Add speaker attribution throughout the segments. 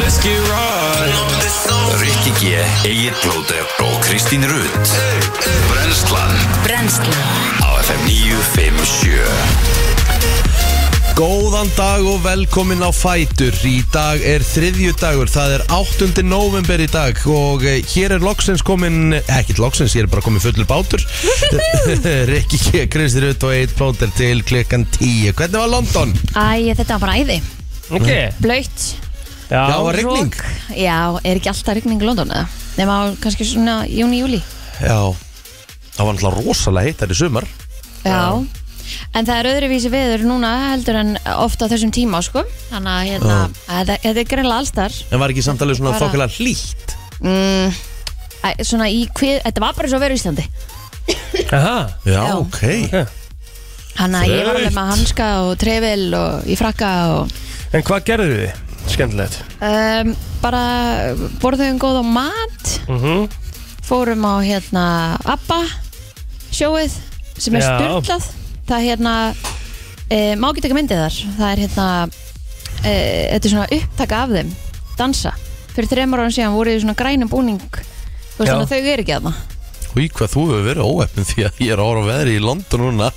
Speaker 1: Let's get right
Speaker 2: Rikki G, Egil Blóter og Kristín Rutt Brenslan
Speaker 3: Brennslan
Speaker 2: á FM 957
Speaker 1: Góðan dag og velkomin á Fætur Í dag er þriðju dagur Það er 8. november í dag Og eh, hér er loksins komin eh, Ekkert loksins, hér er bara komin fullur bátur Rikki G, Kristi Rutt og Eitt Plóter til klukkan 10 Hvernig var London?
Speaker 3: Æ, þetta var bara æði
Speaker 4: Ok,
Speaker 3: Blöytt
Speaker 4: já,
Speaker 1: Já, var rigning?
Speaker 3: Já, er ekki alltaf rigning í London eða? Nefna á kannski svona júni, júli
Speaker 1: Já Það var náttúrulega rosalega heitt þar í sumar
Speaker 3: Já En það er öðruvísi veður núna heldur en oft á þessum tíma sko Þannig að hérna, að þetta þetta er greinlega allstar
Speaker 1: En var ekki samtalið svona
Speaker 3: Bara-
Speaker 1: þokkilega hlýtt
Speaker 3: mm, æ, Svona í hvið, þetta var bara svo veru í Íslandi
Speaker 4: Aha,
Speaker 1: Já,
Speaker 3: Já.
Speaker 1: ok
Speaker 3: Þannig að ég var alveg með hanska og trefil og í frakka og
Speaker 4: en hvað gerðu þið? Skemmtilegt
Speaker 3: um, Bara borðum góð á mat
Speaker 4: mm
Speaker 3: fórum á hérna ABBA sjóið sem er
Speaker 4: Já.
Speaker 3: styrlað það hérna e, má ekki taka myndið þar það er hérna e, þetta er svona upptaka af þeim dansa fyrir þreymur árum síðan voru þið í svona grænum búning þú veist
Speaker 4: Já.
Speaker 3: þannig að þau eru ekki aðna
Speaker 1: Í hvað þú hefur verið óefn því að ég er ára á veðri í London núna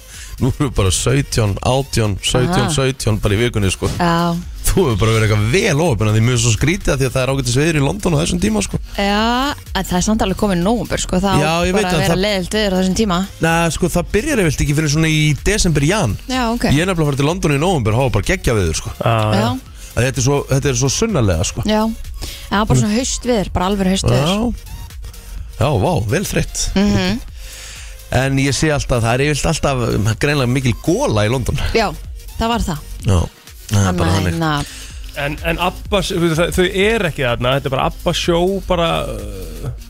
Speaker 1: Nú erum við bara 17, 18, 17,
Speaker 3: Aha.
Speaker 1: 17 bara í vikunni sko
Speaker 3: já,
Speaker 1: Þú hefur bara verið eitthvað vel óefn að því mjög svo skrítið að því að það er ágættis veður í London á þessum tíma sko
Speaker 3: já en það er samt alveg komið nógumbur sko það á
Speaker 1: Já, ég veit
Speaker 3: bara
Speaker 1: að
Speaker 3: að vera
Speaker 1: það-
Speaker 3: leðilt viður á þessum tíma
Speaker 1: Nei sko það byrjar eftir ekki fyrir svona í desember, jan
Speaker 3: já, ok
Speaker 1: Ég er nefnilega að fara til London í november og hafa bara geggja veður sko
Speaker 4: ah,
Speaker 3: já,
Speaker 1: að þetta, er svo, þetta er svo sunnalega sko
Speaker 3: já en það var bara svona haust viður, bara alveg haust viður
Speaker 1: Já, já, vá, vel þreytt
Speaker 3: Mm. Mhm.
Speaker 1: En ég sé alltaf, það er yfirlt alltaf um, greinlega mikil góla í London
Speaker 3: já, það var það
Speaker 1: Já, það er
Speaker 3: Þannig
Speaker 1: bara
Speaker 3: að,
Speaker 1: þannig
Speaker 3: hérna,
Speaker 4: En, en Abba, þau, þau er ekki þarna Þetta er bara Abba sjó bara, uh,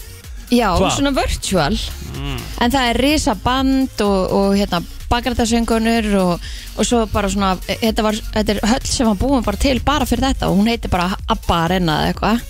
Speaker 3: Já,
Speaker 4: Hvað?
Speaker 3: svona virtual
Speaker 1: Mm.
Speaker 3: En það er risa band og, og hérna bakrætasöngunur og, og svo bara svona e- þetta, var, þetta er höll sem var búin bara til bara fyrir þetta og hún heitir bara Abba Arena eða eitthvað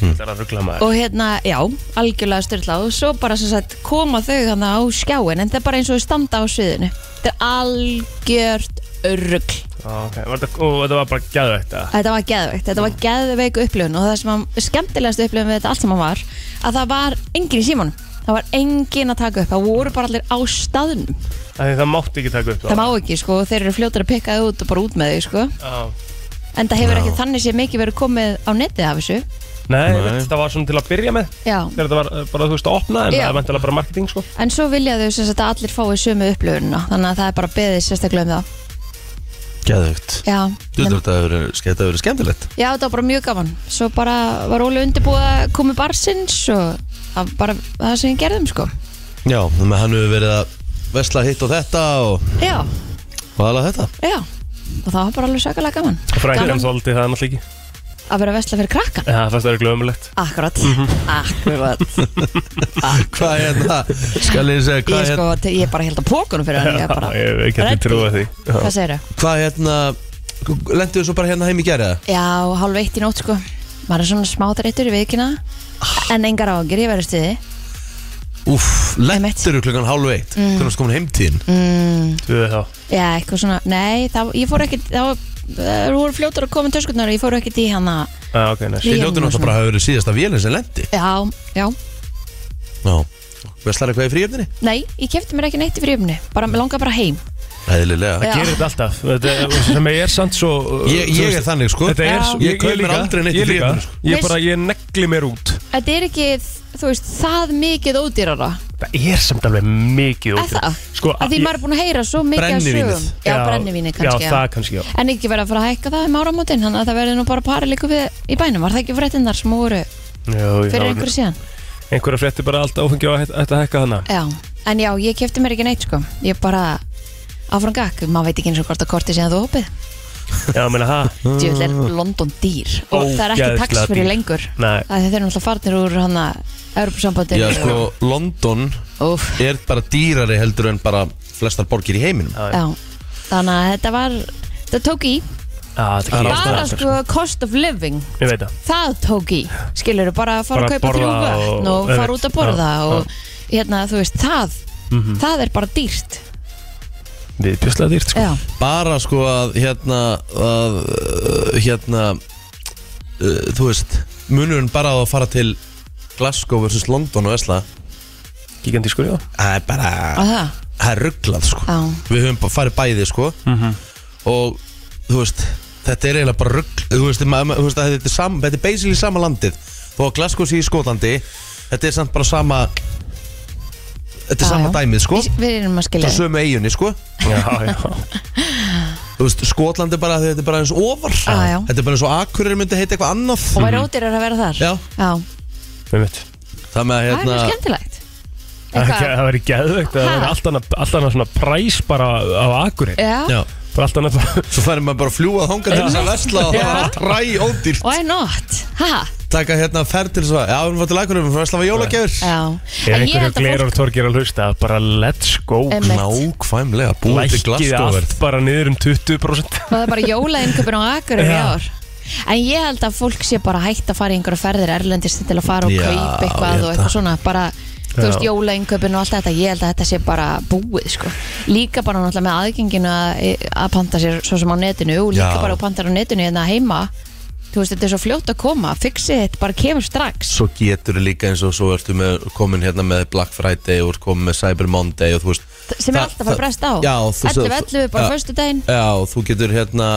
Speaker 4: Þetta er að ruggla maður
Speaker 3: og hérna, já, algjörlega styrla og svo bara sem sagt koma þau þannig á skjáin en það er bara eins og þau standa á sviðinu Þetta er algjört örugl
Speaker 4: ah, okay. Var þetta, Og þetta var bara gæðvægt
Speaker 3: Þetta var geðveikt, þetta var geðveik upplifun og það sem var skemmtilegast upplifun við þetta allt saman var að það var engin í símanum það var engin að taka upp, það voru bara allir á staðnum,
Speaker 4: Það, það mátti ekki taka upp
Speaker 3: það má ekki sko og þeir eru fljótar að pikka þau út og bara út með þau sko
Speaker 4: ah.
Speaker 3: en það hefur ekki þannig sé mikið verið komið á netið af þessu
Speaker 4: Nei,
Speaker 1: Nei.
Speaker 4: Veit, þetta var svona til að byrja með
Speaker 3: Já.
Speaker 4: Þegar þetta var uh, bara, þú veist, að opna En
Speaker 3: Já.
Speaker 4: það er vantilega bara marketing, sko
Speaker 3: en svo vilja þau sem sagt að allir fái sömu upplifunina þannig að það er bara beðið sérstaklega um það
Speaker 1: Geðvögt
Speaker 3: Já, en,
Speaker 1: Þú veist að þetta hefur verið skemmtilegt
Speaker 3: já þetta var bara mjög gaman svo bara var Óli undirbúið að komi barsins og það var bara það sem við gerðum sko
Speaker 1: Já, þannig að hann hefur verið að vesla hitt og þetta og
Speaker 3: Já,
Speaker 1: vala þetta
Speaker 3: Já, og það var bara alveg sakalega gaman
Speaker 4: Frækjan
Speaker 3: Gaman
Speaker 4: þóldi það náttúrulega ekki
Speaker 3: að vera að vesla fyrir krakkan
Speaker 4: Það fannst það ruggla ömulegt
Speaker 3: Akkurat, akkurat
Speaker 1: Hvað er það? Skal ég segja,
Speaker 3: Ég
Speaker 1: hvað
Speaker 3: er
Speaker 1: er
Speaker 3: sko, ég er bara held að pókunum fyrir hann Ég er bara,
Speaker 4: Ég ég get
Speaker 3: Ready?
Speaker 4: ekki trúið því Já.
Speaker 3: hvað segirðu?
Speaker 1: Hvað hérna Lendu þau svo bara hérna heim í gerða?
Speaker 3: Já, hálf eitt í nótt sko Maður er svona smáþreyttur í vikina En engar ágjur, ég verður stuði
Speaker 1: Úff,
Speaker 3: Einmitt.
Speaker 1: lendur þau klukkan hálf eitt mm. Hvernig komin heimtíðin?
Speaker 3: mm,
Speaker 4: Tvöðu þá
Speaker 3: Já, eitthvað svona, nei það, Ég fór ekkit, það var Það voru fljótur að koma um töskurnar og Ég fór ekkit í hana
Speaker 4: ah, okay, nice.
Speaker 1: Þið
Speaker 3: Ég er nú
Speaker 1: hljóttu náttúrulega
Speaker 3: svona-
Speaker 1: bara að hafa verið síðasta vélinn sem lendi
Speaker 3: Já, já,
Speaker 1: Já Veslar eitthvað í fríöfninni?
Speaker 3: nei, ég kefti mér ekki neitt í fríumni Bara, mig langar bara heim
Speaker 1: Æðlilega
Speaker 3: Já.
Speaker 4: gerir þetta alltaf þetta, er- sem er samt svo uh,
Speaker 1: Ég,
Speaker 4: þú
Speaker 1: ég
Speaker 4: veist,
Speaker 1: er þannig sko
Speaker 4: þetta er
Speaker 3: Já.
Speaker 4: svo,
Speaker 1: Ég
Speaker 4: ég,
Speaker 1: kaupi
Speaker 4: ég
Speaker 1: mér
Speaker 4: líka,
Speaker 1: aldrei neitt í
Speaker 4: ég líka
Speaker 1: fríinu, sko.
Speaker 4: ég bara, ég negli mér út
Speaker 3: Þetta er ekki, þú veist, það mikið ódýrara
Speaker 4: það er samt alveg mikið
Speaker 3: Er það?
Speaker 4: sko,
Speaker 3: að því
Speaker 4: ég-
Speaker 3: maður er búin að heyra svo mikið af
Speaker 1: Brennivínið.
Speaker 3: sögum Já, brennivínið kannski
Speaker 4: já,
Speaker 3: já,
Speaker 4: það kannski, já
Speaker 3: En ekki verið að fara að hækka það um áramótin Þannig að það verði nú bara parið líka við í bænum Var það ekki fréttinnar sem voru
Speaker 4: já,
Speaker 3: fyrir einhverju síðan?
Speaker 4: einhverja frétti bara allt áfengi og þetta að hækka hana
Speaker 3: Já, en já, ég kefti mér ekki neitt sko Ég bara áfram gakk Maður veit ekki eins og hvort að korti síðan þú hópið
Speaker 4: já, meina það
Speaker 3: Djúvill er London dýr Og það er
Speaker 4: Ah. Ógeðslega
Speaker 3: ekki taks fyrir
Speaker 4: dýr.
Speaker 3: lengur
Speaker 4: Nei.
Speaker 3: Það er þeir eru náttúrulega farnir úr hann að Europasambandinu
Speaker 1: Já sko, London
Speaker 3: Úff,
Speaker 1: er bara dýrari heldur en bara flestar borgir í heiminum
Speaker 4: Já, já.
Speaker 3: já Þannig að þetta var, þetta tók í
Speaker 4: Já, þetta
Speaker 1: Það er
Speaker 4: kannski-
Speaker 3: Bara
Speaker 4: Já,
Speaker 3: sko cost of living
Speaker 4: ég veit það
Speaker 3: það tók í skilur bara að fara
Speaker 4: Bara
Speaker 3: að kaupa þrjú
Speaker 4: borða
Speaker 3: vötn
Speaker 4: og-
Speaker 3: og fara út að borða
Speaker 4: Já, Mhm.
Speaker 3: og hérna þú veist það það er bara dýrt
Speaker 4: við pjösslega dýrt sko
Speaker 3: já,
Speaker 1: bara sko að hérna að, uh, hérna uh, þú veist, munurinn bara á að fara til Glasgow versus London og Esla
Speaker 4: Gigantískur, já
Speaker 1: Það er bara,
Speaker 3: á það
Speaker 1: það er rugglað sko
Speaker 3: Já.
Speaker 1: Við höfum bara farið bæði sko Og þú veist, þetta er eiginlega bara rugg Þú veist, ma, ma, þú veist að þetta er, sam, þetta er basically sama landið Þó að Glasgow sé í Skotlandi Þetta er samt bara sama Þetta er
Speaker 3: Já,
Speaker 1: sama
Speaker 3: já.
Speaker 1: dæmið sko
Speaker 3: Við- Við erum að
Speaker 1: Þetta
Speaker 3: skilja
Speaker 1: er sömu eiginni sko
Speaker 4: Já, já
Speaker 1: Þú veist, Skotland er bara, þetta er bara eins ofar
Speaker 3: Já, já.
Speaker 1: Þetta er bara eins og Akureyri myndi heita eitthvað annað
Speaker 3: Og væri ódýrar að vera þar
Speaker 1: Já.
Speaker 4: Með mitt
Speaker 1: Það með
Speaker 3: Það er
Speaker 1: að
Speaker 3: mjög
Speaker 1: hérna
Speaker 3: skemmtilegt Eitthvað-
Speaker 4: Það væri geðvegt Það
Speaker 3: Ha?
Speaker 4: væri allt annað- allt annað svona præs bara á akurinn
Speaker 3: Já,
Speaker 1: Já,
Speaker 4: Bara allt annað bara
Speaker 1: svo færir maður bara að fljúa þangað til þess að vesla og það var allt ræ ódýrt
Speaker 3: why not? Haha,
Speaker 1: Taka hérna ferð til þess að, já, við varum til Akureyri, við varum að vesla með jólagjafir
Speaker 3: já
Speaker 4: Ef
Speaker 3: En ég
Speaker 4: einhverju
Speaker 3: held að
Speaker 4: glerar
Speaker 3: fólk
Speaker 4: torgir að hlusta Bara let's go
Speaker 3: Em- Einmitt.
Speaker 1: Nákvæmlega, búið til
Speaker 4: Lækkið allt
Speaker 1: glaskóverð
Speaker 4: bara niður um 20%
Speaker 3: Og það er bara jólainköpun á Akureyri í
Speaker 4: Já.
Speaker 3: ár En ég held að fólk sé bara hægt að fara í einhverja ferðir erlendist til að fara og
Speaker 1: Já,
Speaker 3: kaupa
Speaker 1: ég
Speaker 3: eitthvað
Speaker 1: held
Speaker 3: og eitthvað
Speaker 1: það.
Speaker 3: svona bara, þú
Speaker 4: Já.
Speaker 3: veist, jólainköpun og allt þetta ég held að þetta sé bara búið, sko Líka bara náttúrulega með aðgenginu að, að panta sér svo sem á netinu og líka
Speaker 1: Já.
Speaker 3: bara að panta á netinu en að heima þú veist, þetta er svo fljótt að koma, fixið þetta bara kemur strax
Speaker 1: Svo getur þið líka eins og svo ertu með, komin hérna með Black Friday og ert komin með Cyber Monday og þú veist
Speaker 3: sem er
Speaker 1: það-
Speaker 3: alltaf að fara
Speaker 1: það-
Speaker 3: brest á
Speaker 1: Já, þú-
Speaker 3: 11-11 bara
Speaker 1: Já.
Speaker 3: föstu daginn
Speaker 1: Já, og þú getur hérna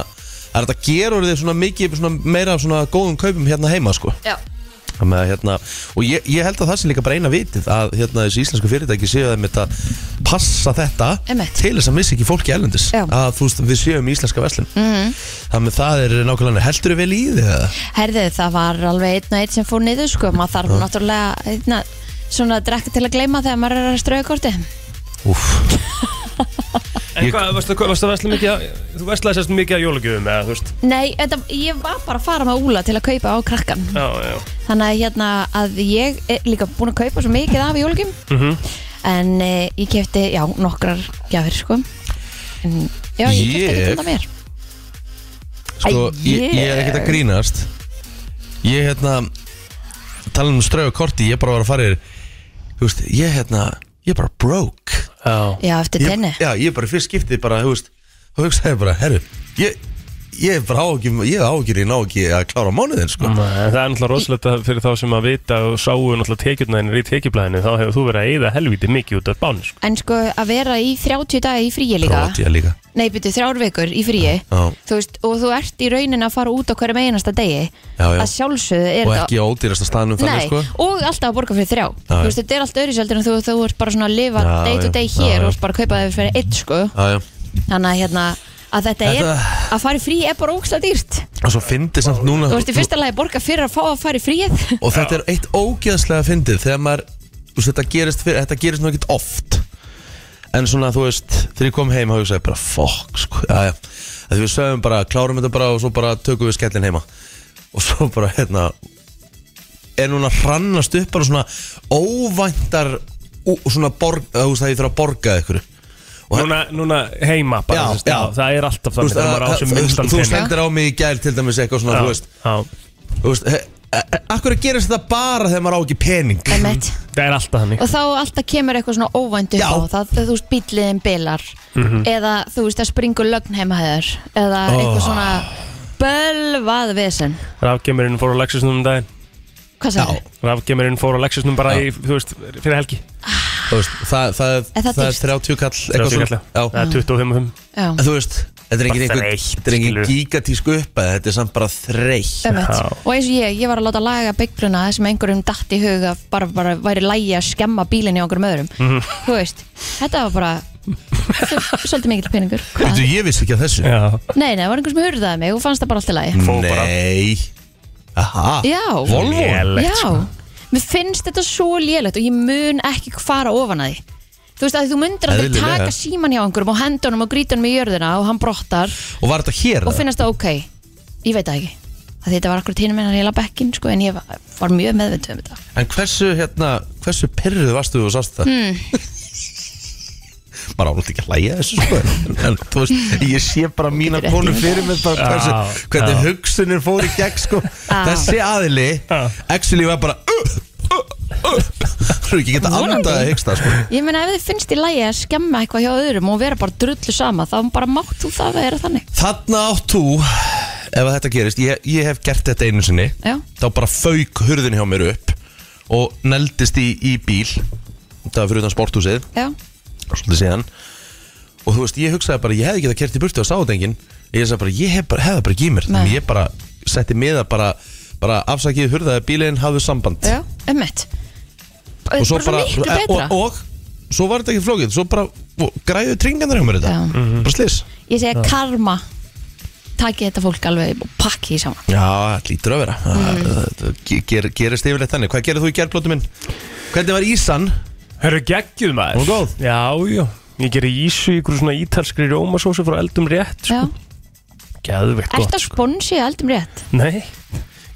Speaker 1: Það er þetta gerur þið svona mikið svona meira af svona góðum kaupum hérna heima sko
Speaker 3: Já,
Speaker 1: Það með, að, hérna, og ég, ég held að það sé líka bara eina vitið að hérna, þessi íslensku fyrirtæki séu að þetta passa þetta
Speaker 3: Einmitt.
Speaker 1: til þess að missa ekki fólki erlendis
Speaker 3: Já.
Speaker 1: að þú veist við séum íslenska verslun mm -hmm. þannig að það er nákvæmlega heldur vel í því eða?
Speaker 3: herðið, það var alveg einn og einn sem fór niður sko, maður þarf náttúrulega einna, svona að drekka til að gleyma þegar maður er að strauja korti
Speaker 1: Úff,
Speaker 4: En
Speaker 1: Ég-
Speaker 4: hvað, varstu hvað- varstu að vesla mikið að- Þú veslaði sérst mikið að jólagjöfum eða, þú veist
Speaker 3: Nei, þetta, ég var bara að fara með Úla til að kaupa á krakkan
Speaker 4: Já, já
Speaker 3: þannig að, hérna, að ég er líka búin að kaupa svo mikið af jólugum en e, ég kefti, já, nokkrar gjafir sko en, já, ég kefti
Speaker 1: Ég-
Speaker 3: ekki þetta mér
Speaker 1: sko,
Speaker 3: Æ,
Speaker 1: ég, ég er
Speaker 3: ég-
Speaker 1: ekkert að grínast ég hérna tala um strau og korti, ég bara var að fara yfir þú veist, ég hérna ég er bara broke
Speaker 4: Já
Speaker 3: Já, eftir
Speaker 1: ég,
Speaker 3: tenni
Speaker 1: Já, ég bara fyrst skiptið bara, þú veist Þá hugsaði ég bara, herru Ég, ég er bara á ekki, ég á ekki, ég ná ekki að klára mánuðin, sko
Speaker 4: Nei, en það er náttúrulega rosalega fyrir þá sem að vita og sáu náttúrulega tekjurnaðinir í tekjublaðinu þá hefur þú verið að eyða helviti mikið út af bán sko.
Speaker 3: En sko, að vera í 30 daga í fríi líka
Speaker 1: Prófaði ég líka
Speaker 3: Nei, byrju, þrjár vikur í fríi
Speaker 1: Já.
Speaker 3: Þú veist, og þú ert í raunin að fara út á hverjum einasta degi
Speaker 1: Já, já.
Speaker 3: Að sjálfsögðu er
Speaker 1: Og
Speaker 3: þetta-
Speaker 1: ekki á ódýrasta staðnum
Speaker 3: Nei,
Speaker 1: þannig, sko
Speaker 3: og alltaf að borga fyrir þrjá
Speaker 1: já.
Speaker 3: Þú veist, þetta er allt öðru sjöldur en þú, þú ert bara svona að lifa
Speaker 1: Já,
Speaker 3: day to
Speaker 1: já.
Speaker 3: day
Speaker 1: Já,
Speaker 3: hér
Speaker 1: já.
Speaker 3: og ert bara að kaupa þér fyrir eitt sko
Speaker 1: Já, já
Speaker 3: Þannig að hérna að þetta,
Speaker 1: Þetta-
Speaker 3: er að fara í frí er bara ógsta dýrt
Speaker 1: Og svo fyndið samt núna
Speaker 3: Þú veist, í fyrsta lagi að borga fyrir að fá að fara í fríið
Speaker 1: Og þetta er eitt ógeðslega fyndið Þegar maður, þú veist, þetta gerist fyrir Þetta gerist nú ekkert oft En svona, þú veist, þegar ég kom heim þá hugsaði ég bara, fokk, sko Já, já Þegar við sögum bara, klárum þetta bara Og svo bara tökum við skellin heima Og svo bara, hérna er núna að hrannast upp bara svona óvæntar og svona borg, þú veist að ég þarf að borga ykkur Og-
Speaker 4: núna, núna heima bara,
Speaker 1: Já,
Speaker 4: þú veist,
Speaker 1: já.
Speaker 4: það er alltaf
Speaker 1: Þú
Speaker 4: þannig
Speaker 1: veist,
Speaker 4: þegar maður á
Speaker 1: að-
Speaker 4: sem
Speaker 1: þú-
Speaker 4: minnstan
Speaker 1: þú
Speaker 4: pening.
Speaker 1: stendur á mig í gæl til dæmis eitthvað svona,
Speaker 4: Já,
Speaker 1: þú veist,
Speaker 4: já.
Speaker 1: þú veist he- e- e- Akkur að gerast þetta bara þegar maður á ekki pening
Speaker 3: Einmitt.
Speaker 4: það er alltaf þannig
Speaker 3: og þá alltaf kemur eitthvað svona óvænt upp
Speaker 1: Já. Mhm.
Speaker 3: á það, þú veist, bíliðin bilar eða þú veist, það springur lögn heima hefur eða eitthvað
Speaker 1: Oh.
Speaker 3: svona bölvað vesen
Speaker 4: rafgemirinn fór á Lexusnum um daginn
Speaker 3: Hvað
Speaker 1: Já,
Speaker 3: sagði?
Speaker 4: rafgemirinn fór á Lexusnum bara
Speaker 1: Já.
Speaker 4: í, þú veist, fyrir helgi
Speaker 1: þú veist, það,
Speaker 3: Er
Speaker 1: það,
Speaker 3: það
Speaker 1: það er
Speaker 3: dýrt?
Speaker 1: 30 kall eitthvað
Speaker 4: 30
Speaker 1: svona
Speaker 4: kall.
Speaker 1: Já,
Speaker 4: það er 25
Speaker 3: Já,
Speaker 1: en þú veist, þetta er engin
Speaker 4: Bara
Speaker 1: einhver
Speaker 4: þreytt,
Speaker 1: Þetta er engin
Speaker 4: skilur.
Speaker 1: gigatísk uppæð, þetta er samt bara þreytt
Speaker 3: ömmett
Speaker 4: Já.
Speaker 3: Og eins og ég, ég var að láta laga byggbruna sem einhverjum datt í huga bara, bara væri lægi að skemma bílinni á einhverjum öðrum
Speaker 1: Mhm.
Speaker 3: Þú veist, þetta var bara svolítið mikill peningur Hvað?
Speaker 1: Þú, ég vissi ekki að þessu
Speaker 4: já,
Speaker 3: Nei, nei, það var einhver sem hurðaði mig og fannst það bara allt í lagi
Speaker 4: Fó bara.
Speaker 1: Nei Aha,
Speaker 3: Já.
Speaker 1: Volvo
Speaker 4: lélegt
Speaker 3: Já,
Speaker 4: sko.
Speaker 3: mér finnst þetta svo lélegt og ég mun ekki fara ofan að því Þú veist að þú myndir að þau
Speaker 1: Eðlilega.
Speaker 3: taka síman hjá einhverjum og henda honum og gríta honum í jörðina og hann brottar
Speaker 1: Og var þetta hér?
Speaker 3: og finnast það ok Ég veit það ekki að þetta var akkur tínum minna heila bekkin sko, en ég var, var mjög meðvendu um þetta
Speaker 1: En hversu, hérna, hversu pyrruð varstu þú og sást það? Hmm. Bara ánult ekki að hlæja þessu sko en- En þú veist, ég sé bara mína
Speaker 3: Getur ekki
Speaker 1: konu
Speaker 3: verið.
Speaker 1: fyrir mig bara hversu,
Speaker 4: Já,
Speaker 1: Hvernig
Speaker 4: já.
Speaker 1: hugsunin fór í gegn sko Þessi aðili
Speaker 4: Já.
Speaker 1: Actually var bara uh, uh, uh. Þú ekki geta
Speaker 3: Vonandi.
Speaker 1: andað að hyggsta sko
Speaker 3: Ég meina ef þið finnst í lægi að skemma eitthvað hjá öðrum og vera bara drullu sama þá bara mátt þú það að vera þannig
Speaker 1: Þarna átt þú ef að þetta gerist, ég, ég hef gert þetta einu sinni
Speaker 3: Já.
Speaker 1: þá bara fauk hurðin hjá mér upp og neldist í, í bíl það var fyrir utan sporthúsið
Speaker 3: já,
Speaker 1: svolítið síðan og þú veist, ég hugsaði bara, ég hefði ekki það kert í burtu á sáðengin ég sagði bara, ég hef bara, hefði bara ekki í mér
Speaker 3: Nei.
Speaker 1: þannig ég bara setti miða bara, bara afsakið hurðaði bílinn, hafðu samband
Speaker 3: já, emmitt bara
Speaker 1: og
Speaker 3: svo
Speaker 1: svo bara, Eh,
Speaker 3: miklu
Speaker 1: og,
Speaker 3: betra
Speaker 1: og, svo var þetta ekki flókið svo bara og græðu tringandar hjá mér þetta
Speaker 3: Já.
Speaker 1: bara slis
Speaker 3: ég segja karma takið þetta fólk alveg og pakki því saman
Speaker 1: Já, það lítur að vera
Speaker 3: Mhm.
Speaker 1: mm. Það ge- ger- gerist yfirleitt þannig Hvað gerir þú í gerblótu minn? Hvernig var Ísan?
Speaker 4: Herru geggjuð maður
Speaker 1: Hún góð?
Speaker 4: Já, já Ég gerir ísu í ykkur svona ítalskri rjómasósu frá eldum rétt
Speaker 3: já.
Speaker 4: sko.
Speaker 3: er
Speaker 4: Geðveikt gott sko.
Speaker 3: þetta sponsi eldum um rétt
Speaker 4: Nei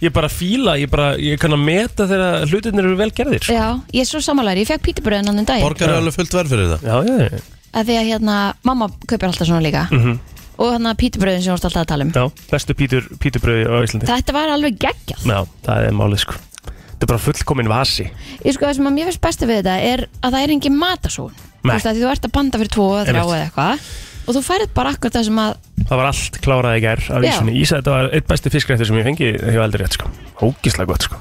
Speaker 4: Ég bara fíla, ég bara, ég kann að meta þegar hlutirnir eru vel gerðir sko.
Speaker 3: já, ég er svo samanlæri, ég fekk pítibröðin annan dag
Speaker 1: Borgar er alveg fullt verð fyrir það
Speaker 4: Já, já, já,
Speaker 3: að því að hérna, mamma kaupir alltaf svona líka og hérna pítibröðin sem þú ert alltaf að tala um
Speaker 4: Mhm. já Bestu pítur, píturbröði á Íslandi
Speaker 3: þetta var alveg geggjað
Speaker 4: Já, það er málið sko Þetta er bara fullkomin vasi
Speaker 3: ég sko það sem að mér finnst besta við þetta er að það er engin matasón þú
Speaker 4: Nei.
Speaker 3: veist að því þú ert að banda fyrir tvo og þrjá
Speaker 4: Einmitt.
Speaker 3: eða eitthvað og þú færið bara akkur það sem að
Speaker 4: Það var allt klárað í gær af
Speaker 3: Já.
Speaker 4: ísunni Ísa, þetta var eitt besti fiskrættur sem ég fengi hjá eldri rétt sko Ógislega gott sko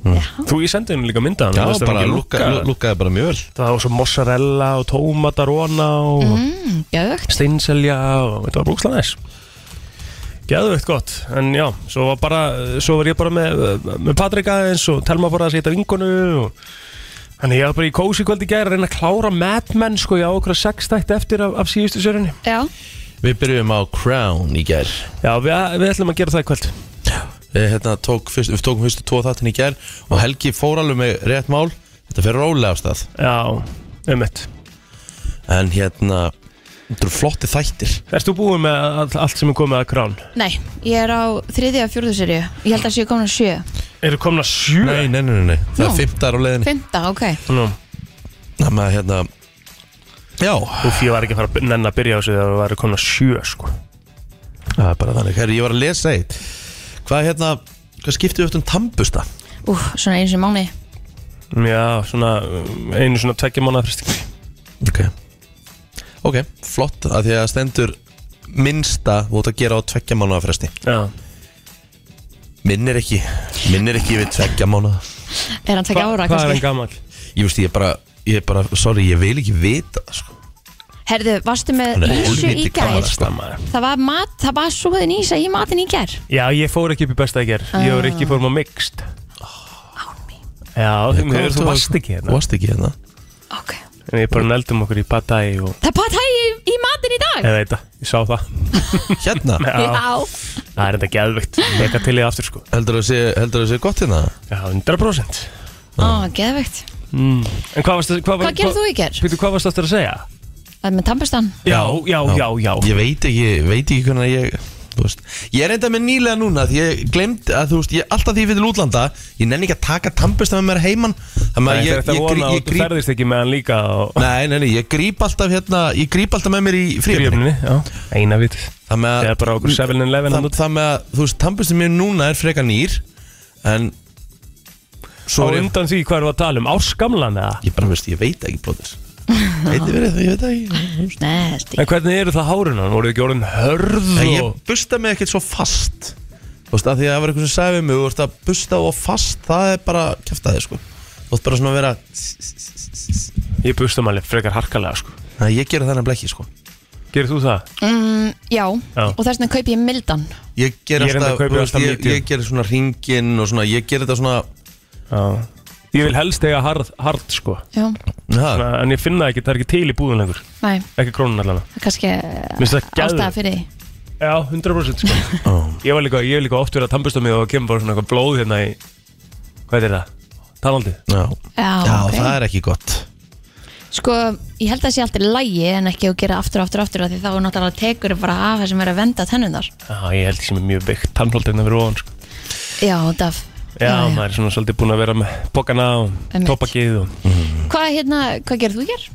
Speaker 4: Þú, ég sendi henni líka mynda hann
Speaker 1: Já, bara lukka, lu- lukkaði bara mjög vel
Speaker 4: Það var svo mozzarella og tómatarona og
Speaker 3: mm, geðvögt
Speaker 4: steinselja og þetta var brúkslega næs Geðveikt gott, en já, svo var, bara, svo var ég bara með, með Patrik aðeins og Telma fór að setja vingunu og Þannig ég var bara í kósi kvöldi gær að reyna að klára Mad Men sko, ég á okkur að sex þætt eftir af, af síðustu sérunni
Speaker 3: já,
Speaker 1: Við byrjum á Crown í gær
Speaker 4: Já, við, við ætlum að gera það í kvöld
Speaker 1: Við, hérna, tók fyrst, við tókum fyrstu tvo þáttin í gær Og Helgi fór alveg með rétt mál Þetta fer rólega af stað
Speaker 4: Já, um mitt
Speaker 1: En hérna, þetta eru flotti þættir
Speaker 4: Erst þú búin með all, allt sem er komið að krán?
Speaker 3: nei, ég er á þriðja og fjórðu serju ég held að séu komin að sjö
Speaker 4: Eru komna sjö?
Speaker 1: Nei, nei, nei, nei, nei. það
Speaker 3: Nú.
Speaker 1: er fimmtar á leiðinni
Speaker 3: fymta, ok,
Speaker 4: Nú,
Speaker 1: Þannig að hérna Já,
Speaker 4: úf, ég var ekki að fara að nenn að byrja á þessu þegar við varum komna sjö sko
Speaker 1: það er bara þannig Herri, ég var að lesa eitt Hvað hérna, hvað skiptið við öll um tambusta?
Speaker 3: ú, svona eins og mánu
Speaker 4: Já, svona um, einu svona tveggja mánuða fristing
Speaker 1: Ok Ok, flott, af því að stendur minnsta þú ert að gera á tveggja mánuða fresti
Speaker 4: Já
Speaker 1: Minn er ekki, minn er ekki við tveggja mánuða
Speaker 3: er hann tvekja ára
Speaker 4: Hvað er hann
Speaker 3: kannski
Speaker 4: gammal?
Speaker 1: Ég veist, ég er bara, ég er bara, sorry, ég vil ekki vita sko.
Speaker 3: herðu, varstu með
Speaker 1: Hann er
Speaker 3: ísu í
Speaker 1: helviti
Speaker 3: gær
Speaker 1: gamall, sko.
Speaker 3: það var mat, það var súðin ísa í matin í gær
Speaker 4: Já, ég fór ekki upp í besta að gera Ég og Rikki fórum á mixed Já,
Speaker 1: Hvað
Speaker 4: þú
Speaker 1: ertu að-
Speaker 4: varst ekki
Speaker 1: Þú
Speaker 4: hérna
Speaker 1: varst ekki hérna
Speaker 3: ok,
Speaker 4: En ég bara neldum okkur í patæi og
Speaker 3: það patæði í, í matin í dag
Speaker 4: Ég veit það, ég sá það
Speaker 1: Hérna,
Speaker 4: Já, það er þetta geðvikt Leka til í aftur sko
Speaker 1: heldur það sé, heldur það sé gott hérna
Speaker 4: Já, 100%
Speaker 3: Ó, geðveikt.
Speaker 4: mm. En hvað varst það
Speaker 3: Hvað gerð þú í gær?
Speaker 4: Pítur, hvað varst það að segja?
Speaker 3: Það er með tampastan
Speaker 4: Já, já, já, já
Speaker 1: Ég veit ekki, veit ekki hvernig ég Þú veist, ég er enda með nýlega núna því ég glemd að þú veist, ég, alltaf því ég vil útlanda ég nenni ekki að taka tambusta með mér heiman þannig
Speaker 4: Ég,
Speaker 1: að ég,
Speaker 4: þetta
Speaker 1: ég, ég,
Speaker 4: vona og
Speaker 1: ég
Speaker 4: þú
Speaker 1: gríp
Speaker 4: ferðist ekki með hann líka og
Speaker 1: Nei, nei, nei, ég gríp alltaf hérna Ég gríp alltaf með mér í fríöfni
Speaker 4: Grífni, já, eina vitið
Speaker 1: Það með
Speaker 4: Það er bara okkur 7-Eleven
Speaker 1: það,
Speaker 4: þarna úti.
Speaker 1: það með Mm, að, þú veist, tannbustin mér núna er frekar nýr En
Speaker 4: Á
Speaker 1: Svo er ég,
Speaker 4: undan því hvað erum við að tala um, árskamlan eða?
Speaker 1: ég bara veist, ég veit ekki blóðis Eitthvað verið það, ég veit það ekki
Speaker 3: Nesti.
Speaker 4: En hvernig eru það hárunan? Voru þið ekki orðin hörð
Speaker 1: En ég
Speaker 4: og...
Speaker 1: busta mig ekkert svo fast Þú veist, að því að það var eitthvað sem sagði við mig Þú veist, að busta og fast, það er bara Kjaftaði, sko Þú veist bara svona að vera
Speaker 4: Ég busta maður frekar harkalega sko
Speaker 1: Nei, ég gera þannig blekki, sko
Speaker 4: Gerir þú það?
Speaker 3: Mm, já,
Speaker 4: Já.
Speaker 3: og þess vegna kaup ég mildan
Speaker 1: Ég ger
Speaker 4: Ég er enda
Speaker 1: alltaf,
Speaker 4: að kaupa
Speaker 1: þú veist,
Speaker 4: alltaf
Speaker 1: ég,
Speaker 4: medium.
Speaker 1: ég ger svona ringin og svona, ég ger þetta svona
Speaker 4: Já Ég vil helst eiga hard, hard sko
Speaker 3: Já,
Speaker 1: na,
Speaker 4: Na, En ég finna það ekki, það er ekki til í búðun lengur
Speaker 3: nei,
Speaker 4: Ekki krónun allan
Speaker 3: það er kannski eh,
Speaker 4: Minnst það geðveikt?
Speaker 3: ástæða fyrir því
Speaker 4: Já, 100% sko Ég var líka, ég hef líka oft verið að tambusta mig og kemur bara svona eitthvað blóð hérna í Hvað er það? Talandið
Speaker 1: Já,
Speaker 3: Já,
Speaker 1: já
Speaker 3: Ah, ok.
Speaker 1: það er ekki gott
Speaker 3: Sko, ég held að það sé alltaf lægi en ekki að gera aftur og aftur og aftur af því þá er náttúrulega tekur bara af það sem er að venda tennunar
Speaker 4: Já, ég held ekki sem er mjög byggt tannfaldina fyrir ofan sko
Speaker 3: Já, Daf
Speaker 4: Já, maður er svona svolítið búin að vera með bókana og
Speaker 3: Einmitt.
Speaker 4: tópakið og
Speaker 3: Hvað hérna, hvað gerð þú hér?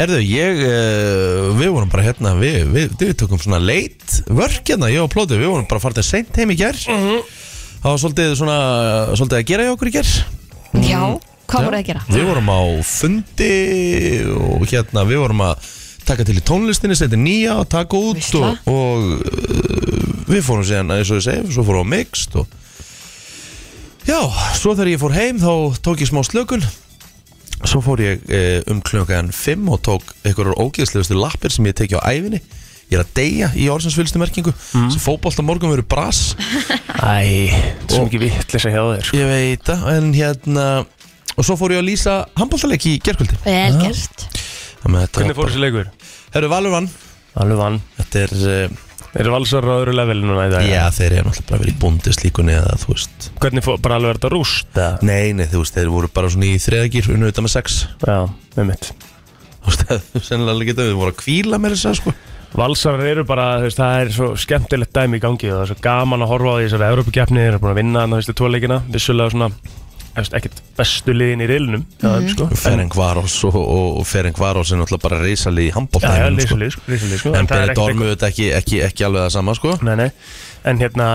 Speaker 1: Herðu, ég, uh, við vorum bara hérna, við, við, við tökum svona leit vörk hérna, ég og Plóti, við vorum bara farið seint heim í gær
Speaker 4: Mhm.
Speaker 1: Það var svolítið svona, svolítið að gera í okkur í gær
Speaker 4: Mm.
Speaker 3: Já, hvað voruð það
Speaker 1: Já.
Speaker 3: að gera?
Speaker 1: Við vorum á fundi og hérna, við vorum að taka til í tónlistinni, setja nýja og taka út
Speaker 3: Veistla.
Speaker 1: og, og uh, við fórum síðan eins og ég segi, svo fórum við á mixt og já, svo þegar ég fór heim þá tók ég smá slökun svo fór ég eh, um klukkan 5 og tók einhverjar ógeðslegustu lappir sem ég teki á æfinni ég er að deyja í orðsinsfylgstu merkingu mm. sem fótbolta morgun verður brass
Speaker 4: Æ, þetta er svo mikið vittlis að hjá þér sko.
Speaker 1: ég veit það, en hérna og svo fór ég að lýsa handbóltaleik í Ah. gerkvöldi
Speaker 3: Vel gert
Speaker 4: Hvernig fór þessi leikur?
Speaker 1: Herru Valur vann
Speaker 4: Alveg vann
Speaker 1: Þetta er, uh,
Speaker 4: Eru valsar á öðru level núna í dag?
Speaker 1: já þeir eru náttúrulega bara verið í bundislíkunni eða þú veist
Speaker 4: Hvernig fór, bara alveg er þetta rúst? eða?
Speaker 1: Nei, nei, þú veist, þeir voru bara svona í þreðagýr unnu utan með sex
Speaker 4: Já, með mitt
Speaker 1: Þú veist, það er sennilega alveg getað við voru að kvíla með þess að sko
Speaker 4: Valsarar eru bara, þú veist, það er svo skemmtilegt dæmi í gangi og það er svo gaman að horfa á því þessari Evrópukeppni, þeir eru búin að vinna þannig að þessu tvoleikina, vissulega svona þú veist, ekkert bestu liðin í reilunum mm -hmm. sko. En-
Speaker 1: Ferenc Varos og, og, og Ferenc Varos er náttúrulega bara reysalið í
Speaker 4: Já, já,
Speaker 1: handbóltaleik
Speaker 4: lýsulíð, sko, lýsulíð, sko
Speaker 1: En
Speaker 4: það er
Speaker 1: Benedikt
Speaker 4: ekkert
Speaker 1: Ormöð ekki, ekki, ekki alveg það sama sko
Speaker 4: eitthvað- Nei, nei, en hérna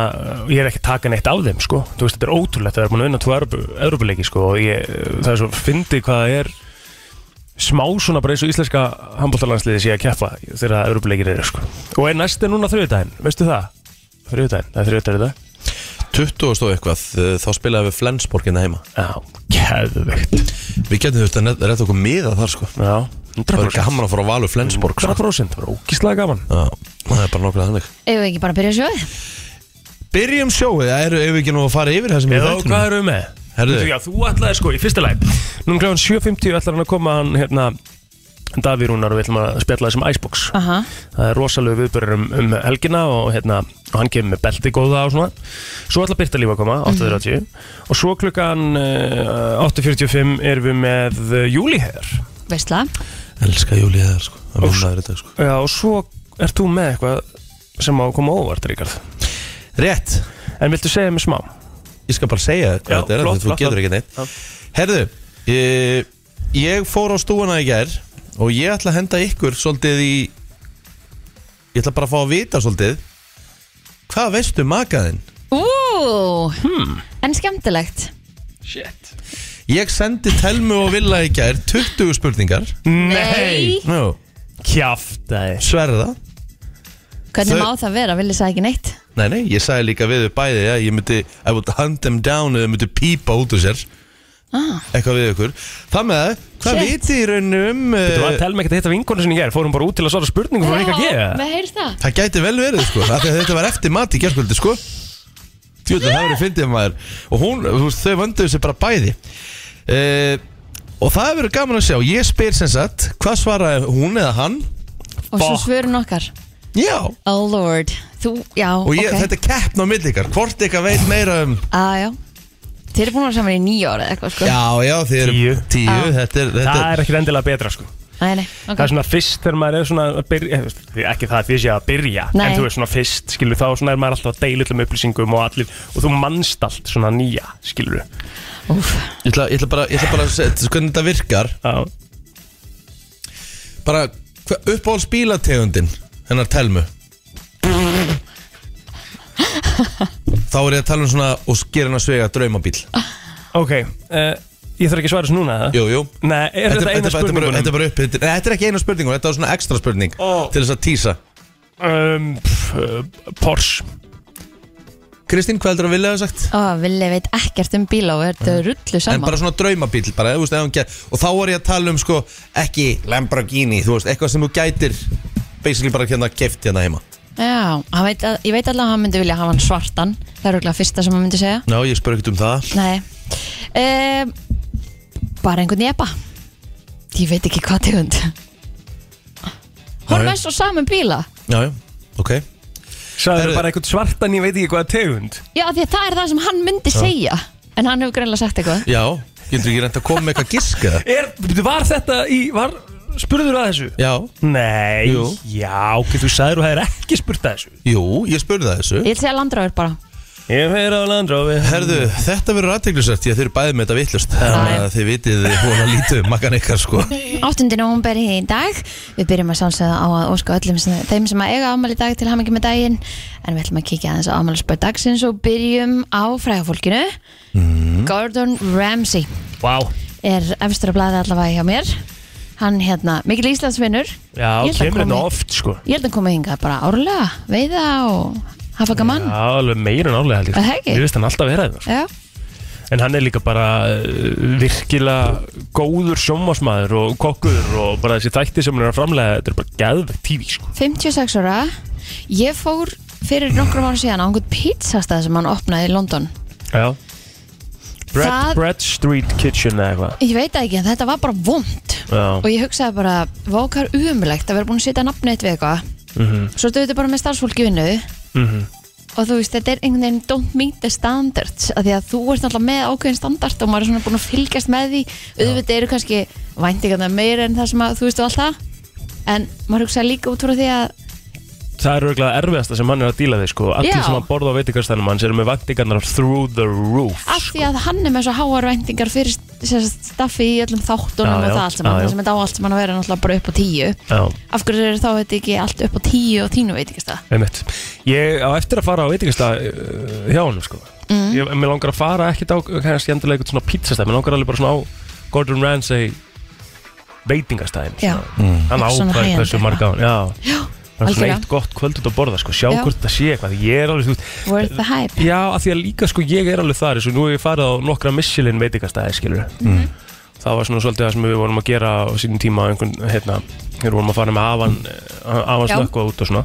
Speaker 4: ég er ekki að taka neitt af þeim, sko þú veist, þetta er ótrúlegt, það er búin að vinna tvo Evrópu- Evrópuleiki, sko, og ég, það er svo fyndi hvað það er smá svona bara eins og íslenska handbóltalandsliði sé að keppa þegar Evrópuleikir eru, sko og er næsti núna þriðudaginn, veistu það? Þriðudaginn, það er þriðudaginn í dag
Speaker 1: 20 og stóð eitthvað, eh, þá spilaði við Flensborginna heima
Speaker 4: Já, geðvegt
Speaker 1: Við getum þurft að net- retta okkur miða þar sko
Speaker 4: Já,
Speaker 1: Það er ekki hamar að fara á Valur Flensborg sko.
Speaker 4: 100% Það var ógíslega gaman
Speaker 1: Já, Það er bara nokkulega þannig
Speaker 3: Ef við ekki bara að byrja að sjóði
Speaker 1: Byrjum sjóið, það eru ef við ekki nú að fara yfir það sem er
Speaker 4: Eða
Speaker 1: í
Speaker 4: hvað
Speaker 1: þættinum
Speaker 4: eru við með?
Speaker 1: Herðu.
Speaker 4: Þú- Já, þú ætlaði sko í fyrsta læg Nú kláðan 7.50 ætlar hann að koma hann hérna Daví Rúnar og við ætlum að spjalla þessum Icebox
Speaker 3: Aha,
Speaker 4: Það er rosalega viðbörður um, um helgina og hérna og hann kemur með belti góða og svona Svo ætla Birta lífa að koma, 8.30 Og svo klukkan eh, 8.45 erum við með eh, Júli hér
Speaker 3: veistla
Speaker 1: Elskar Júlið þar sko, það
Speaker 4: Úff.
Speaker 1: munnaður í dag sko
Speaker 4: Já, og svo ert þú með eitthvað sem á að koma á óvart, Ríkard
Speaker 1: Rétt,
Speaker 4: En viltu segja mér smá?
Speaker 1: ég skal bara segja þér hvað
Speaker 4: Já,
Speaker 1: þetta er
Speaker 4: flott,
Speaker 1: flott, Þú
Speaker 4: flott,
Speaker 1: getur ekki neitt Herðu, ég, ég fór á stúana í gær Og ég ætla að henda ykkur svolítið í Ég ætla bara að fá að vita svolítið Hvað veistu um makaðinn?
Speaker 3: Ú, en skemmtilegt
Speaker 1: Ég sendi Telmu og Villa í gær 20 spurningar
Speaker 4: Nei
Speaker 1: no.
Speaker 4: Kjaftaði
Speaker 1: Sverða
Speaker 3: Hvernig
Speaker 1: Þau-
Speaker 3: má það vera, vil ég sagði ekki neitt
Speaker 1: Nei, nei, ég sagði líka við þau bæði að ég myndi I would hunt them down eða myndi pípa út úr sér
Speaker 3: Ah.
Speaker 1: Eitthvað við ykkur Það með það, hvað
Speaker 3: Shit.
Speaker 1: vitið í rauninu um
Speaker 4: Þú var
Speaker 1: uh,
Speaker 4: að telma ekkert að hitta vinkonu sinni hér Fórum bara út til að svara spurningum frá Ríkard G
Speaker 3: með heyrst það
Speaker 1: Það gæti vel verið sko, af því að þetta var eftir mat í gerkvöldi sko Tjóðlega það verið fyndið maður Og hún, þú veist, þau vönduðu sér bara bæði uh, Og það hefur verið gaman að sjá Ég spyr sem sagt, hvað svaraði hún eða hann?
Speaker 3: Og svo
Speaker 4: Fuck.
Speaker 3: svörun okkar
Speaker 1: Já
Speaker 3: Oh lord, þú, já,
Speaker 1: Og ég,
Speaker 3: ok
Speaker 1: þetta er keppn á milli ykkar, hvort ykkar veit meira um
Speaker 3: ah, já. Þeir eru búin að vera saman í nýja ára eitthvað sko
Speaker 1: Já, já, þið eru
Speaker 4: Tíu.
Speaker 1: tíu
Speaker 3: Já.
Speaker 1: Þetta er, þetta
Speaker 4: Það er ekkert endilega betra sko
Speaker 3: Æ, nei, ok
Speaker 4: Það er svona fyrst þegar maður er svona að byrja eh, þú veist, Ekki það að því sé að byrja
Speaker 3: Nei.
Speaker 4: En þú veist svona fyrst skilur þá svona er maður alltaf að deila um upplýsingum og allir Og þú manst allt svona nýja skilur
Speaker 3: Úf,
Speaker 1: Ég ætla, ég ætla bara, ég ætla bara að setja hvernig þetta virkar
Speaker 4: Já
Speaker 1: Bara hva- uppáhalds bílategundin hennar telmu Þá er ég að tala um svona og skera hann að svega draumabíl
Speaker 4: Ok, eh, ég þarf ekki að svara þessu núna eða?
Speaker 1: Jú, jú
Speaker 4: Nei,
Speaker 1: Þetta
Speaker 4: er þetta
Speaker 1: þetta-
Speaker 4: eina
Speaker 1: þetta er bara- þetta
Speaker 4: spurningunum?
Speaker 1: er bara upp Nei, þetta er ekki eina spurningun, þetta er svona ekstra spurning
Speaker 4: Ó.
Speaker 1: Til þess að tísa
Speaker 4: Um, pff, eh, Porsche
Speaker 1: Kristín, hvað heldur að vilja hafa sagt?
Speaker 3: ó, Vili veit ekkert um bíla og er þetta rullu
Speaker 1: Mm. En bara
Speaker 3: saman
Speaker 1: svona draumabíl bara, þú veist, ef hann ger, Og þá er ég að tala um sko Ekki Lamborghini, þú veist, eitthvað sem þú gætir Basically bara hérna keft hérna heima
Speaker 3: Já, hann veit, að- ég veit allavega að hann myndi vilja hafa hann svartan Það er okkur fyrsta sem hann myndi segja
Speaker 1: Ná, ég spurði ekkert um það
Speaker 3: Nei um, Bara einhvern jeppa Ég veit ekki hvað tegund Hún er
Speaker 1: Nei.
Speaker 3: með svo saman bíla
Speaker 1: Já, já, ok
Speaker 4: Sæður
Speaker 1: Herðu.
Speaker 4: bara eitthvað svartan, ég veit ekki hvað tegund
Speaker 3: Já, af því að það er það sem hann myndi segja En hann hefur greinlega sagt eitthvað
Speaker 1: Já, getur ekki reynd að koma með eitthvað giska
Speaker 4: Er, var þetta í, var, spurður að þessu?
Speaker 1: Já,
Speaker 4: Nei,
Speaker 1: Jú.
Speaker 4: já, ok, þú sagður og það er ekki spurt að þessu
Speaker 1: jú, ég spurði það þessu
Speaker 3: Ég vil segja landráður bara
Speaker 4: Ég fer á landrófi
Speaker 1: Herðu, þetta verður aðteglisvært, ég þeir eru bæði með þetta vittlust Þannig að þið vitið hún að lítu makkan ykkar sko
Speaker 3: 8. november í dag Við byrjum að sjálfsögða á að óska öllum sem, þeim sem að eiga afmæli í dag til hamingi með daginn en við ætlum að kíkja aðeins á afmælisböð dagsins og byrjum á fræðafólkinu Gordon Ramsay
Speaker 4: Vá,
Speaker 3: er efstur að blæða allavega hjá mér hann hérna, mikil Íslandsvinnur
Speaker 4: já,
Speaker 3: Ég ætla að
Speaker 4: kemur hérna
Speaker 3: koma
Speaker 4: þetta
Speaker 3: í-
Speaker 4: oft sko
Speaker 3: ég held að hann komið hingað bara árlega veiða og hafa gaman
Speaker 4: Já, alveg meira en álega held ég
Speaker 3: Er það ekki?
Speaker 4: Ég veist hann alltaf vera það
Speaker 3: Já,
Speaker 4: En hann er líka bara uh, virkilega góður sjómasmaður og kokkur og bara þessi þætti sem hann er að framlega þetta er bara gæðvegt tífi sko.
Speaker 3: 56 ára Ég fór fyrir nokkrum ára síðan á einhvern pizzastað sem hann opnaði í London
Speaker 4: Já Bread,
Speaker 3: Það-
Speaker 4: Bread Street Kitchen eða eitthvað
Speaker 3: Ég veit það ekki, en þetta var bara vond Og
Speaker 4: Já,
Speaker 3: ég hugsaði bara, vokar umulegt að vera búin að setja nafnið eitt við eitthvað
Speaker 4: mhm,
Speaker 3: Svo stöðu bara með starfsfólki í vinnu
Speaker 4: mhm
Speaker 3: Og þú veist, þetta er einhvern veginn don't meet the standards af Því að þú ert alltaf með ákveðin standard Og maður er svona búin að fylgjast með því Auðvitað eru kannski væntingarna meira en það sem að, þú veist og allt það En maður hugsaði líka út frá því að
Speaker 4: Það er örgulega erfiðasta sem hann er að díla við sko Allir
Speaker 3: Já.
Speaker 4: sem að borða á veitingastænum hans eru með væntingarnar through the roof
Speaker 3: Af því að hann er með svo háar væntingar Fyrir sem sagt, staffi í öllum þáttunum
Speaker 4: Já, já,
Speaker 3: og það allt
Speaker 4: já,
Speaker 3: saman
Speaker 4: já.
Speaker 3: Það sem þetta á allt saman að vera náttúrulega bara upp á tíu
Speaker 4: Já,
Speaker 3: Af hverju er þá þetta ekki allt upp á tíu og þínu veit ekki stað
Speaker 4: einmitt Ég á eftir að fara á veitingastæð uh, hjá hann sko
Speaker 3: Mm.
Speaker 4: ég, Mér langar að fara ekkit á kannski endilega eitthvað svona pizzastæð Mér langar alveg bara svona á Gordon Ramsay veitingastæðin
Speaker 3: Já.
Speaker 4: svona.
Speaker 3: Svona
Speaker 4: Hann ákvæði
Speaker 3: high-end
Speaker 4: hversu
Speaker 3: eitthvað.
Speaker 4: marga hann Já,
Speaker 3: Já,
Speaker 4: það er svona
Speaker 3: algjörlega.
Speaker 4: eitt gott kvöld út að borða sko Sjá
Speaker 3: Já.
Speaker 4: hvort það sé eitthvað Ég er alveg, þú veist
Speaker 3: Worth the hype
Speaker 4: Já, af því að líka sko ég er alveg þar eins og nú hef ég farið á nokkra Michelin veitingastæði skilur
Speaker 1: Mhm.
Speaker 4: það var svona svolítið það sem við vorum að gera á sínum tíma einhvern, hérna, við vorum að fara með afan afan
Speaker 3: Já.
Speaker 4: snökku út og svona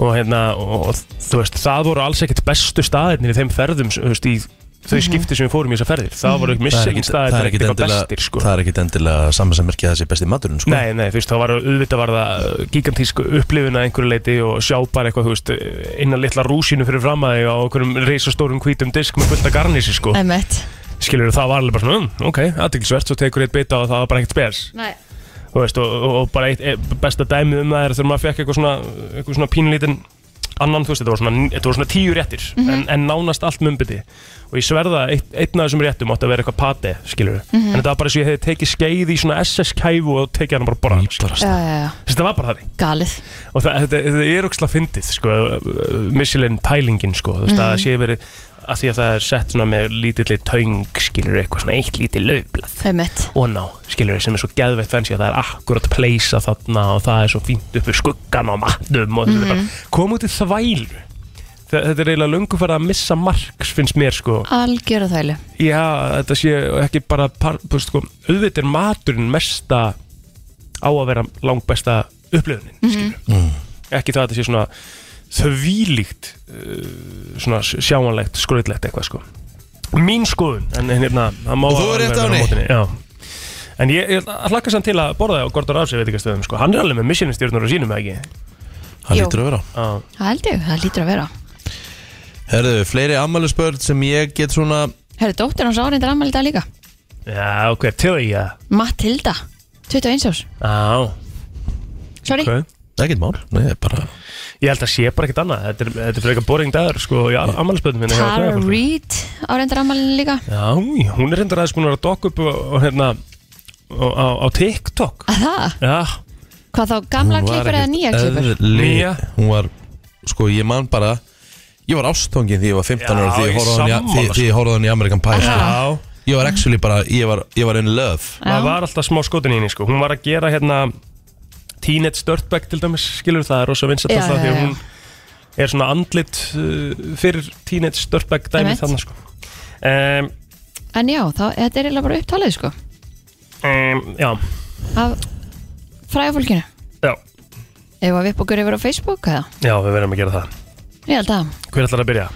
Speaker 4: og hérna, og, og þú veist það voru alls ekkert bestu staðirnir í þeim ferðum þú veist, í þau skipti sem við fórum í þessar ferðir það voru ekki
Speaker 1: Mhm. Það er
Speaker 4: Michelin
Speaker 1: ekkit- það
Speaker 4: staðir
Speaker 1: er ekkit
Speaker 4: eitthvað
Speaker 1: endilega-
Speaker 4: bestir sko
Speaker 1: Það er ekkit endilega saman sem merkja þessi besti maturinn sko.
Speaker 4: Nei, nei, þú veist, þá var auðvitað var það uh, gigantísk upplifun að einhverju leiti og sjá bara eitthvað, þú veist, uh, innan litla rúsinu fyrir fram að þig á einhverjum reisastórum hvítum disk með fullta garnísi, sko.
Speaker 3: Einmitt.
Speaker 4: Skilur það var alveg bara svona, um, ok, aðtilsvert, svo tekur eitt bita og það var bara ekkert spes.
Speaker 3: Nei.
Speaker 4: Þú veist, og, og, og bara eitt, e, besta dæmið um það er þegar maður fekk eitthvað svona, eitthvað svona pínlítinn annan, þú veist, þetta var svona, þetta var svona tíu réttir, en, en nánast allt mumbiti. Og ég sverða, eitt, einn af þessum réttum átti að vera eitthvað pate, skilur En þetta var bara svo ég hefði tekið skeið í svona SS-kæfu og tekið hann bara bara.
Speaker 1: Bara
Speaker 3: Já, já, já,
Speaker 4: Þessi, þetta var bara þannig
Speaker 3: galið
Speaker 4: og það, þetta, þetta er ógslag fyndið sko, Michelin pælingin sko, mm. það sé verið að því að það er sett svona með lítilli töng skilur eitthvað svona eitt lítið löfblað
Speaker 3: Einmitt.
Speaker 4: og ná, skilur sem er svo geðveitt fenns að það er akkurat pleysa þarna og það er svo fínt upp við skuggan á matnum og mm -hmm. bara, kom út í þvælu Þa- Þetta er eiginlega löngu farið að missa marks finnst mér sko
Speaker 3: Algjöra þvælu
Speaker 4: Já, þetta sé ekki bara par, þú veist, sko, auðvitað er maturinn mesta á að vera langbesta upplifunin mm ekki það að þetta sé svona þvílíkt uh, svona sjáanlegt, skröðlegt eitthvað sko mín skoðun en en hérna, það má
Speaker 1: Og þú er
Speaker 4: alveg
Speaker 1: rétt á
Speaker 4: vera
Speaker 1: henni.
Speaker 4: mótinni, já En ég, ég hlakka samt til að borða það á Gordon Ramsay veitingastöðum sko. Hann er alveg með missioninstjórnur og sínum eða ekki
Speaker 1: Hann
Speaker 3: Jú.
Speaker 1: lítur að vera
Speaker 4: Já,
Speaker 3: Það held ég, það lítur að vera
Speaker 1: Herðu, fleiri ammælisbörn sem ég get svona
Speaker 3: Herru, dóttir hans áreindir ammæli í dag líka
Speaker 4: já ok, til því að
Speaker 3: Matilda, 21 árs
Speaker 4: Já,
Speaker 3: Sorry,
Speaker 4: ok
Speaker 1: Ekkert mál, nei, bara
Speaker 4: Ég held að sé bara ekkert annað Þetta er, þetta er frekar boring dagur sko í ammælisböðum minni hjá
Speaker 3: Tara
Speaker 4: Breiðabliki.
Speaker 3: Reid áreindir ammæli líka
Speaker 4: Já, hún er hendur aðeins búin að vera að dokka upp og, og, hérna, og, á, á TikTok
Speaker 3: Að það,
Speaker 4: Já,
Speaker 3: hvað þá gamla klippur eða nýja klippur
Speaker 1: Nýja
Speaker 4: Nýja.
Speaker 1: Hún var, sko ég man bara Ég var ástóngin því ég var 15
Speaker 4: Já,
Speaker 1: ára Því ég
Speaker 4: ég
Speaker 1: horfði á hann í-
Speaker 4: sammála,
Speaker 1: því- því ég horfði á hann í American Pie sko.
Speaker 4: já
Speaker 1: Ég var actually bara, ég var, ég var in love
Speaker 3: Já.
Speaker 4: Maður var alltaf smá skotin í henni sko Hún var að gera hérna Teenage Dirtbag til dæmis Skilur það er rosa vinsett
Speaker 3: Já,
Speaker 4: alltaf
Speaker 3: já,
Speaker 4: Því að
Speaker 3: já.
Speaker 4: hún er svona andlit uh, Fyrir Teenage Dirtbag dæmi
Speaker 3: Einmitt.
Speaker 4: þarna sko um,
Speaker 3: En já, þá, þetta er eiginlega bara upptalið sko
Speaker 4: um, Já,
Speaker 3: Af fræða fólkinu
Speaker 4: já,
Speaker 3: Ef að við upp okkur yfir á Facebook eða
Speaker 4: já, við verðum að gera það
Speaker 3: Ég held að
Speaker 4: Hver ætlar að byrja?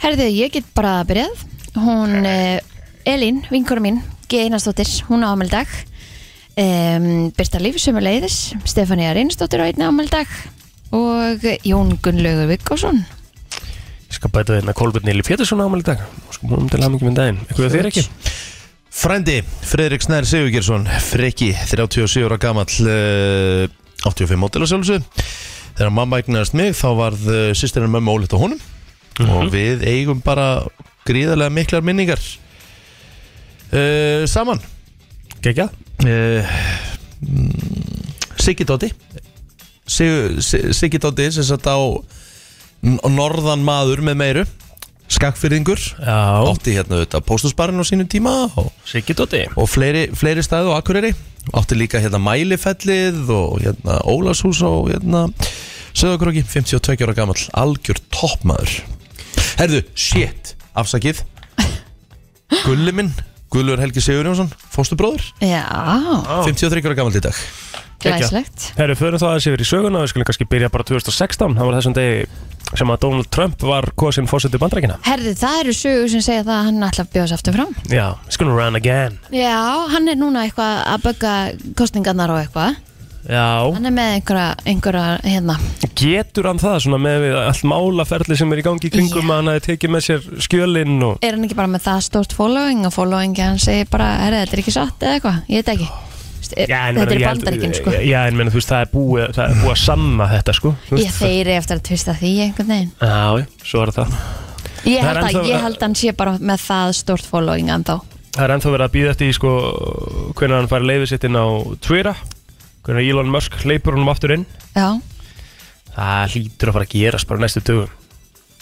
Speaker 3: Herðið, ég get bara byrjað Hún, uh, Elín, vinkurum mín G. Einarsdóttir, hún á ámeldag um, Birta Líf, sömuleiðis Stefania Reynsdóttir á einni ámeldag Og Jón Gunnlaugur Viggásson
Speaker 4: Ég skal bæta við hérna Kolbjörn Nýli Pétursson ámæli dag Sko múlum til hamingi minn daginn Eitthvað þér ekki?
Speaker 1: Frændi, Fredrik Snær Sigurgjersson Freki, 37 ára gamall uh, 85 mótil að sjálfsög Þegar mamma eignast mig þá varð uh, sýstirinn mömmu ólitt á honum og við eigum bara gríðarlega miklar minningar uh, saman
Speaker 4: Gekja?
Speaker 1: uh, Siggi Dóti Sig- Sig- Siggi Dóti sem satt á n- norðan maður með meiru skakfyrðingur
Speaker 4: Já
Speaker 1: átti hérna auðvitað póstusbarinn á sínum tíma og
Speaker 4: Siggi Dóti
Speaker 1: og fleiri, fleiri staði á Akureyri átti líka hérna Mælifellið og hérna Ólashús og hérna Söðakróki, 52 ára gamall Algjör toppmaður Herðu, shit, afsakið Gulli minn Gullur Helgi Sigurjónsson, fóstubróður
Speaker 3: Já,
Speaker 1: 53 ára gamall í dag
Speaker 3: glæslegt
Speaker 4: Herru, förum þá aðeins yfir í söguna, við skulum kannski byrja bara 2016, það var þessum degi sem að Donald Trump var kosin fósiti bandrækina.
Speaker 3: Herði, það eru sögur sem segja það að hann ætla að bjóðast aftur fram
Speaker 4: Já, skulum run again.
Speaker 3: Já, hann er núna eitthvað að bögga kostningarnar og eitthvað
Speaker 4: Já,
Speaker 3: Hann er með einhverja, einhverja hérna
Speaker 4: getur hann það svona með við allt málaferli sem er í gangi í kringum
Speaker 3: Já.
Speaker 4: að hann hafi tekið með sér skjölinn og...
Speaker 3: Er hann ekki bara með það stórt following og followingi hann segir bara, herri, þetta er ekki satt eða eitthvað, ég veit ekki Vist, er-
Speaker 4: en
Speaker 3: Þetta
Speaker 4: meina,
Speaker 3: er
Speaker 4: ég held-
Speaker 3: bandaríkin sko
Speaker 4: Já, já, en meina, þú veist, það er búið, það er búið að sanna þetta, sko. Þú
Speaker 3: Ég
Speaker 4: veist,
Speaker 3: þeir eftir að tvista því einhvern veginn
Speaker 4: Já, já, svo er það.
Speaker 3: Ég
Speaker 4: Það er
Speaker 3: held, að,
Speaker 4: ennþá-
Speaker 3: ég held að hann sé bara með það stórt following en þá
Speaker 4: Það er ennþá verið að býða eftir í sko hvernig hann fær leiðið sitt inn á Twitter hvernig Elon Musk hleypur honum aftur inn
Speaker 3: Já,
Speaker 4: Það hlýtur að fara að gerast bara næstu dögum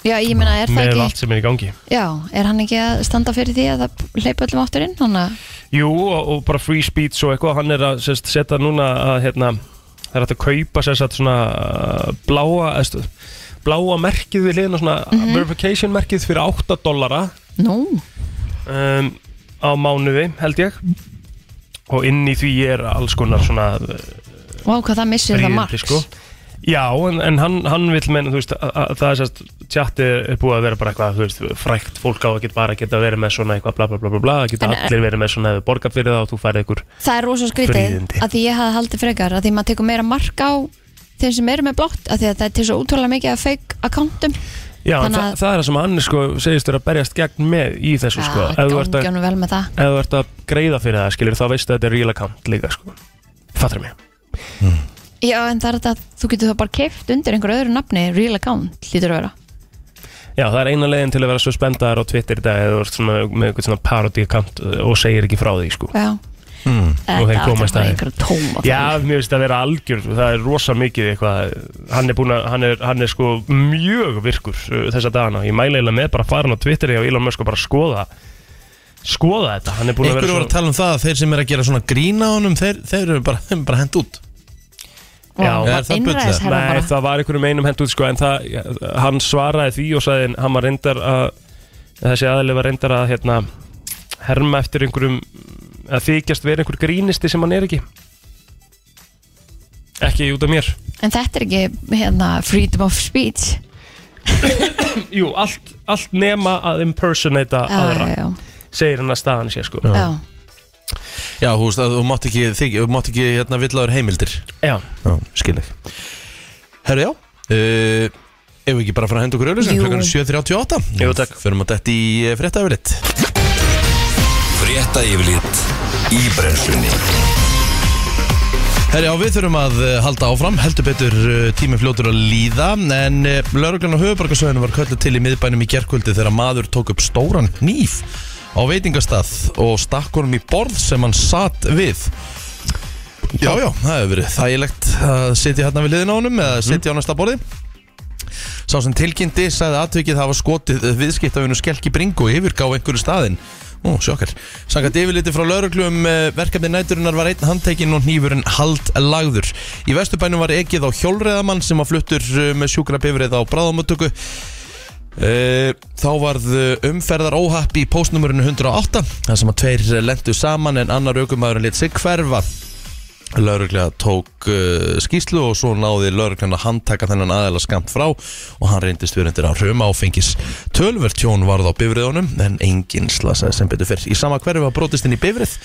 Speaker 3: já ég meina, er það
Speaker 4: með
Speaker 3: ekki
Speaker 4: allt sem er í gangi
Speaker 3: Já, er hann ekki að standa fyrir því að það hleypa öllum áttur inn Þannig að,
Speaker 4: Jú, og, og bara free speech og eitthvað hann er að sérst, setja núna að hérna, það er hægt að kaupa sérst, svona uh, bláa eðstu, bláa merkið við hliðina svona
Speaker 3: Mhm.
Speaker 4: verification merkið fyrir 8 dollara
Speaker 3: nú,
Speaker 4: um, á mánuði held ég og inn í því er alls konar svona uh,
Speaker 3: vá hvað það missir það marg
Speaker 4: fríðindi sko. Já, en, en hann, hann vil menna, þú veist, að, að það er sérst, tjatti er búið að vera bara eitthvað, þú veist, frækt fólk á að geta bara geta verið með svona eitthvað bla bla bla bla bla, það geta
Speaker 3: En- eh,
Speaker 4: allir verið með svona ef við borgar fyrir það og þú færið ykkur.
Speaker 3: Það er rosa skrítið
Speaker 4: Fríðindi.
Speaker 3: að því ég hafði haldið frekar að því maður tekur meira mark á þeim sem eru með blátt að því að það er til svo útrúlega mikið að fake accountum
Speaker 4: Já, en
Speaker 3: Þannig
Speaker 4: það,
Speaker 3: að-
Speaker 4: það er það sem hann, sko, segist þér að berjast gegn með í þessu, sko, ef þú ert að,
Speaker 3: gangi hann vel með það
Speaker 4: ef þú ert að greiða fyrir það, skilur, þá veistu að þetta er real account líka, sko. Fattur mig.
Speaker 3: Já, en það er þetta að þú getur það bara keift undir einhver öðru nafni, real account, lítur að vera
Speaker 4: Já, það er eina leiðin til að vera svo spendaðar á Twitter í dag eða þú ert svona með eitthvað svona parody account og segir ekki frá því, sko.
Speaker 3: Já
Speaker 4: Og
Speaker 1: Hmm.
Speaker 3: Þetta
Speaker 4: þeir
Speaker 3: er
Speaker 4: koma í
Speaker 3: alltaf bara
Speaker 4: staðinn.
Speaker 3: einhver tóma
Speaker 4: Já, mér finnst það að vera algjör Það er rosa mikið eitthvað Hann er, búinn að, hann er, hann er sko mjög virkur uh, Þessa dagana, ég mæla eiginlega með bara að fara hann á Twitteri og Elon Musk og bara skoða Skoða þetta, hann er búinn að
Speaker 1: Einhverju
Speaker 4: vera
Speaker 1: voru að tala um það að þeir sem er að gera svona grína honum Þeir, þeir eru bara, þeim er bara hend út
Speaker 4: Já.
Speaker 1: Er það
Speaker 4: Nei,
Speaker 3: Innræðisherra um bara
Speaker 4: það var einhverjum einum hendt út sko En það, hann svaraði því og sagði Hann var reyndar að Þessi aðlega var reyndar að hérna Herma eftir einhverjum Að þykjast vera einhver grínisti sem hann er ekki Ekki út af mér
Speaker 3: En þetta er ekki hérna, freedom of speech
Speaker 4: Jú, allt, allt nema að impersonata
Speaker 3: Já,
Speaker 4: aðra
Speaker 3: já,
Speaker 4: segir hann að staðan sé sko
Speaker 3: já, já.
Speaker 1: Já, þú veist að þú mátt ekki, þig, þú mátt ekki hérna, villaður heimildir
Speaker 4: Já,
Speaker 1: Já, skil ekki Herru, já uh, Ef við ekki bara fara að henda okkur auðlýsum
Speaker 3: Jú.
Speaker 1: Klukkan er 7.38
Speaker 4: Jú, takk.
Speaker 1: Förum að detti í eh, fréttafritt
Speaker 2: Frétta yfirlit í brennslunni
Speaker 1: Herri, já, við þurfum að eh, halda áfram, heldur betur eh, tíminn fljótur að líða en lauruglan á höfubarkasöðinu var kölluð til í miðbænum í gerkvöldi þegar maður tók upp stóran nýf á veitingastað og stakk honum í borð sem hann satt við Já, já, það hefur verið þægilegt að sitja hérna við liðin á honum eða sitja á næsta borði Sá sem tilkynnti sagði atvikið hafa skotið viðskiptafinu skelki bringu og yfirgá einhverju staðinn. Ó, sjokkar. Sangat yfirliti frá lauruglum verkefni næturinnar var einn handtekinn og hnífurinn hald lagður. Í vesturbænum var ekið á hjólreðamann sem var fluttur eh, með sjúkra bifrið á bráðamöttöku. Eh, Þá varð umferðar óhapp í póstnumurinu 108 þar sem að tveir lendu saman en annar aukumæðurinn lit sig hverfa Lörglega tók uh, skýslu og svo náði lörglega að handtaka þennan aðeila skamt frá og hann reyndist við undir að röma áfengis. Tölvert tjón varð á bifriðunum en enginn slasaði sem betur fyrr. Í sama hverfi var brotist inn í bifrið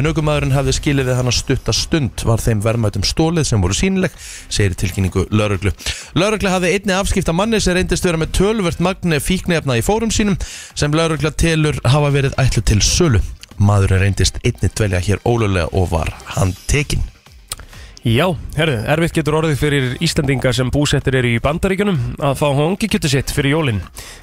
Speaker 1: en aukumæðurinn hafði skilið við hann að stutta stund var þeim verðmætum stólið sem voru sínileg, segir í tilkynningu lörglu. Lörglega hafði einni afskipta manni sem reyndist vera með tölvert magni fíknefna í fórum sínum sem lörglega telur hafa verið ætlu til sölu. Maðurinn reyndist einni dvelja hér ólulega og var hann tekinn.
Speaker 4: já, herðu, erfitt getur orðið fyrir Íslendinga sem búsettir eru í bandaríkjunum að fá hongi kjöti sitt fyrir jólin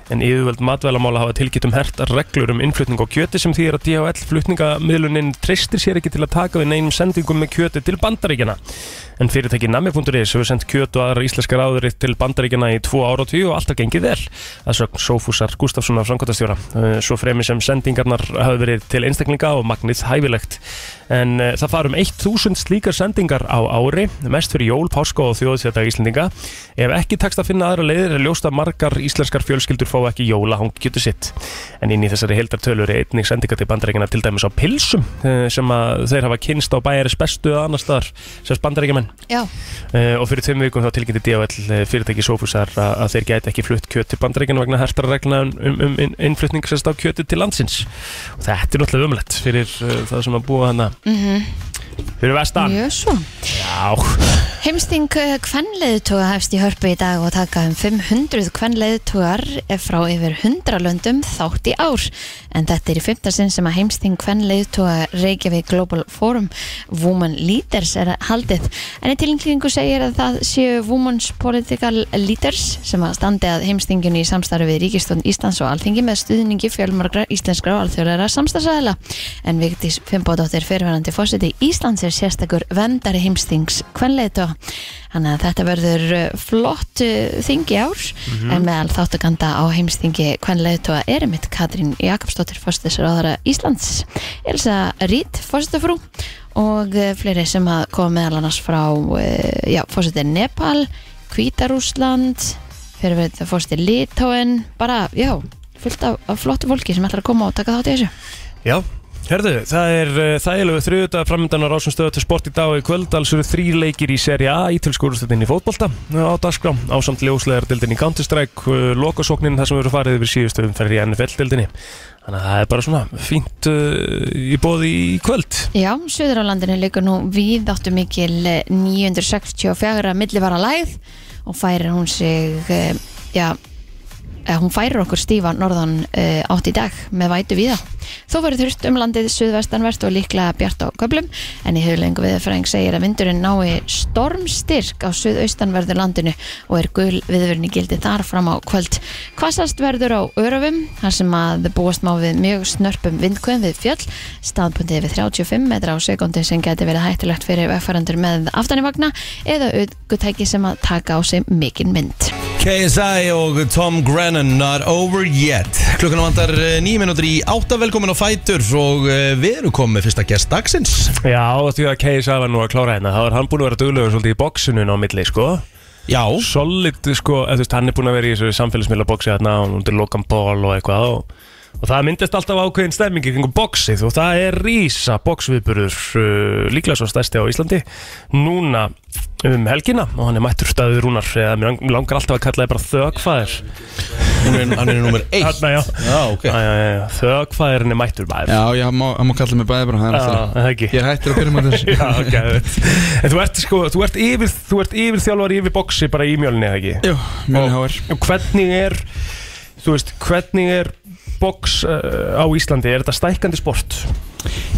Speaker 4: en yfirvöld matvælamála hafa tilgjitum hert reglur um innflutning á kjöti sem því er að DHL flutningamiðlunin treystir sér ekki til að taka við neinum sendingum með kjöti til bandaríkjana en fyrirtæki nami.is hefur sendt kjöt og aðra íslenskar áðurir til bandaríkjana í tvo ára og tíu og alltaf gengið vel að sögn Sófúsar Gustafssonar framkvæmtastjóra Eh, svo fremi sem sendingarnar hafa verið til einstaklinga og magnið hæfilegt en eh, það farum 1000 um slíkar sendingar á ári, mest fyrir jól, páska og þjóðsjöndag Íslendinga. Ef ekki takst að finna aðra leiðir er ljóst að margar íslenskar fjölskyldur fá ekki jólahangi getur sitt. En inn í þessari heldartölur er einnig sendinga til bandaríkina til dæmis á pilsum eh, sem að þeir hafa kynst á bæjaris bestu að annar staðar, sérst bandaríkjumenn.
Speaker 3: Já,
Speaker 4: Eh, og fyrir tveim vikum þá tilkynnti DHL eh, fyrirtæki Sofusar að, að þeir gæti ekki flutt kjöt til bandaríkjana vegna hertara reglna um, um, um inn- innflutning sérst á kjöti til landsins og þetta er náttúrulega umlegt fyrir uh, það sem að búa hana
Speaker 3: mhm.
Speaker 4: fyrir vestan
Speaker 3: mjög svo
Speaker 4: já,
Speaker 3: Heimsting kvenleiðutóa hefst í hörpu í dag og taka um 500 kvenleiðutóar frá yfir 100 löndum þátt í ár. En þetta er í fymta sinn sem að heimsting kvenleiðutóa Reykjavík Global Forum Women Leaders er haldið. En í tilkynningu segir að það séu Women's Political Leaders sem að standi að heimstinginu í samstarfi við Ríkistón Íslands og Alþingi með stuðningi fjölmargra íslenskra og alþjóðlega samstagsæðila. En Vigdís Fimboðdóttir fyrirverandi fósiti Íslands er sérstakur vendari heimstings kvenleitu. Þannig að þetta verður eh, flott eh, þing í ár en meðal þáttukanda á heimstingi kvenleitu er mitt Katrín Jakobsdóttir fósitisráðara Íslands, Elsa Rít fósitafrú og eh, fleiri sem að koma meðal annars frá eh, já, fósiti Nepal, Kvítarúsland, fyrirverandi fósiti Litóen, bara já, fullt af, af flottu fólki sem ætlar að koma og taka þátt í þessu.
Speaker 4: já. Herðu, það er uh, þægilegu þriðudag framöndan á rásum stöðu til sport í dag og í kvöld alls eru þrý leikir í seri A í tilskúrustöldinni í fótbolta uh, á dagskrá ásamt ljósleðardildinni í Counter-Strike uh, lokasóknin þar sem eru farið yfir síðustu umferð í NFL-dildinni þannig að það er bara svona fínt uh, í bóði í kvöld
Speaker 3: Já, söður á landinu leikur nú við áttu mikil eh, 964 millivara læð og færir hún sig eh, já, eh, hún færir okkur stífa norðan eh, átt í dag með vætu viða. Þó verður þurft um landið suðvestanvert og líklega bjart á köplum en í höflingu viðfræðing segir að vindurinn nái stormstyrk á suðaustanverðu landinu og er gul viðvörni gildi þar fram á kvöld. Hvassast verður á örufum þar sem að búast má við mjög snörpum vindkvöðum við fjöll staðbundið við 35 metra á sekundi sem geti verið hættulegt fyrir vegfærandur með aftanivagna eða auðgutæki sem að taka á sig mikinn mynd.
Speaker 1: KSI og Tom Grennan Not over yet Klukkan vandar nýjum minútur í átta Velkomin á Fætur og eh, við erum komið með fyrsta gest dagsins
Speaker 4: Já, því að KSA var nú að klára hérna þá er hann búin að vera duglegur svolítið í bóksunum á milli sko.
Speaker 1: Já
Speaker 4: solid, sko, eða, þú veist, hann er búin að vera í þessu samfélagsmiðla bóksi hérna og undir Logan Paul og eitthvað og, og það myndist alltaf ákveðin stemming í kringum bóksið og það er rísa bóksviðburður uh, líklega svo stærsti á Íslandi núna um helgina og hann er mættur staðið rúnar eða mér lang- mig langar alltaf að kalla það bara þögfæðir
Speaker 1: Hún er, Hann er nummer eitt
Speaker 4: Þarna, já.
Speaker 1: Já, ok
Speaker 4: Æ, æ, æ, æ, þögfæðirinn er mættur maður
Speaker 5: Já, já, hann má, hann má kalla mig bæði bara það er
Speaker 4: Já,
Speaker 5: alltaf-
Speaker 4: það ekki.
Speaker 5: Ég er hættur að byrja með þessu
Speaker 4: Já, ok, en þú ert sko, þú ert yfir, þú ert yfir þjálfari yfir boksi bara í mjölni, eða ekki?
Speaker 5: Jú, mjög háar
Speaker 4: Og hvernig er, þú veist, hvernig er boks uh, á Íslandi, er þetta stækkandi sport?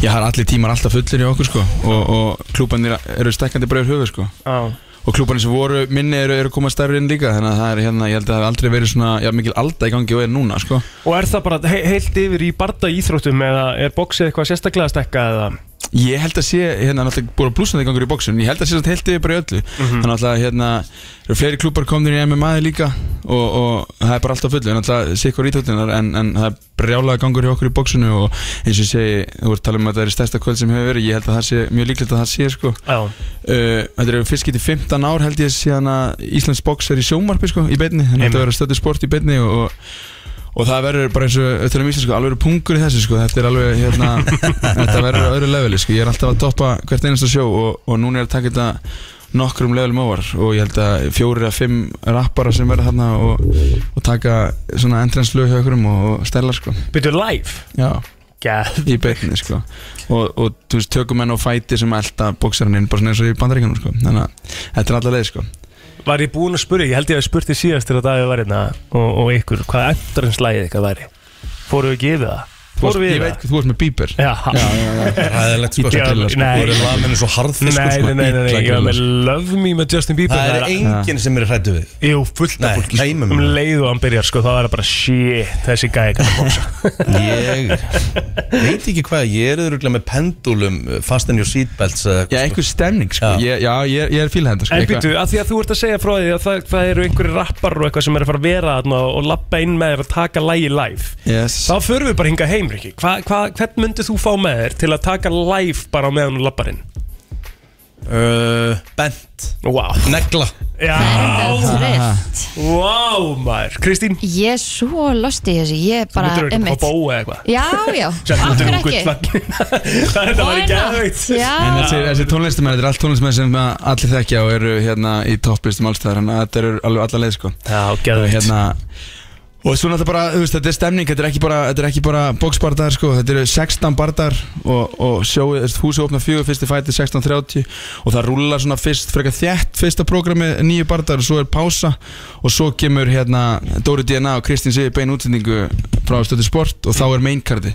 Speaker 5: Já, það er allir tímar alltaf fullir í okkur sko og, og klúbanir eru stekkandi bara yfir höfuð sko
Speaker 4: Já.
Speaker 5: og klúbanir sem voru minni eru, eru komað stærri inn líka þannig að það er hérna, ég held að það hef aldrei verið svona já, mikil alda í gangi og er núna sko
Speaker 4: Og er það bara he heilt yfir í barda íþróttum eða er boksið eitthvað sérstaklega að stækka eða?
Speaker 5: Ég held að sé, hérna, náttúrulega búið að blúsna gangur í bóksun Ég held að sé þetta heilt yfir bara í öllu Þannig að náttúrulega, hérna, eru fleiri klúpar komnir í MMA líka og, og það er bara alltaf fullu Náttúrulega sé ykkur íþjóttinar en, en það er brjálega gangur hjá okkur í bóksunu Og eins og ég segi, þú voru að tala um að það er stærsta kvöld sem hefur verið Ég held að það sé, mjög líklegt að það sé, sko
Speaker 4: Já.
Speaker 5: uh, Þetta eru fyrst getið 15 ár held ég síðan að Íslands bóks er í sjómarpi sko, í beinni, þannig að
Speaker 4: Einmitt.
Speaker 5: þetta verður stöðu sport í beinni og, og, og það verður bara eins og öllum Íslands sko, alveg pungur í þessu sko, þetta er alveg hérna, þetta verður á öðru leveli sko, ég er alltaf að toppa hvert einasta sjó og, og núna er að taka þetta nokkrum levelum ofar og ég held að fjórir að fimm rappara sem verða þarna og, og taka svona entrance lög hjá okkurum og, og stella sko
Speaker 4: Byrju live?
Speaker 5: Já
Speaker 4: Gæð.
Speaker 5: í beinni sko og, og þú veist, tökum enn og fæti sem elda bóksarinn inn bara svona eins og í bandaríkanum sko þannig að þetta er alla leið sko
Speaker 4: Var ég búinn að spyrja, ég held ég að spurti síðast til að dagið var hérna og, og ykkur, hvað endurinslægið ykkar væri? Fóruðu ekki yfir það?
Speaker 5: Þú varst-
Speaker 4: Fóruðu
Speaker 5: ég
Speaker 4: yfir
Speaker 5: veit
Speaker 4: það?
Speaker 5: hvað þú ert með bíber
Speaker 4: Já, já,
Speaker 1: Ræðilegt sko
Speaker 4: Ég
Speaker 1: sem
Speaker 4: gef-
Speaker 1: grilla sko
Speaker 4: nei.
Speaker 1: Þú eru laðmenni svo harðfiskur
Speaker 4: Nei,
Speaker 1: sko
Speaker 4: nei, nei, nei, nei, ég var
Speaker 5: Ítla
Speaker 4: með Love Me með Justin Bieber
Speaker 1: Það er
Speaker 4: ein...
Speaker 1: enginn sem er hrættu við
Speaker 4: Jú, fullt
Speaker 1: Nei,
Speaker 4: af fólki
Speaker 1: nei,
Speaker 4: sko.
Speaker 1: með
Speaker 4: Um
Speaker 1: mér.
Speaker 4: leið og hann byrjar, sko, þá er það bara Shit, þessi gæði kannar bóksa
Speaker 1: Ég veit ekki hvað Ég er örugglega með pendulum uh, Fast in your seatbelts eða
Speaker 5: já,
Speaker 1: eitthvað sko.
Speaker 5: einhver stemning sko
Speaker 1: Já.
Speaker 5: ég, já, ég, er- ég er fíla þetta sko
Speaker 4: En
Speaker 5: eitthvað-
Speaker 4: býtu, að því að þú ert að segja frá því að það, það eru einhverju rappar og eitthvað sem er að fara að vera þarna og, og labba inn með þér að taka lægi live
Speaker 5: yes.
Speaker 4: Þá förum við bara hingað heim, Riki hva, hva, Hvern myndið þú fá með þér til að taka live bara á meðan hún labbarinn?
Speaker 1: uh, Bent
Speaker 4: Vá
Speaker 1: Negla
Speaker 4: Já,
Speaker 3: Þetta er þreytt.
Speaker 4: vá maður Kristín,
Speaker 3: Ég er svo lost í þessu Ég er
Speaker 4: þú
Speaker 3: bara
Speaker 4: myndir auðvitað að fá
Speaker 3: einmitt.
Speaker 4: bóa eða eitthvað
Speaker 3: Já, já, akkur ekki
Speaker 4: Þetta var
Speaker 3: Why
Speaker 4: ekki
Speaker 3: not?
Speaker 4: aðveit
Speaker 5: En
Speaker 3: Já,
Speaker 5: þessi, þessi tónlistumenn, þetta er allt tónlistumenn sem að allir þekkja og eru hérna í topplistum allstæðar Þannig að þetta eru alveg alla leið sko
Speaker 4: Já,
Speaker 5: Og
Speaker 4: geðveit
Speaker 5: hérna Og svo náttúrulega bara, þú veist, þetta er stemning, þetta er ekki bara, þetta er ekki bara boxbardar sko, þetta eru 16 bardar og, og sjóið, þú veist, húsið opna fjögur, fyrsti fæti 16.30 og það rúlar svona fyrst, frekar þjætt, fyrsta prógrami, nýju bardar og svo er pása og svo kemur hérna Dóri DNA og Kristín Sigur bein útsendingu frá stöðu sport og þá er mainkardi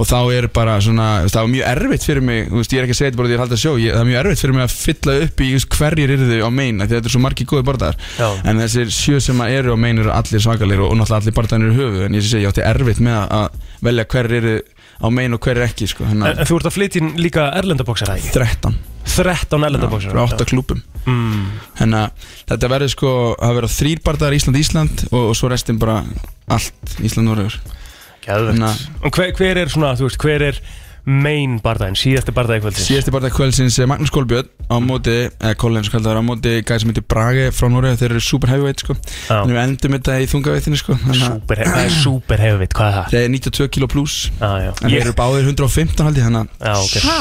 Speaker 5: og þá er bara svona, þú veist, það var mjög erfitt fyrir mig, þú veist, ég er ekki að segja þetta bara því að ég er að halda sjó, ég, það er mjög erfitt fyrir mig að fylla upp í, þú veist, hverjir eru á main, af því að þetta er svo margi góði bardar
Speaker 4: Já.
Speaker 5: en þessir sjö sem að eru á meina eru allir svakalir og, og náttúrulega allir barndanir eru höfu en ég sé ég átti erfitt með að- að velja hver eru á meina og hver er ekki sko,
Speaker 4: En
Speaker 5: þannig
Speaker 4: en
Speaker 5: að
Speaker 4: þú ert að flytja inn líka erlendabóksar eða ekki?
Speaker 5: 13
Speaker 4: 13 erlendabóksar
Speaker 5: frá 8 klúpum
Speaker 4: mm.
Speaker 5: þannig að þetta verður sko að vera þrýr barndar Ísland-Ísland og, og svo restin bara allt Ísland-Noregur
Speaker 4: Geðvegt
Speaker 5: Ná.
Speaker 4: Og hver, hver er svona, þú veist, hver er main bardaginn, síðasti bardagi kvöldsins?
Speaker 5: síðasti barndag kvöldsins er Magnús Kolbjörn á móti, eða Kolbjörn sem kallar á móti gæði sem heitir Brage frá Noreg þeir eru super heavyweight sko
Speaker 4: Já.
Speaker 5: en við endum þetta í þungaveitinu sko þannig að
Speaker 4: Súper, það er súper hefvitt, hvað er það?
Speaker 5: þeir eru 92 kg pluss
Speaker 4: Já, já,
Speaker 5: en þeir
Speaker 4: ég,
Speaker 5: eru báðir 115 haldi þannig að
Speaker 4: já, ok
Speaker 3: ha,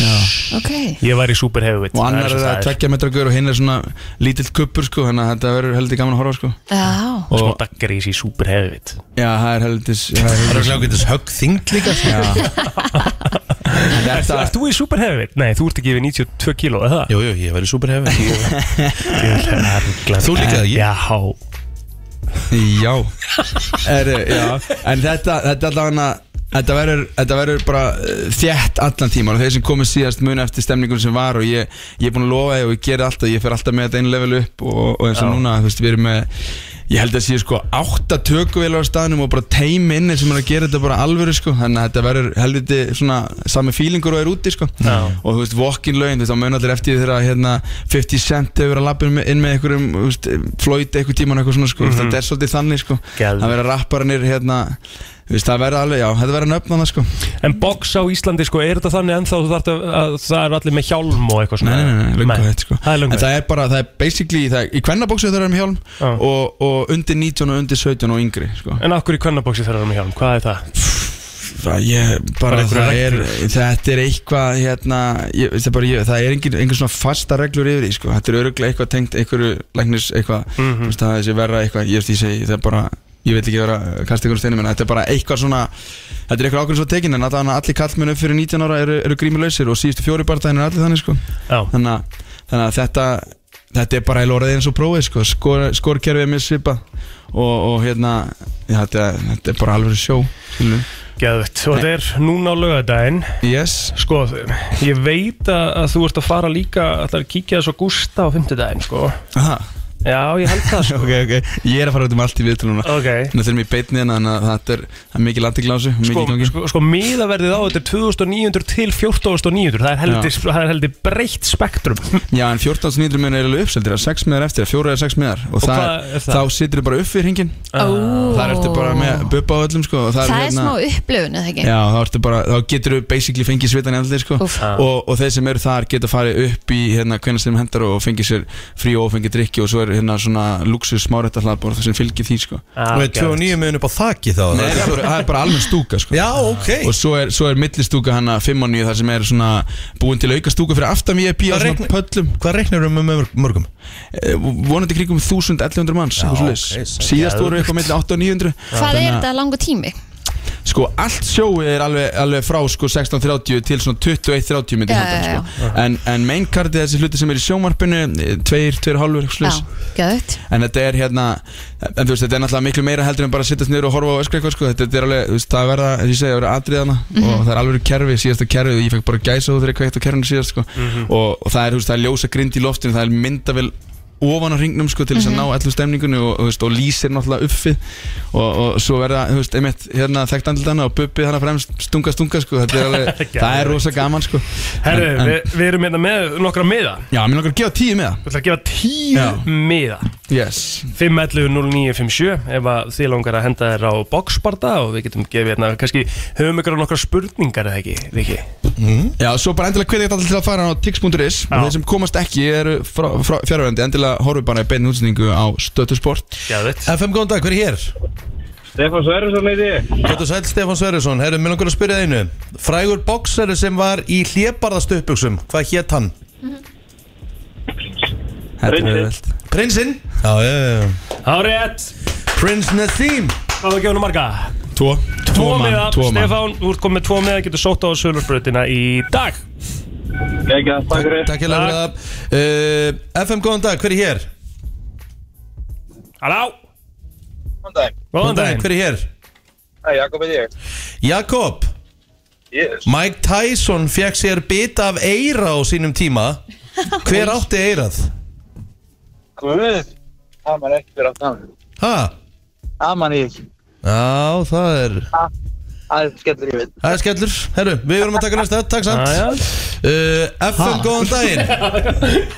Speaker 5: Já.
Speaker 3: ok
Speaker 4: Ég var í súper hefvitt
Speaker 5: og annar er að tvekja metra gaur og hinn er svona lítill kuppur sko, þannig að þetta verður heldur gaman að horfa sko.
Speaker 3: Já,
Speaker 4: Og smá daggarís í súper hefvitt
Speaker 5: Já, það er heldur það er
Speaker 1: Það er
Speaker 5: heldur-
Speaker 1: svona getur högg þingd líka sko.
Speaker 5: Já. En
Speaker 4: Erst
Speaker 5: Þetta
Speaker 4: þú í súper hefvitt? Nei, þú ert ekki yfir 92 kíló, eða það?
Speaker 1: Jú, jú, ég verið super hefi
Speaker 4: Jú,
Speaker 1: Þú líka, ekki?
Speaker 4: Já,
Speaker 5: Já er, Já En þetta, þetta allavega Þetta verður, þetta verður bara eh, þétt allan tíma og þeir sem komið síðast muna eftir stemningun sem var og ég, ég er búin að lofa því og ég gerir alltaf, ég fer alltaf með þetta einu level upp og, og eins og
Speaker 4: Já.
Speaker 5: núna, þú veist, við erum með ég held að sé sko átta tökuvelar á staðnum og bara teim inni sem er að gera þetta bara alvöru sko, þannig að þetta verður helviti svona sami fílingur og er úti sko
Speaker 4: Já.
Speaker 5: og þú veist, walk-in lögin, þú veist, þá mun allir eftir því þegar að, hérna, 50 Cent hefur verið að lappa inn með einhverjum, þú veist, flóið eitthvað tíman eitthvað svona, sko, mm það er svolítið þannig, sko
Speaker 4: Geðveikt.
Speaker 5: það verða rapparanir, hérna þú veist, það verða alveg, já, þetta verða nöfnana, sko
Speaker 4: En box á Íslandi, sko, er þetta þannig ennþá þú þarft að, að það er allir með hjálm og eitthvað
Speaker 5: nei,
Speaker 4: svona?
Speaker 5: nei, nei, nei, löngu hætt, sko
Speaker 4: Það er
Speaker 5: en
Speaker 4: löngu
Speaker 5: það er bara, það er basically, það er, í kvennabóksu þeir eru með hjálm
Speaker 4: Já.
Speaker 5: og, og undir 19 og undir 17 og yngri, sko
Speaker 4: En af hverju kvennabóksi þarf að vera með hjálm? Hvað er það?
Speaker 5: það, ég, bara,
Speaker 4: Bara einhverjar
Speaker 5: það er, þetta er eitthvað, hérna ég, það, er bara, ég, það er engin, engin svona fasta reglur yfir því, sko, þetta er öruglega eitthvað tengt einhverju læknis, eitthvað þú veist, það er þessi verra eitthvað, ég veist, ég segi, það er bara ég veit ekki vera að kasta ykkur um steinu menn þetta er bara eitthvað svona, þetta er eitthvað ákveðin svo tekin en allavega allir kallmenn upp fyrir 19 ára eru, eru grímulöysir og síðustu fjóri barndaginn er allir þannig sko.
Speaker 4: Já,
Speaker 5: þannig, að, þannig að þetta þetta er bara í lóraðið eins og prófið sko. Skor, skorkerfið er mér svipa og, og hérna, já, þetta, þetta er bara alveg sjó skilurðu.
Speaker 4: geðvett Og þetta er núna á lögadaginn
Speaker 5: yes,
Speaker 4: Sko, ég veit að, að þú ert að fara líka Það er að kíkja þessu á Gústa á fimmtudaginn, sko
Speaker 5: Aha,
Speaker 4: Já, ég held það, sko
Speaker 5: ok, ok ég er að fara út um allt í viðtölu núna
Speaker 4: Ok
Speaker 5: þannig að þeir eru í beitni hérna, þannig að þetta er, það er mikið landiglásu
Speaker 4: Sko,
Speaker 5: mikið í gangi
Speaker 4: sko, sko miðaverðið á þetta er 2900 til 14900 Það er heldur, það er heldur breytt spektrum
Speaker 5: Já, en 14.900 miðar er alveg uppseldir að 6 miðar eftir, 4 eða 6 miðar og,
Speaker 4: Og
Speaker 5: það,
Speaker 4: hvað er það?
Speaker 5: þá situr þau bara upp fyrir hringin
Speaker 3: ó
Speaker 5: þar ertu bara með bubba á öllum sko, og það,
Speaker 3: Það er smá upplöfun, eða ekki?
Speaker 5: Já, þá, ertu bara, þá getur þau basically fengið svitan í andlir sko.
Speaker 3: Úff.
Speaker 4: Já.
Speaker 5: og, og þeir sem eru þar geta farið upp í hérna, hvernig sem hendar og fengið sér frí og fengið drikki og svo er hérna svona luxus smárættarhlaðborð sem fylgir því sko.
Speaker 1: Þú veit, 2 og 9 miðun upp á þaki þá
Speaker 5: Nei, það er bara- það er bara almenn stúka sko.
Speaker 1: Já, ok
Speaker 5: og svo er, svo er millistúka hana 5 og 9 þar sem er svona búin til auka stúka fyrir aftan VIP á
Speaker 1: Hvað
Speaker 5: svona
Speaker 1: reikna-
Speaker 5: pöllum
Speaker 1: Hvað reiknir um með mörg- mörgum?
Speaker 5: Eh, vonandi kringum 1100 manns
Speaker 1: Já,
Speaker 5: eitthvað svoleiðis.
Speaker 1: ok, sæll.
Speaker 5: síðast voru eitthvað mellir 8 og 900
Speaker 3: Hvað
Speaker 5: Þannig
Speaker 3: er
Speaker 5: að-
Speaker 3: þetta langu tími?
Speaker 5: sko allt sjóið er alveg, alveg frá sko 16.30 til svona 21.30 myndi
Speaker 3: Já,
Speaker 5: ég halda,
Speaker 3: já, já.
Speaker 5: sko. en, en maincardið þessi hluti sem er í sjónvarpinu eh, 2-2,5 eitthvað
Speaker 3: Já,
Speaker 5: sluðis
Speaker 3: gæðut
Speaker 5: en þetta er hérna en þú veist þetta er náttúrulega miklu meira heldur en bara að sittast niður og horfa á öskra eitthvað sko þetta er alveg þú veist það verða eins og ég segja verða atriðana og það er alveg kerfi síðasta kerfi og ég fekk bara gæsa út þegar ég kveikt á kerfinu síðast sko og, og það er þú veist það er ljósa grind í loftinu það er myndavel ofan á hringnum sko til þess að ná allu stemningunni og, og, þú veist, og lýsir náttúrulega uppfið og, og svo verða þú veist einmitt hérna þekkt andildana og bubbi hana fremst stunga stunga sko þetta er alveg það er rosa gaman sko
Speaker 4: Herru,
Speaker 5: En- en-
Speaker 4: við, við erum hérna með nokkra miða
Speaker 5: já mér langar að gefa tíu með það
Speaker 4: Við ætlum að gefa 10
Speaker 5: Já.
Speaker 4: miða
Speaker 5: yes
Speaker 4: 511-0957 ef að þið langar að henda þér á boxbarda og við getum gefið hérna, kannski höfum ykkur nokkra spurningar eða ekki, Viki?
Speaker 5: Já, svo bara endilega hvetja þetta allir til að fara á tix.is og
Speaker 4: Já.
Speaker 5: þeir sem komast ekki eru fjárverandi endilega horfum bara í beinu útsendingu á Stöttusport
Speaker 4: Gæðvitt
Speaker 1: FM, góðan dag, hver er hér?
Speaker 6: Stefán Sverjusson heiti ég.
Speaker 1: Þetta er sæl Stefán Sverjesson, herru, mér langar að spyrja það einu Frægur boksari sem var í hlébarðastuppbuksum, hvað hétt hann? Prinsinn? Já, já, já, já
Speaker 4: Árið
Speaker 1: Prins Nassim
Speaker 4: Hvað var gefnum marga?
Speaker 5: Tvo
Speaker 4: Tvo miða
Speaker 5: tvo mann
Speaker 4: Stefán, þú ert komið með tvo miða Getur sótt á sölursbröðina í dag
Speaker 6: Ekki að takk fyrir.
Speaker 1: Takk hérlega fyrir það uh, FM, góðan dag, hver er hér?
Speaker 4: Halló
Speaker 6: Góðan dag.
Speaker 4: Góðan daginn
Speaker 1: Hver er hér?
Speaker 6: Hei, Jakob heiti ég.
Speaker 1: Jakob
Speaker 6: Yes.
Speaker 1: Mike Tyson fekk sér bita af eira á sínum tíma Hver átti eirað?
Speaker 6: Guð. Aman ekki fyrir allt hann.
Speaker 1: Ha?
Speaker 6: Aman ég ekki.
Speaker 1: Já, það er
Speaker 6: Það er skellur ég við.
Speaker 1: Það er skellur, herru, við verum að taka næsta Takk samt
Speaker 4: Jæja.
Speaker 1: uh, FM, góðan daginn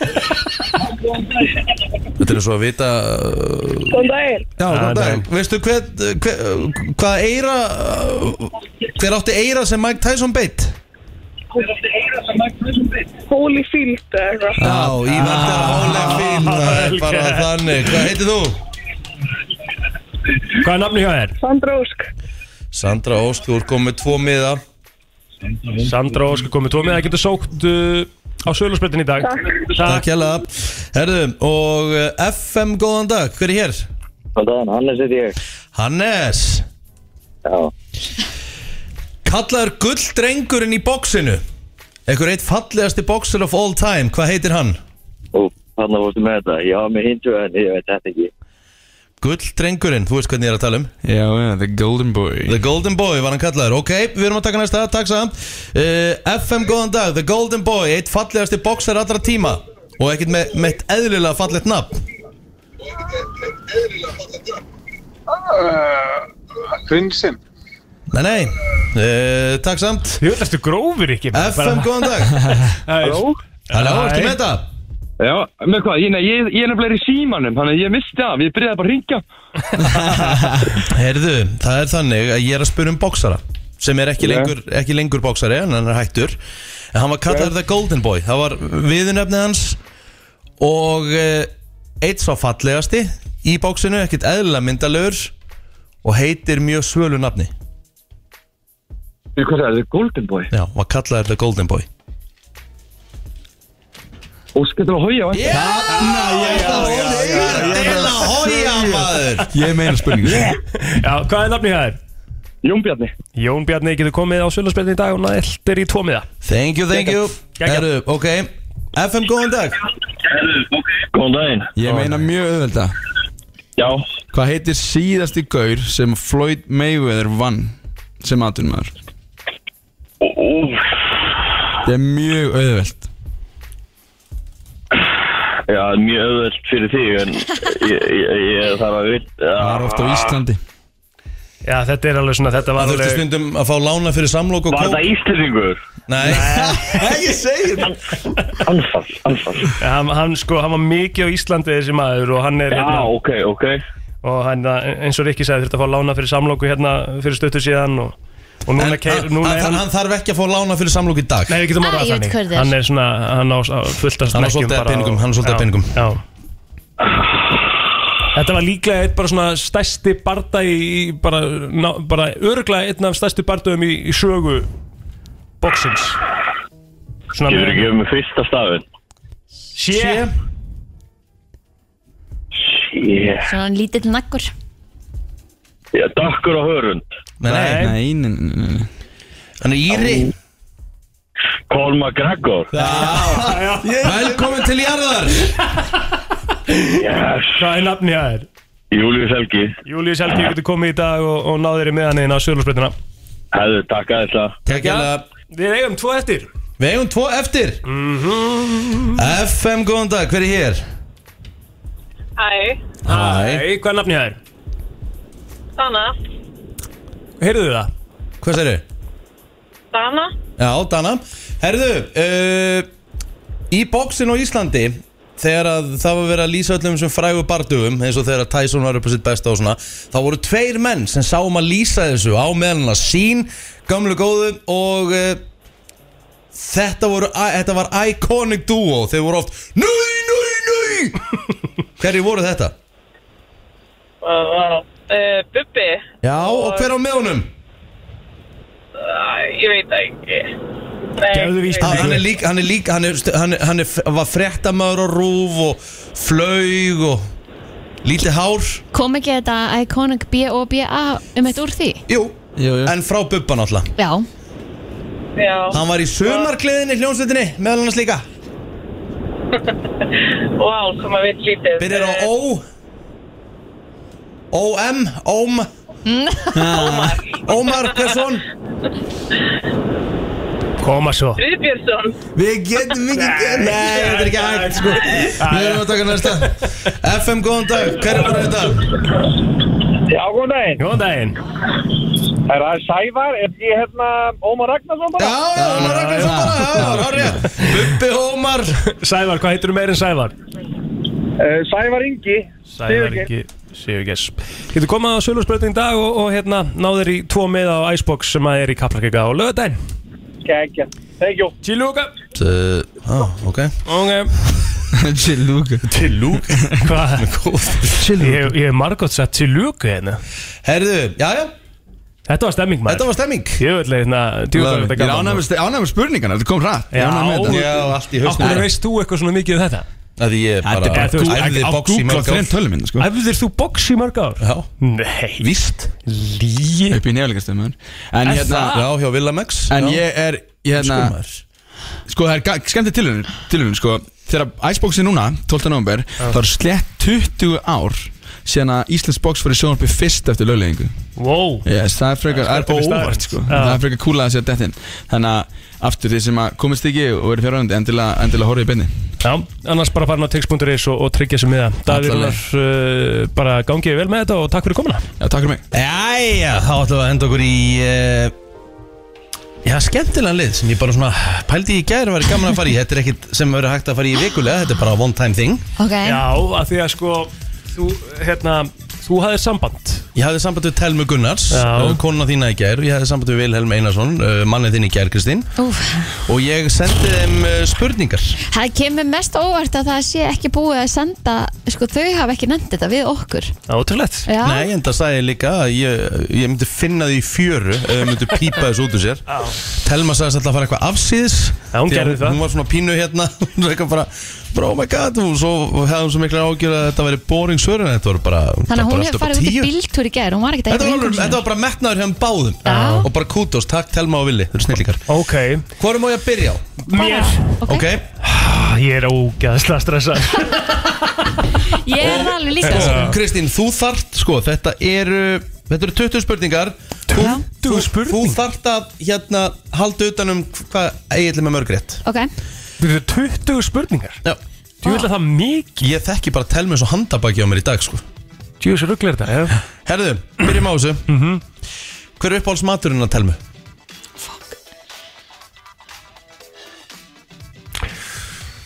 Speaker 1: Þetta er svo að vita uh,
Speaker 7: Góðan daginn.
Speaker 1: Já,
Speaker 4: góðan
Speaker 1: góðan
Speaker 4: daginn.
Speaker 1: daginn Veistu hver, hver, hvað eira uh, Hver átti eira sem Mike Tyson beitt?
Speaker 7: Holy Field eða eitthvað.
Speaker 1: Já, í verða Hólefín Það er
Speaker 4: vel
Speaker 1: bara
Speaker 4: gert.
Speaker 1: þannig Hvað heitir þú?
Speaker 4: Hvað er nafni hjá þér?
Speaker 7: Sandra Ósk.
Speaker 1: Sandra Ósk, þú ert komið tvo miða
Speaker 4: Sandra Óskar komið tvo miða Getur sótt uh, á sölursbröðina í dag
Speaker 1: Takk hjá Herðu, og eh, FM, góðan dag, hver er hér?
Speaker 6: Góðan daginn, Hannes heiti ég.
Speaker 1: Hannes
Speaker 6: Já.
Speaker 1: Kallaður gulldrengurinn í bóksinu Ekkur eitt fallegasti bóksir of all time Hvað heitir hann?
Speaker 6: Og hann fórstu með þetta. Ég hafa mig hindu en ég veit þetta ekki.
Speaker 1: Gulldrengurinn, þú veist hvernig ég er að tala um
Speaker 5: Já, já, The Golden Boy
Speaker 1: The Golden Boy var hann kallaður Ok, við erum að taka næsta, takk samt uh, FM, góðan dag, The Golden Boy Eitt fallegasti bóksir allra tíma Og ekkert með, með eitt eðlilega fallegt nafn
Speaker 6: Prinsinn.
Speaker 1: Nei, nei, uh, takk samt
Speaker 4: Þú veist, þú grófur ekki maður.
Speaker 1: FM, góðan dag
Speaker 4: Bara- Æ,
Speaker 1: Halló,
Speaker 4: Hæ.
Speaker 1: ertu með þetta?
Speaker 8: Já, með hvað, ég, nei, ég, ég er nefnilega í símanum, þannig að ég misti af, ég byrjaði bara að ringja.
Speaker 1: Herðu, það er þannig að ég er að spyrja um bóksara sem er ekki, lengur, ekki lengur bóksari en hann er hættur en hann var kallaður The Golden Boy það var viðunöfnið hans og eh, eitt svo fallegasti í bóksinu, ekkert eðlilega myndalögur og heitir mjög svölu nafni
Speaker 8: Ég, Hvað er það, Golden Boy?
Speaker 1: Já, var kallaður The Golden Boy
Speaker 8: Óskar til að hója, vant?
Speaker 1: Já, já, já Dela hója maður
Speaker 5: Ég meina spurningu yeah.
Speaker 4: Já, hvað er nafni hjá þér?
Speaker 8: Jón Bjarni.
Speaker 4: Jón Bjarni getur komið á sölursbröðina í dag og næltir í tvo miða
Speaker 1: Thank you, thank you
Speaker 4: Geggjað.
Speaker 1: Herðu, ok FM, góðan dag
Speaker 8: Góðan daginn.
Speaker 5: Ég meina mjög auðvelda
Speaker 8: Já.
Speaker 5: Hvað heitir síðasti gaur sem Floyd Mayweather vann sem atvinnumæður? Þetta er mjög auðveld
Speaker 8: Já, mjög öðvöld fyrir þig, en ég, ég, ég þarf að veit...
Speaker 5: Það er ofta á Íslandi
Speaker 4: Já, þetta er alveg svona, þetta var
Speaker 1: Það þurfti
Speaker 4: alveg
Speaker 1: stundum að fá lána fyrir samlok og
Speaker 8: Var
Speaker 1: kók
Speaker 8: þetta Íslandingur?
Speaker 1: Nei, ekki segja það
Speaker 8: Anfall, anfall.
Speaker 4: hann, hann sko, hann var mikið á Íslandi þessi maður og hann er
Speaker 8: Já,
Speaker 4: hérna
Speaker 8: ok, ok.
Speaker 4: og hann, eins og Rikki sagði þurfti að fá lána fyrir samlóku hérna fyrir stöttu síðan og, og núna,
Speaker 1: En
Speaker 4: keir,
Speaker 1: hann-
Speaker 4: núna er
Speaker 1: hann
Speaker 4: hann
Speaker 1: hann þarf ekki að fá lána fyrir samlokk í dag
Speaker 4: Nei, við getum
Speaker 3: Ah,
Speaker 4: orðað
Speaker 3: ég veit
Speaker 4: þannig
Speaker 3: hver það er.
Speaker 4: Hann er svona, hann á á fullt af
Speaker 1: Hann á
Speaker 4: smekkjum
Speaker 1: svolítið af
Speaker 4: bara og-
Speaker 1: peningum, hann á svolítið af
Speaker 4: Já,
Speaker 1: peningum.
Speaker 4: Já Þetta var líklega eitt bara svona stærsti barda í, í bara, ná, bara öruglega einn af stærsti bardöðum í, í sögu boxins Svona
Speaker 8: Getur ekki um fyrsta stafinn?
Speaker 4: Sjö
Speaker 8: Sjétt.
Speaker 3: Svona hann lítill nakkur
Speaker 8: Já, dakkur á hörund.
Speaker 1: Nei, nei,
Speaker 4: Nei,
Speaker 5: Nei, nei, nei, nei, nei.
Speaker 1: hann er Íri
Speaker 8: Colm McGregor.
Speaker 1: Velkomin til jarðar
Speaker 8: Yes.
Speaker 4: hvað er nafni að þér?
Speaker 8: Július Helgi.
Speaker 4: Július Helgi getur komið í dag og, og náður í meðan einn á sjölusbreytina
Speaker 8: Hefðu takkað þess að.
Speaker 1: Takk hérlega.
Speaker 4: Við eigum tvo eftir
Speaker 1: Við eigum tvo eftir
Speaker 4: Mhm.
Speaker 1: FM, góðan dag, hver er hér?
Speaker 7: Æ,
Speaker 1: Hæ,
Speaker 4: Æ, hvað er nafni að þér?
Speaker 7: Dana.
Speaker 4: Heyrðu það?
Speaker 1: hvað sérðu?
Speaker 7: Dana.
Speaker 1: Já, Dana Herðu, uh, í bóksin á Íslandi Þegar að það var verið að lýsa öllum sem frægu bardugum eins og þegar að Tyson var upp á sitt besta og svona þá voru tveir menn sem sáum að lýsa þessu á meðan að sín, gamlu góðu og uh, Þetta, voru, þetta var iconic duo Þeir voru oft Núi, núi, núi Hverju voru þetta?
Speaker 7: Uh, Bubbi,
Speaker 1: Já, og hver á með honum?
Speaker 7: uh, ég veit það ekki. Nei,
Speaker 4: Gefðu víst.
Speaker 1: Hann, hann er líka, hann er líka Hann, er, stu- hann, er- hann er, var fréttamaður á rúf og flaug og lítið hár
Speaker 3: Kom ekki þetta Iconic B.O.B.A. um eitt úr því?
Speaker 1: Jú,
Speaker 5: Jú, jú.
Speaker 1: en frá bubba náttúrulega
Speaker 3: Já,
Speaker 7: Já,
Speaker 1: Hann var í sömargleðinni hljónsveitinni meðal annars líka
Speaker 7: vá, sem að við lítið. Eh,
Speaker 1: Byrjar á Ó OM, OM Ómar, hversson
Speaker 4: Koma svo
Speaker 7: Friðbjörnsson.
Speaker 1: Við getum ekki gert Nei, þetta er ekki hægt sko Við erum að taka næsta FM, góðan dag, hver er bara þetta?
Speaker 8: Já, góðan daginn.
Speaker 4: Góðan daginn
Speaker 8: Er það Sævar? Er ég hérna Ómar Ragnarsson
Speaker 1: Já, já, Ómar Ragnarsson bara, já, já, það er rétt Bubbi Ómar
Speaker 4: Sævar, hvað heitir þú meir en Sævar?
Speaker 8: Uh, Sævar Ingi.
Speaker 4: Sævar ekki Sigurgess Getur komað á sölursbreyting í dag og, og hérna náður í tvo miða á Icebox sem að er í Kaplakega á lögadaginn
Speaker 8: Kækja. Thank you.
Speaker 4: Chilúka
Speaker 1: Á, Ah, ok
Speaker 4: Ok
Speaker 5: Chill Luke
Speaker 4: Chilúka Hvað? Ég ég hef margótt sett Chilúka hérna
Speaker 1: Herðu, já, já,
Speaker 4: Þetta var stemming maður
Speaker 1: þetta var stemming
Speaker 4: Ég vil leið hérna Djúðar
Speaker 5: Ég
Speaker 4: þetta
Speaker 5: er ánægum spurningarna, þetta kom rætt
Speaker 4: Já.
Speaker 1: Já, allt í hausnum
Speaker 4: Akkur veist þú eitthvað svona mikið um þetta?
Speaker 1: Það ég
Speaker 5: Þetta er
Speaker 1: bara
Speaker 4: þú veist,
Speaker 5: bara
Speaker 1: æfði
Speaker 5: að
Speaker 1: box í
Speaker 5: googla
Speaker 1: mörg ár
Speaker 5: þrein tölum minna sko
Speaker 4: Æfðir þú box í mörg ár?
Speaker 1: Já,
Speaker 4: Nei
Speaker 1: víst
Speaker 4: Líi
Speaker 5: upp í nefnilegastöðum en
Speaker 4: Er
Speaker 5: hérna
Speaker 4: það?
Speaker 1: Já, hjá Villamex
Speaker 5: en ég er ég hérna sko það er ga- skemmtileg tilhörun tilhörun sko þegar Iceboxi núna 12. november þá er slett 20 ár síðan að Íslands box fyrir sjónarpi fyrst eftir lögleggingu
Speaker 4: Wow
Speaker 5: yes, það er frekar
Speaker 4: Það er
Speaker 5: það er
Speaker 4: skemmtileg
Speaker 5: óvart
Speaker 4: staðreynd.
Speaker 5: sko
Speaker 4: Já.
Speaker 5: það er frekar kúla að sér dettin þannig að aftur þið sem að komist ekki og verið fjárhæðandi endilega, endilega horfið í beinni
Speaker 4: Já, annars bara farin á tix.is og, og tryggja sér miða Davíð
Speaker 5: Alla
Speaker 4: Rúnar, uh, bara gangið vel með þetta og takk fyrir komuna
Speaker 5: já takk fyrir mig
Speaker 1: Jæja, þá ætlum við að henda okkur í uh, Já, skemmtilegan lið sem ég bara svona pældi í gæri var gaman að fara í Þetta er ekkit sem verður hægt að fara í vikulega Þetta er bara one time thing
Speaker 3: ok
Speaker 4: Já, af því að sko þú, hérna, þú hafðir samband
Speaker 1: Ég hafði samband við Telmu Gunnars
Speaker 4: Já.
Speaker 1: uh, konuna þína í gær, ég hafði samband við Vilhelm Einarsson uh, mannið þín í gær, Kristín
Speaker 3: Úf,
Speaker 1: og ég sendi þeim uh, spurningar
Speaker 3: það kemur mest óvart að það sé ekki búið að senda sko þau hafa ekki nefnt þetta við okkur
Speaker 4: Ótrúlegt
Speaker 3: Já,
Speaker 1: Nei, en það sagði ég líka að ég, ég myndi finna því í fjöru ef ég myndi pípa þessu út úr sér Telma sagðist alltaf að fara eitthvað afsýðis
Speaker 4: Já, hún
Speaker 1: Því að
Speaker 4: gerði það.
Speaker 1: Hún var svona pínu hérna Hún var eitthvað bara, bara oh my god Og svo hefði hún svo mikla ágjör að þetta væri boring svörun en Þetta voru bara
Speaker 3: þannig
Speaker 1: þetta
Speaker 3: að
Speaker 1: bara
Speaker 3: hún hefur
Speaker 1: allt upp á
Speaker 3: farið út í
Speaker 1: 10.
Speaker 3: bíltúr í gerð hún var ekki
Speaker 1: Þetta var, alveg, þetta var bara metnaður hjá þeim báðum
Speaker 3: Já.
Speaker 1: Og bara kútos, takk Telma og Vili, þau eru snillíkar
Speaker 4: Ok,
Speaker 1: Hvorum á ég að byrja á?
Speaker 4: mér
Speaker 3: ok,
Speaker 1: Ok,
Speaker 4: ah, Ég er ógæðslega stressað
Speaker 3: ég er það alveg líka sko.
Speaker 1: Kristín, þú þart, sko, þetta eru Þetta eru 20 spurningar Þú, þú, þú
Speaker 4: spurningar?
Speaker 1: þart að hérna halda utan um hvað eiginlega með mörg rétt
Speaker 3: ok,
Speaker 4: Þú eru 20 spurningar
Speaker 1: Já.
Speaker 4: Þú vil að það mikið
Speaker 1: Ég þekki bara telmi eins og handabaki á mér í dag sko
Speaker 4: Jú, þessu rugglir þetta eh? hef.
Speaker 1: Herðu, byrjum á þessu Hver er uppáhalds maturinn að telmu?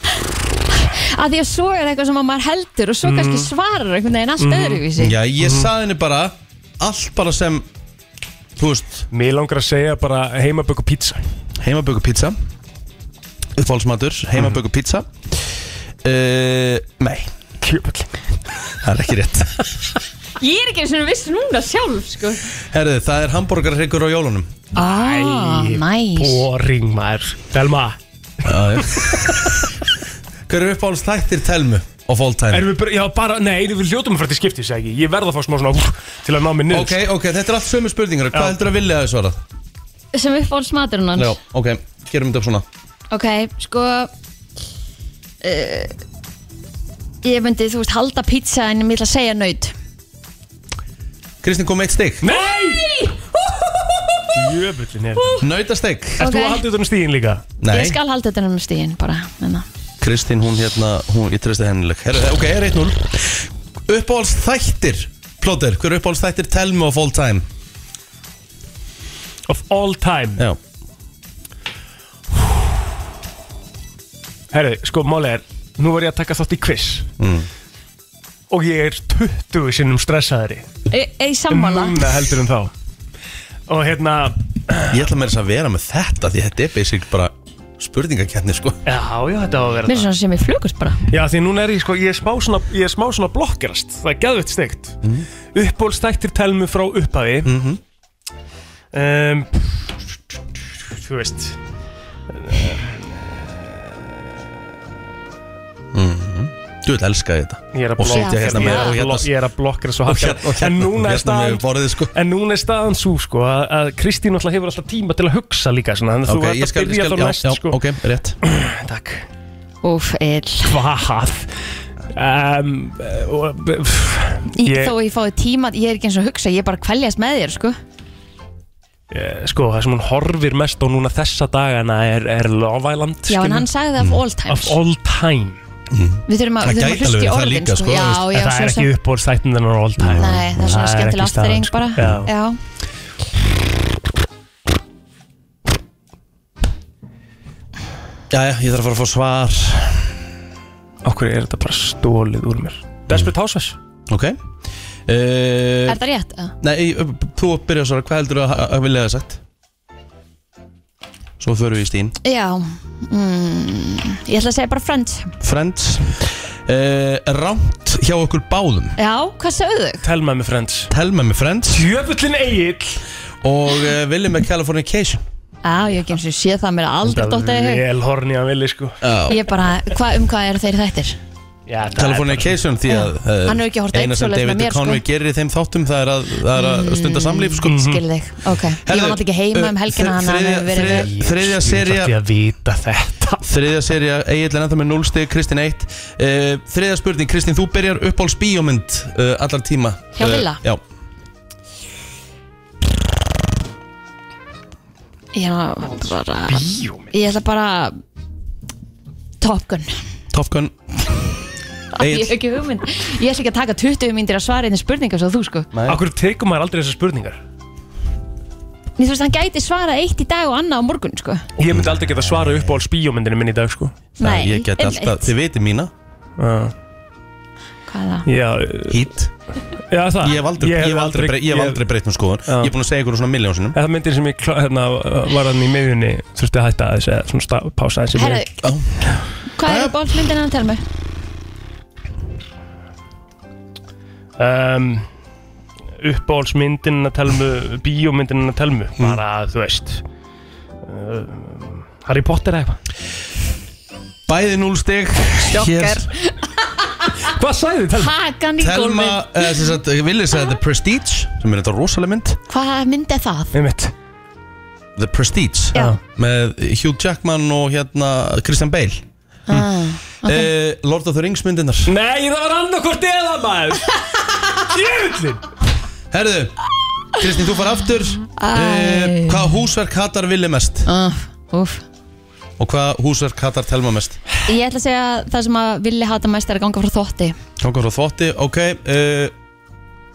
Speaker 3: að því að svo er eitthvað sem að maður heldur og svo kannski svarar einhvern veginn allt öðruvísi
Speaker 1: Já, ég saði henni bara Allt bara sem, þú veist
Speaker 4: Mér langar að segja bara heimaböku pizza
Speaker 1: Heimaböku pizza Uppáhalds matur, heimaböku pizza uh, Nei,
Speaker 4: Kjöfull
Speaker 1: það er ekki rétt
Speaker 3: ég er ekki eins og viss núna sjálf sko.
Speaker 1: Herðu, það er hambúrgarhryggur á jólunum
Speaker 3: ah, nice.
Speaker 4: Boring maður Delma
Speaker 1: Já, já Hver er uppáhalds þættir telmu of all time?
Speaker 4: Erum við bara, já bara, nei, við hljótum að fara til skiptis eða ekki Ég verð að fá smá svona úf, til að ná mig niður
Speaker 1: Ok, ok, þetta er allt sömu spurningar Hvað
Speaker 4: Já.
Speaker 1: heldur að vilja að svara?
Speaker 3: sem uppáhalds maturinn hans
Speaker 1: Já, ok, gerum þetta svona
Speaker 3: ok, sko uh, ég myndi, þú veist, halda pizza en ég myndi að segja nöyt
Speaker 1: Kristín kom með eitt stygg
Speaker 4: Nei Jöfullin er
Speaker 1: Nautasteg
Speaker 4: Erst þú
Speaker 3: Ok.
Speaker 4: að halda utan um stíðin líka?
Speaker 1: Nei,
Speaker 3: ég skal halda þetta um stíðin bara enna.
Speaker 1: Kristín hún hérna hún, Ég treysti hennileg Her, Ok, er 1-0 Uppáhalds þættir Plóter, hver er uppáhalds þættir Tell me of all time
Speaker 4: Of all time
Speaker 1: Já
Speaker 4: Herru, sko, máli er Nú var ég að taka þátt í quiz Og ég er 20 sinnum stressaðari
Speaker 3: e, e, sammála
Speaker 4: Núna heldur en þá Og hérna
Speaker 1: Ég ætla mér þess að vera með þetta Því þetta er basic bara spurningakeppni sko
Speaker 4: Já, já, þetta á að vera
Speaker 3: Mér er svona sem ég flugust bara
Speaker 4: Já, því núna er ég sko, ég er smá svona, ég er smá svona blokkerast Það er gæðvett steikt
Speaker 1: Mhm.
Speaker 4: mm. Uppbólstæktir telmu frá upphafi mm -hmm. um, Þú veist
Speaker 1: Þú veit, elska ég þetta
Speaker 4: Ég er að
Speaker 1: Og sitja
Speaker 4: blokkera
Speaker 1: hérna
Speaker 4: ég
Speaker 1: með
Speaker 4: er að
Speaker 1: og hérna-
Speaker 4: blo- Ég er að blokkera svo
Speaker 1: og
Speaker 4: harkalega
Speaker 1: hérna- og hérna-
Speaker 4: En núna er
Speaker 1: og hérna
Speaker 4: staðan
Speaker 1: með borðið sko
Speaker 4: En núna er staðan svo sko að, að Kristín alltaf hefur alltaf tíma til að hugsa líka svona, Þannig að
Speaker 1: Ok,
Speaker 4: þú
Speaker 1: ég
Speaker 4: ert
Speaker 1: skal,
Speaker 4: að
Speaker 1: ég
Speaker 4: byrja
Speaker 1: skal,
Speaker 4: þá
Speaker 1: já,
Speaker 4: næst
Speaker 1: já,
Speaker 4: sko
Speaker 1: ok, rétt
Speaker 4: Takk
Speaker 3: Úf, ill
Speaker 4: Hvað? Um, og,
Speaker 3: Í-
Speaker 4: Ég-
Speaker 3: Þó ég fái tíma, ég er ekki eins og að hugsa Ég er bara að kvæljast með þér, sko
Speaker 4: Eh, sko, það sem hún horfir mest á núna þessa dagana er, er Love Island
Speaker 3: Já,
Speaker 4: skilur.
Speaker 3: en hann sagði það af all
Speaker 4: of
Speaker 3: times
Speaker 4: all time
Speaker 3: Við þurfum að
Speaker 1: Það
Speaker 3: við þurfum að hlusta í
Speaker 1: gæti alveg verið það
Speaker 3: orðin,
Speaker 1: líka, sko,
Speaker 3: sko Já,
Speaker 1: þú
Speaker 3: já,
Speaker 4: en það
Speaker 3: svo
Speaker 4: er
Speaker 3: sem
Speaker 4: ekki upp úr sættin þennan all time
Speaker 3: Nei, það er svona
Speaker 4: ekki
Speaker 3: skemmtilega
Speaker 4: staðan,
Speaker 3: afturreng
Speaker 4: sko.
Speaker 3: bara
Speaker 4: já.
Speaker 3: Já,
Speaker 1: Jæja, ég þarf að fara að fá svar
Speaker 4: okkur er þetta bara stólið úr mér Desperate Housewives
Speaker 1: Ok uh,
Speaker 3: Er það rétt? eða?
Speaker 1: Nei, eh, þú byrjar að svara, hvað heldur að, að vilja það sagt? Svo förum við í stín
Speaker 3: Já mm, Ég ætla að segja bara friends
Speaker 1: Friends uh, Rámt hjá okkur báðum
Speaker 3: Já, hvað sagðu þau?
Speaker 4: Tell me my friends
Speaker 1: Telma með Friends
Speaker 4: Jöfullin Egil
Speaker 1: og uh, Vili með Californication
Speaker 3: Já, ég hef ekki eins og sé það mér aldrei dóttið í hug
Speaker 4: vel horni að villi sko
Speaker 1: Já
Speaker 3: Ég bara, hva, um hvað eru þeir þættir?
Speaker 4: já, það er bara-
Speaker 1: Californication því að uh,
Speaker 3: Hann hefur ekki horft á eitt
Speaker 1: eina sem
Speaker 3: svoleiðis með
Speaker 1: David
Speaker 3: mér, sko.
Speaker 1: Conway gerir í þeim þáttum það er að, það er að stunda samlíf
Speaker 4: Mhm.
Speaker 1: sko.
Speaker 3: Skil þig, ok Ég var náttúrulega ekki heima um helgina
Speaker 1: uh,
Speaker 3: hann hann hefur verið
Speaker 1: þriðja-
Speaker 3: vel
Speaker 4: Ég-
Speaker 1: Þriðja
Speaker 4: ég
Speaker 1: sería-
Speaker 4: ætti að vita þetta
Speaker 1: Þriðja seria, Egil er ennþá með 0 stig, Kristín 1 uh, Þriðja spurning, Kristín, þú byrjar uppáhalds bíómynd uh, allar tíma Eh,
Speaker 3: Hjá Villa?
Speaker 1: Já,
Speaker 3: Ég er bara Ég ætla bara Top Gun
Speaker 1: Top Gun
Speaker 3: Ég hef
Speaker 1: Egil,
Speaker 3: ekki hugmynd Ég ætla ekki að taka 20 myndir að svara einni spurningar svo þú sko
Speaker 4: Akkur tekum maður aldrei þessar spurningar
Speaker 3: Mér þú veist hann gæti svara eitt í dag og annað á morgun sko
Speaker 4: Ég myndi aldrei geta svara upp á alls bíómyndinu minni í dag sko
Speaker 1: það, ég get
Speaker 3: einmitt.
Speaker 1: alltaf, þið veitir mína
Speaker 4: Já.
Speaker 3: Hvað er það?
Speaker 4: Já,
Speaker 1: Hít,
Speaker 4: já það
Speaker 1: ég hef aldrei, ég hef aldrei, brey- ég hef aldrei breytt um skoðun
Speaker 4: Já.
Speaker 1: Ég er búin að segja ykkur úr svona miljónsinnum
Speaker 4: Eða myndir sem ég klá- hérna, var hann í miðjunni þurfti að hætta þess eða svona stá, pása þessi
Speaker 3: Herðu,
Speaker 1: Já.
Speaker 3: hvað er bólmyndin hann að tala með?
Speaker 4: um, uppáhaldsmyndin að telmu bíómyndin að telmu bara þú veist uh, Harry Potter eða eitthvað
Speaker 1: Bæði 0 stig
Speaker 3: Joker.
Speaker 4: Hvað sagði þið telmu?
Speaker 3: Hakan í
Speaker 1: Telma,
Speaker 3: gólfið
Speaker 1: eh, sem sagt, ég vilja segja The Prestige sem er þetta rosaleg mynd
Speaker 3: Hvað mynd er það?
Speaker 4: Nei mitt
Speaker 1: The Prestige
Speaker 3: Já.
Speaker 1: með Hugh Jackman og hérna Christian Bale
Speaker 3: Ah, okay.
Speaker 1: okay. Lord of the Rings myndirnar
Speaker 4: Nei það var annarkvort eða maður Jöfullin
Speaker 1: Herðu, Kristín, þú far aftur uh,
Speaker 3: Æ.
Speaker 1: Hvað húsverk hattar villi mest?
Speaker 3: uh, úf.
Speaker 1: Og hvað húsverk hattar telma mest?
Speaker 3: Ég ætla að segja það sem að villi hata mest er að ganga frá þótti
Speaker 1: Gangar og þvotti, ok uh,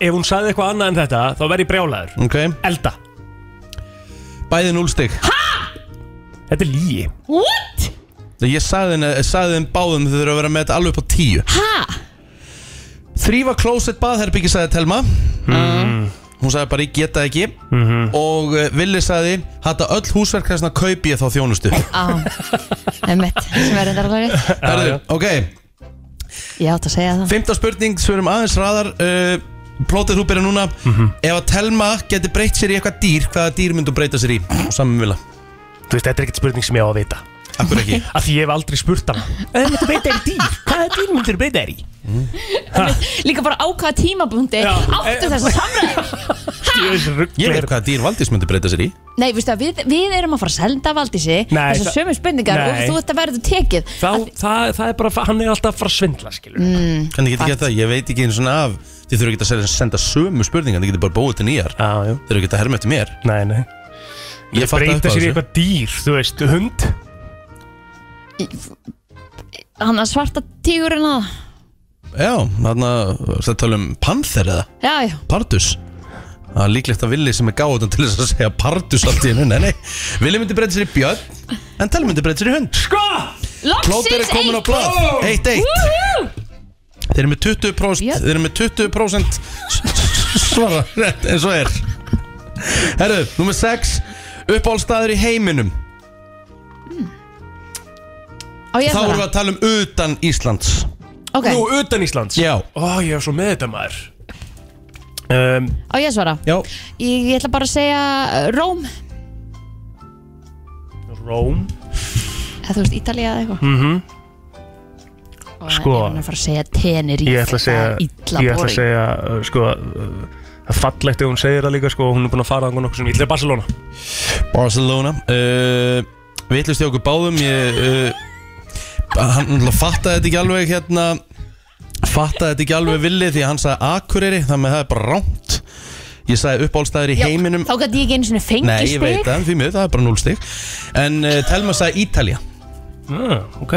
Speaker 4: Ef hún sagði eitthvað annað en þetta þá verð ég brjálæður
Speaker 1: Ok,
Speaker 4: Elda
Speaker 1: bæði núlstig
Speaker 4: Þetta er líi
Speaker 3: What?
Speaker 1: Ég sagði þeim, eh, sagði þeim báðum þau þurfa að vera með þetta alveg upp á tíu
Speaker 3: Ha?
Speaker 1: Þrýfa klósett baðherbyggi sagði telma Hún sagði bara ég geta ekki Og uh, villi sagði Hatta öll húsverk þess að kaupi ég þá þjónustu
Speaker 3: Á, emmitt, sem er reyndar alveg rétt
Speaker 1: Herðu, ok
Speaker 3: Ég átt að segja það
Speaker 1: Fymta spurning, svörum aðeins hraðar uh, Plótið þú byrja núna Ef að Telma geti breytt sér í eitthvað dýr Hvaða dýr myndu breyta sér í? Og saman vilja
Speaker 4: Þú veist þetta er ekkert spurning sem ég á að vita
Speaker 1: Akkur ekki
Speaker 4: Af því ég hef aldrei spurt hana Ef þú myndir breyta þér í dýr, hvaða dýr myndir breyta þér í?
Speaker 3: Líka bara á hvaða tímabundi
Speaker 4: Já.
Speaker 3: áttu þess
Speaker 4: Eh,
Speaker 3: að samræða
Speaker 4: Djöfis
Speaker 1: Ég
Speaker 4: rugglir
Speaker 1: veit hvaða dýr Valdís myndi breyta sér í
Speaker 3: Nei, veistu að við, við erum að fara að senda Valdísi
Speaker 4: Nei,
Speaker 3: Þessar
Speaker 4: það-
Speaker 3: sömu spurningar og
Speaker 4: Nei.
Speaker 3: þú ert að verða tekið
Speaker 4: Þá, það, það er bara, hann er alltaf að fara að svindla, skilur mm.
Speaker 1: Hvernig geti gert það? Ég veit ekki einu svona af Þið þurfa ekki að selja- senda sömu spurningar Þið geti bara búið til nýjar
Speaker 4: Já, já,
Speaker 1: Þið þurfa ekki að herma eftir mér
Speaker 4: nei, nei
Speaker 1: Ég fatta
Speaker 4: Breyta
Speaker 1: eitthvað
Speaker 4: sér í
Speaker 1: þessu.
Speaker 4: eitthvað dýr, þú veist, hund
Speaker 3: Hann að svarta tígurinn að
Speaker 1: Já, þarna Það tala um panther eða
Speaker 3: Já, já,
Speaker 1: Pardus Það er líklegt að Vili sem er gáðan til þess að segja Pardus allt í hennu Nei, nei Vili myndi breyta sér í björn En Telma myndi breyta sér í hund
Speaker 4: Sko!
Speaker 1: Plóter er
Speaker 3: loksins
Speaker 1: komin á blad 1-1 Þeir eru með 20%
Speaker 3: Jöp.
Speaker 1: Þeir eru með 20% Svara rétt eins og er Herru, nummer 6 Uppáhaldstaður í heiminum
Speaker 3: Á ég að
Speaker 1: Þá
Speaker 3: fara?
Speaker 1: vorum við að tala um utan Íslands
Speaker 3: Ok,
Speaker 4: Nú, utan Íslands
Speaker 1: Já.
Speaker 4: Ó, ég er svo með þetta maður um,
Speaker 3: á ég að svara
Speaker 1: Já,
Speaker 3: Ég, ég ætla bara að segja uh, Róm
Speaker 4: Róm
Speaker 3: eða þú veist Ítalía eða eitthvað og
Speaker 4: Mhm. Sko.
Speaker 3: ég er hann að fara að segja Tenerife
Speaker 4: Ég ætla að segja
Speaker 3: Ítla
Speaker 4: Ég ætla að
Speaker 3: borg
Speaker 4: segja, uh, sko uh, Það er fallegt ef hún segir það líka, sko Hún er búin að fara þangað nokkuð sem Ég ætla í Barcelona
Speaker 1: Barcelona uh, Við ætlumst í okkur báðum Ég uh, Hann náttúrulega fattaði þetta ekki alveg hérna Fattaði þetta ekki alveg villi Því að hann sagði Akureyri Þannig að það er bara rámt Ég sagði uppáhaldstæður í heiminum
Speaker 3: þá gæti ég ekki einu svona
Speaker 1: Nei, ég veit
Speaker 3: fengistig
Speaker 1: það, en því miður, það er bara 0 stig En uh, Telma sagði Ítalja
Speaker 4: ah, Ok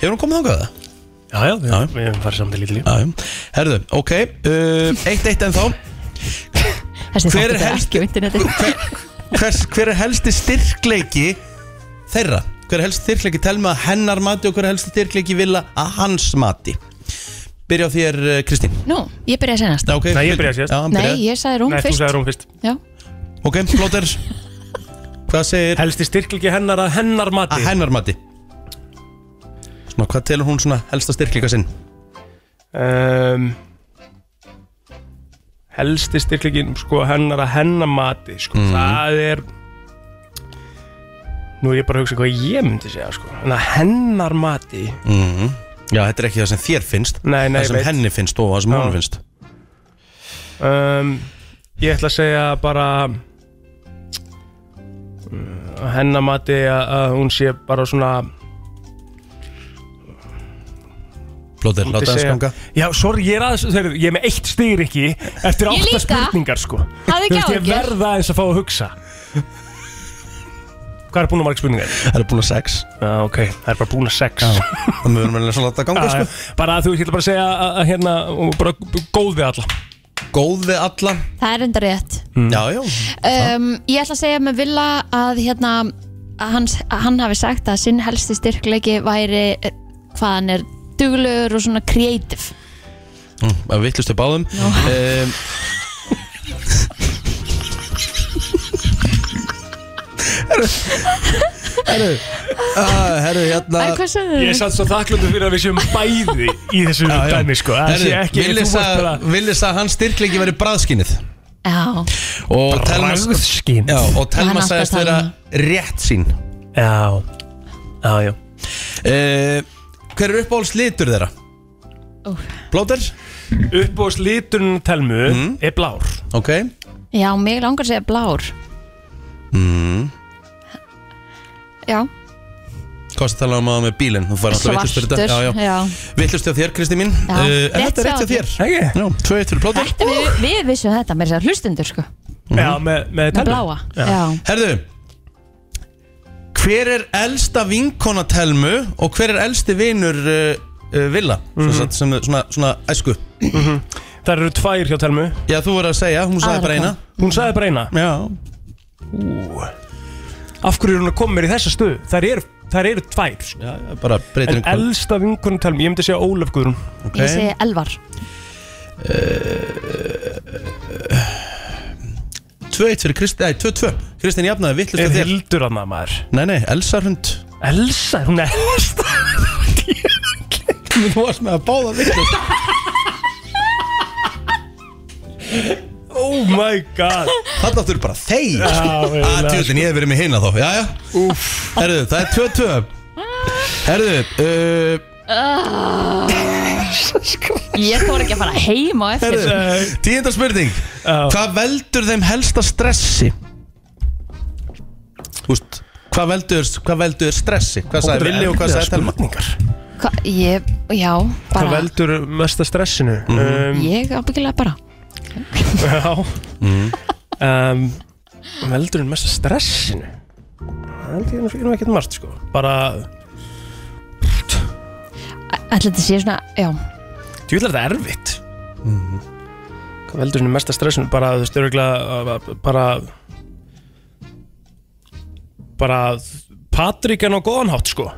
Speaker 1: Hefur hún komið þangað það?
Speaker 4: Já, já, já,
Speaker 1: Já.
Speaker 4: við höfum farið saman til Ítalíu
Speaker 1: Já, já Herðu, ok uh, Eitt eitt en þá
Speaker 3: þessi
Speaker 1: Hver
Speaker 3: þáttur
Speaker 1: er
Speaker 3: er
Speaker 1: helsti-
Speaker 3: ekki á interneti
Speaker 1: hver, hvers, hver er helsti styrkleiki þeirra? Hver er helsti styrkleiki Telma að hennar mati og hver er helsti styrkleiki Villa að hans mati? Byrja á þér, eh, Kristín
Speaker 3: nú, ég byrja að segja næst
Speaker 1: Já, ok.
Speaker 4: Nei, ég byrja síðast.
Speaker 1: Já, hann
Speaker 3: nei,
Speaker 1: byrjaði.
Speaker 3: ég sagði Róm
Speaker 4: Nei, þú
Speaker 3: fyrst
Speaker 4: segir hún fyrst
Speaker 3: já,
Speaker 1: Ok, Plóter Hvað segir
Speaker 4: Helsti styrklegi hennar að hennar mati
Speaker 1: að hennar mati? Svona, hvað telur hún svona helsta styrkleika sinn?
Speaker 4: um, helsti styrklegin sko, hennar að hennamati sko.
Speaker 1: Mhm.
Speaker 4: það er nú er ég bara að hugsa hvað ég myndi segja sko. en að hennar mati
Speaker 1: Já, þetta er ekki það sem þér finnst
Speaker 4: Nei, nei,
Speaker 1: Mm. Það sem
Speaker 4: ég veit.
Speaker 1: henni finnst og það sem
Speaker 4: Já.
Speaker 1: hún finnst
Speaker 4: um, ég ætla að segja bara hennamati að, að hún sé bara svona
Speaker 1: Plóter, láta hans
Speaker 4: segja-
Speaker 1: ganga
Speaker 4: Já, sorry, ég er aðeins, þeir, ég er með eitt styr ekki eftir
Speaker 3: Ég
Speaker 4: átta
Speaker 3: líka.
Speaker 4: spurningar sko
Speaker 3: Hafðu ekki
Speaker 4: Þú veist, Ég
Speaker 3: áhyggjur.
Speaker 4: verða eins að fá að hugsa Hvað er búin að marga spurningar?
Speaker 1: Það er búin að sex
Speaker 4: Já, ok, það er bara búin að sex
Speaker 1: Það mögur meðlega að láta ganga
Speaker 4: Já,
Speaker 1: sko.
Speaker 4: Bara að þú ég ætla bara að segja að, að hérna, og bara góð við alla
Speaker 1: Góð við alla
Speaker 3: það er enda rétt
Speaker 1: Já, já
Speaker 3: um, ég ætla að segja með Villa að hérna að hans, að hann hafi sagt að sinn helsti styrkleiki væri eh, hvað hann er duglegur og svona kreatív
Speaker 1: Mm, Að vittlustu báðum um, Herru Herru Herru, hérna
Speaker 3: Mm.
Speaker 4: Ég er satt svo þakklöndu fyrir að við séum bæði í þessu
Speaker 1: Já, já.
Speaker 4: dæmi sko Það sé
Speaker 1: Herru,
Speaker 4: ekki, þú
Speaker 1: Villis
Speaker 4: varst bara
Speaker 1: að- Villis að hans styrkleiki verið bræðskinnið
Speaker 3: Já,
Speaker 1: Og Telma
Speaker 4: Bragðskinn
Speaker 1: Já, og Telma
Speaker 3: alltaf
Speaker 1: sagðist
Speaker 3: sko. að tala
Speaker 1: vera
Speaker 3: um
Speaker 1: rétt sín
Speaker 4: Já, já, já
Speaker 1: uh, Hver er uppáhalds litur þeirra?
Speaker 3: Ó.
Speaker 1: Blóter?
Speaker 4: Upp á slíturinn telmu er blár
Speaker 1: Ok
Speaker 3: já, mig langar að segja blár
Speaker 1: Mm.
Speaker 3: Já,
Speaker 1: Hvað það tala um að með bílinn? Þú fær alltaf vittlust fyrir
Speaker 3: svartur
Speaker 1: þetta Já, já
Speaker 3: já.
Speaker 1: Vittlust hjá þér, Kristi mín
Speaker 3: Já.
Speaker 1: uh, En
Speaker 3: Rétt
Speaker 1: þetta er rétt
Speaker 3: hjá
Speaker 1: hjá þér
Speaker 4: Ekki?
Speaker 1: Já, tvö eitt fyrir plóter
Speaker 3: Þetta við, við vissum þetta, mér sér hlustundur sko
Speaker 4: Já, með, með
Speaker 3: Með
Speaker 4: telmu
Speaker 3: bláa já.
Speaker 1: Herðu Hver er elsta vinkona telmu og hver er elsti vinur uh, uh, Villa? Svo sagt, sem, svona, svona æsku
Speaker 4: Það eru tvær hjá telmu
Speaker 1: Já, þú voru að segja, hún sagði
Speaker 3: Aðra
Speaker 1: bara eina
Speaker 4: Hún sagði bara eina
Speaker 1: Já,
Speaker 4: Af hverju er hún að koma mér í þessa stöðu? Það eru, það eru tvær sko.
Speaker 1: já, já, bara breytir
Speaker 4: En
Speaker 1: einhvern
Speaker 4: elsta vinkunum telmu, ég myndi segja Ólaf Guðrún
Speaker 1: ok.
Speaker 3: Ég segi elvar
Speaker 1: Tvö eitt fyrir Kristi, nei, tvö tvö Kristin jafnaði, vittlust
Speaker 4: Er
Speaker 1: hjá þér
Speaker 4: hildur að maður
Speaker 1: Nei, nei, Elsa hund
Speaker 4: Elsa, hún er elsta
Speaker 1: Þú varst með að báða vittlust
Speaker 4: Oh my god
Speaker 1: Þarna áttur bara þeir
Speaker 4: eiginlega,
Speaker 1: Aðtjóðin, ég hef verið með hina þá Jæja, herðu, það er tvö tvö Herðu, uh,
Speaker 3: Ég þóra ekki að fara heim á eftir
Speaker 1: herðu Tíundar spurning Hvað veldur þeim helsta stressi? Úst, hvað veldur, hvað veldur stressi? Hvað sagði Villi og hvað sagði Telma?
Speaker 4: Spurningar
Speaker 3: Hva, ég, Já,
Speaker 4: Það
Speaker 3: bara
Speaker 4: veldur mesta stressinu um,
Speaker 3: Ég ábyggilega bara
Speaker 4: Já um, Veldur mesta stressinu Það held ég nú- ég nú ekkert margt sko Bara
Speaker 3: Ætla þetta sé svona, já
Speaker 4: Þú ætlar þetta erfitt Mhm. Hvað veldur mesta stressinu Bara þú veist örgulega Bara Bara Patrik er nú góðan hátt sko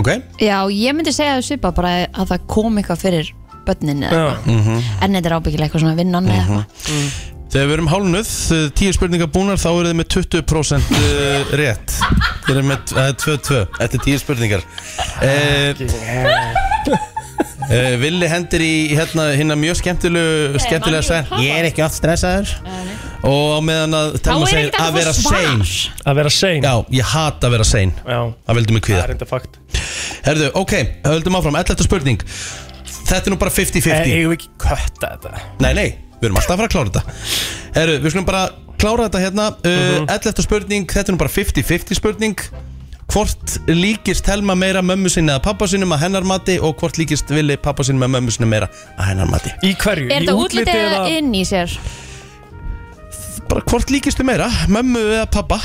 Speaker 1: Ok,
Speaker 3: Já, ég myndi segja þessu bara, bara að það kom eitthvað fyrir börninni eða
Speaker 4: Já
Speaker 3: eitthvað. En þetta er ábyggilega eitthvað svona vinnan eða eitthvað
Speaker 1: Þegar við erum hálnuð, eh, tíu spurningar búnar þá eru þið með 20% eh, rétt Þið eru með eh, 2-2 eftir tíu spurningar eh, eh, Villi hendir í hérna, hérna mjög skemmtilegu skemmtilega
Speaker 3: maður
Speaker 1: að segja
Speaker 3: hefur
Speaker 1: Ég er ekki oft stressaður
Speaker 3: nei.
Speaker 1: og á meðan að
Speaker 3: Þá
Speaker 1: telma
Speaker 3: er
Speaker 1: segir
Speaker 3: ekkert
Speaker 1: að
Speaker 3: að
Speaker 1: vera
Speaker 3: það
Speaker 1: sein
Speaker 3: svar
Speaker 4: Að vera sein
Speaker 1: Já, ég hata að vera sein Það vildi mig
Speaker 4: það
Speaker 1: kvíða
Speaker 4: er enda fakt
Speaker 1: Herðu, ok, höldum áfram, 11. spurning Þetta er nú bara 50-50
Speaker 4: Ég hef Eh, ekki kötta þetta
Speaker 1: Nei, nei, við erum alltaf að fara að klára þetta Herru, við skulum bara klára þetta hérna uh, 11. spurning, þetta er nú bara 50-50 spurning Hvort líkist Helma meira mömmu sinni eða pappa sinni að hennar mati og hvort líkist Vili pappa sinni með mömmu sinni meira að hennar mati
Speaker 4: Í hverju?
Speaker 3: Er
Speaker 4: Í
Speaker 3: þetta útlitið eða inn í sér?
Speaker 1: Bara hvort líkist þið meira, mömmu eða pappa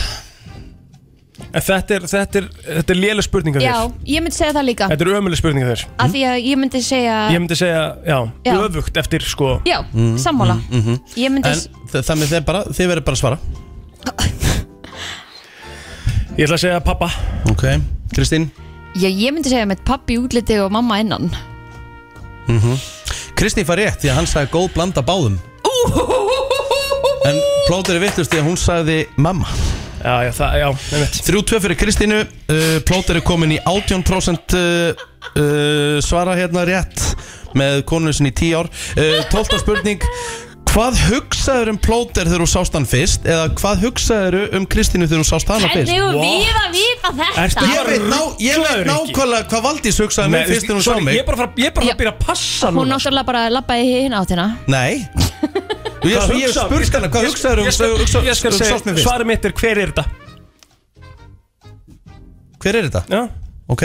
Speaker 4: En Þetta er, þetta er, þetta er lélega spurninga
Speaker 3: Já,
Speaker 4: þér
Speaker 3: ég myndi segja það líka
Speaker 4: Þetta er ömulega spurninga þér
Speaker 3: Af því að ég myndi segja
Speaker 4: Ég myndi segja, já,
Speaker 3: Já.
Speaker 4: öfugt eftir sko
Speaker 3: Já, sammála Ég myndi
Speaker 1: En þ- þannig þið, bara, þið verður bara að svara
Speaker 4: Ég ætla að segja pappa
Speaker 1: Ok, Kristín
Speaker 3: Já, ég myndi segja með pappi útliti og mamma innan
Speaker 1: Kristín fær rétt því að hann sagði góð blanda báðum En plótur er vittust því að hún sagði mamma
Speaker 4: Já, já, það, já, nefnt
Speaker 1: 3-2 fyrir Kristínu uh, Plóter er komin í 18% uh, uh, svara hérna rétt með konunni sinni í 10 ár uh, 12. spurning Hvað hugsaður um Plóter þegar þú sást hann fyrst eða hvað hugsaður um Kristínu þegar þú sást hana fyrst
Speaker 3: Hvernig
Speaker 4: What?
Speaker 3: og við að vita
Speaker 4: Ertu
Speaker 3: þetta?
Speaker 1: Ég veit, ná, ég veit
Speaker 4: Ruglaður ekki.
Speaker 1: nákvæmlega hvað Valdís
Speaker 3: um
Speaker 1: hugsaði um mig fyrst þegar hún sá
Speaker 4: Ég
Speaker 1: mig
Speaker 4: er bara að fara- ég er bara að fara
Speaker 3: Já.
Speaker 4: að byrja að passa
Speaker 3: Hún
Speaker 4: núna
Speaker 3: náttúrulega bara lappaði hinn áttina
Speaker 1: Nei Ég,
Speaker 4: Hvað
Speaker 1: ég hef
Speaker 4: hugsaði-
Speaker 1: spurt hana, hvað
Speaker 4: Ég-
Speaker 1: hugsaður um
Speaker 4: ég skal-
Speaker 1: hugsa-
Speaker 4: Ég skal
Speaker 1: um sást mig
Speaker 4: segja,
Speaker 1: fyrst
Speaker 4: svarið mitt er hver er þetta?
Speaker 1: Hver er þetta?
Speaker 4: Já,
Speaker 1: Ok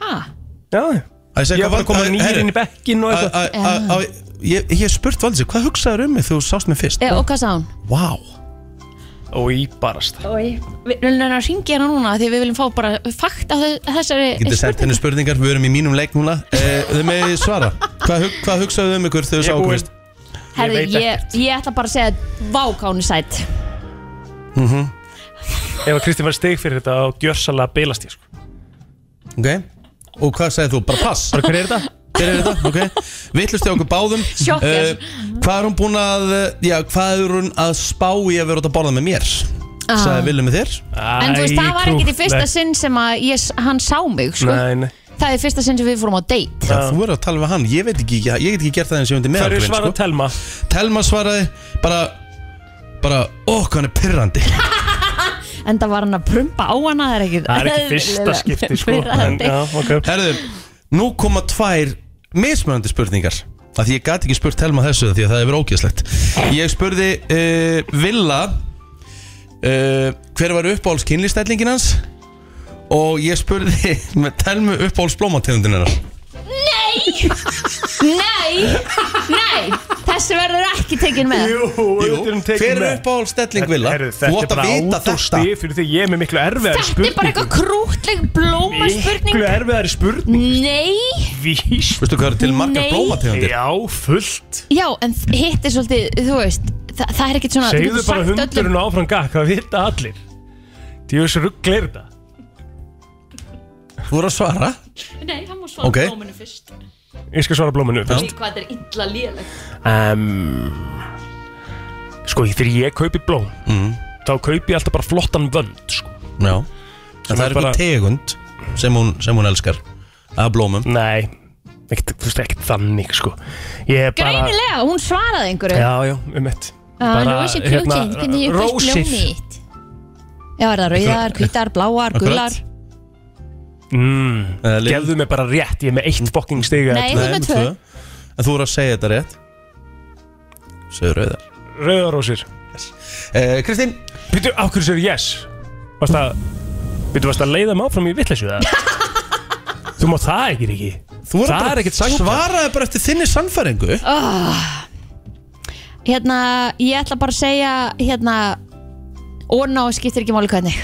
Speaker 3: Ha?
Speaker 4: já
Speaker 1: Að
Speaker 4: Ég
Speaker 1: segja
Speaker 4: er bara
Speaker 1: hvað-
Speaker 4: að koma
Speaker 1: að-
Speaker 4: nýr
Speaker 1: herri,
Speaker 4: inn í bekkin og
Speaker 1: að-
Speaker 4: eitthvað
Speaker 1: að- að- að- Ég ég hef spurt Valdís, hvað hugsaður um mig þegar þú sást mig fyrst?
Speaker 3: E, og hvað sagði hún?
Speaker 1: Vá
Speaker 4: Og í barast
Speaker 3: Við viljum að ringja hérna núna því við viljum fá bara fakt af þe- þessari
Speaker 1: Getið sendt henni spurningar, við erum í mínum leik núna eh, Þau með svara Hvað, hug, hvað hugsaðu um ykkur þegar þú
Speaker 4: Ég er
Speaker 1: sáum
Speaker 4: búinn.
Speaker 1: fyrst?
Speaker 3: Herði,
Speaker 4: veit
Speaker 3: ég, ég, ætla bara að segja vákánu sætt
Speaker 4: Ef að Kristín var stig fyrir þetta og gjörsalega bilast ég sko
Speaker 1: Ok Og hvað segir þú? Bara pass
Speaker 4: Bara hver er þetta?
Speaker 1: Hver er þetta? Ok Vittlust hjá okkur báðum
Speaker 3: Sjokker.
Speaker 1: Eh, Hvað er hún búin að eh, Já, hvað er hún að spá í að vera út að borða með mér?
Speaker 3: Ah.
Speaker 1: Sæði Villu með þér
Speaker 3: En þú veist, það var ekkert í fyrsta sinn sem að ég, hann sá mig, sko
Speaker 4: Nei, nei
Speaker 3: Það er fyrsta sinn sem við fórum á date
Speaker 1: Já, þú verður að tala við hann Ég veit ekki, ég, ég get ekki gert það eins og ég undir með
Speaker 4: Ah. Hverju svarað
Speaker 1: sko.
Speaker 4: Telma?
Speaker 1: Telma svaraði bara Bara, ó, hvað hann er pirrandi
Speaker 3: En það var hann að prumpa á hana Það er ekki,
Speaker 4: Það er ekki fyrsta skipti sko en,
Speaker 3: Pirrandi.
Speaker 4: já, ok.
Speaker 1: Herðu, nú koma tvær mismunandi spurningar að því ég gati ekki spurt Telma þessu því að það hefur ógeðslegt ég spurði uh, Villa uh, hver var uppáhalds kynlistællingin hans og ég spurði með Telmu uppáhalds blómategundin hennar
Speaker 3: Nei, nei Þessi verður ekki tekin með
Speaker 4: Jú, þetta erum tekin
Speaker 1: hver er
Speaker 4: með.
Speaker 1: uppáhalds stelling Villa
Speaker 4: Herru,
Speaker 1: þú átt að vita
Speaker 4: Þetta er bara át og
Speaker 1: þetta
Speaker 4: stig fyrir því ég er með miklu
Speaker 3: Þetta
Speaker 4: erfiðari
Speaker 3: er bara
Speaker 4: spurningu
Speaker 3: eitthvað krútleg blóma
Speaker 4: Miklu
Speaker 3: spurning
Speaker 4: erfiðari spurning
Speaker 3: Nei
Speaker 4: Víst
Speaker 1: veistu hvað eru til margar
Speaker 3: Nei.
Speaker 1: blómategundir
Speaker 4: Já, fullt
Speaker 3: Já, en þ- hitt er svolítið, þú veist Það, það er ekkert svona Ah, þú
Speaker 4: Segðu
Speaker 3: getur
Speaker 4: bara
Speaker 3: sagt öllum-
Speaker 4: hundurinn áfram gakk Það vita allir Djús rugglir þetta
Speaker 1: þú voru að svara
Speaker 3: Nei, hann má svara
Speaker 1: Ok.
Speaker 3: blóminu fyrst
Speaker 4: Ég skal svara blóminu fyrst
Speaker 3: Hvað þetta er illa lélegt
Speaker 4: um, Sko, þegar ég kaupi blóm Þá kaupi ég alltaf bara flottan vönd sko.
Speaker 1: já en það
Speaker 4: er
Speaker 1: er eitthvað
Speaker 4: bara-
Speaker 1: tegund sem hún, sem hún elskar að blómum
Speaker 4: Nei, ekkert, þú veist, ekkert þannig sko. Ég er bara
Speaker 3: Greinilega, Ah, hún svaraði einhverju
Speaker 4: Já, já, um mitt
Speaker 3: Að Rósi
Speaker 4: hérna,
Speaker 3: krútið, hvernig ég fyrst blómið þitt? Já, er það rauðar, hvítar, bláar, gular
Speaker 4: mm,
Speaker 1: Eða lin-
Speaker 4: Gefðu mig bara rétt, ég er með eitt fokking stig
Speaker 3: Nei, þú
Speaker 1: Nei,
Speaker 3: með tvö
Speaker 1: En þú voru að segja þetta rétt Segðu rauðar
Speaker 4: Rauðarósir
Speaker 1: eh, Kristín
Speaker 4: Býtu, á hverju sér yes? Varst að, býtu, varst að leiða mig áfram í vitleysu það? þú má það ekki, Ríki
Speaker 1: Þú voru
Speaker 4: Það
Speaker 1: bara
Speaker 4: er ekkert sanngjarnt.
Speaker 1: Svaraði bara eftir þinni sannfæringu
Speaker 3: Hérna, ég ætla bara að segja Hérna Óná skiptir ekki máli hvernig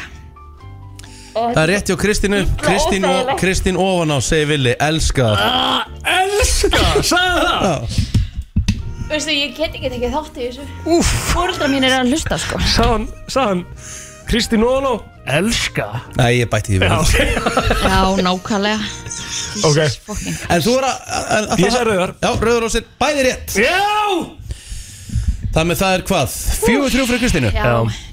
Speaker 1: Það er rétt hjá Kristínu Kristín, og, Kristín ofan á segi villi Elska það
Speaker 4: Elska, sagði það
Speaker 3: Veistu, ég get ekki tekið þátt í þessu Úf Fóruldra mín er að hlusta, sko
Speaker 4: Sáðan, sáðan Kristi Nóno Elska
Speaker 1: Nei, ég bæti því við
Speaker 3: Já, nákvæmlega
Speaker 4: Ok.
Speaker 3: Jesus fucking.
Speaker 1: En þú voru að, að, að
Speaker 4: Ég sagði rauðar.
Speaker 1: Já, rauðar og sér Bæði rétt
Speaker 4: Já
Speaker 1: Það með það er hvað? Fjögur þrjú fyrir Kristínu
Speaker 3: Já,
Speaker 4: Já.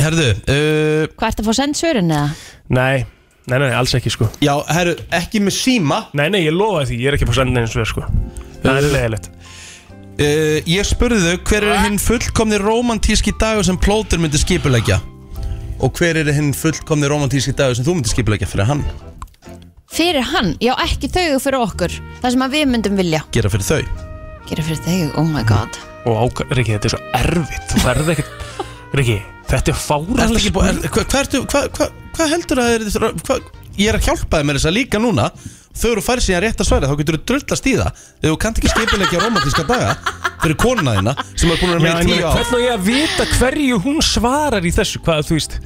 Speaker 1: Herðu, uh,
Speaker 3: hvað ertu að fá send svörin eða?
Speaker 4: Nei, nei, nei, alls ekki sko
Speaker 1: já, herru, ekki með síma
Speaker 4: Nei, nei, ég lofa því, ég er ekki að fá senda eins og þér sko Það er leiðilegt
Speaker 1: uh, Ég spurði þau hver er hinn fullkomni romantíski dagur sem plótur myndi skipulegja Og hver er hinn fullkomni romantíski dagur sem þú myndi skipulegja fyrir hann
Speaker 3: Fyrir hann, já ekki þau og fyrir okkur Það sem að við myndum vilja
Speaker 1: Gera fyrir þau
Speaker 3: Gera fyrir þau, oh my god
Speaker 4: Og ákvæ... Riki, þetta er svo erfitt Þú verð ekkert Riki, þetta er
Speaker 1: Ertu
Speaker 4: fáralega
Speaker 1: ekki búin, er, hvað, hvað, ertu- hvað, hvað, hvað heldur að þeir hvað, Ég er að hjálpa þeim með þess að líka núna Þau eru færið síðan rétt að sværa Þá getur þú drullast í það Þegar þú kannt ekki skipulegja romantíska daga Fyrir konuna þína Sem er komin að
Speaker 4: Já,
Speaker 1: vera
Speaker 4: en
Speaker 1: með í
Speaker 4: ég,
Speaker 1: tíu ár
Speaker 4: hvernig á ég að vita hverju hún svarar í þessu, hvað þú veist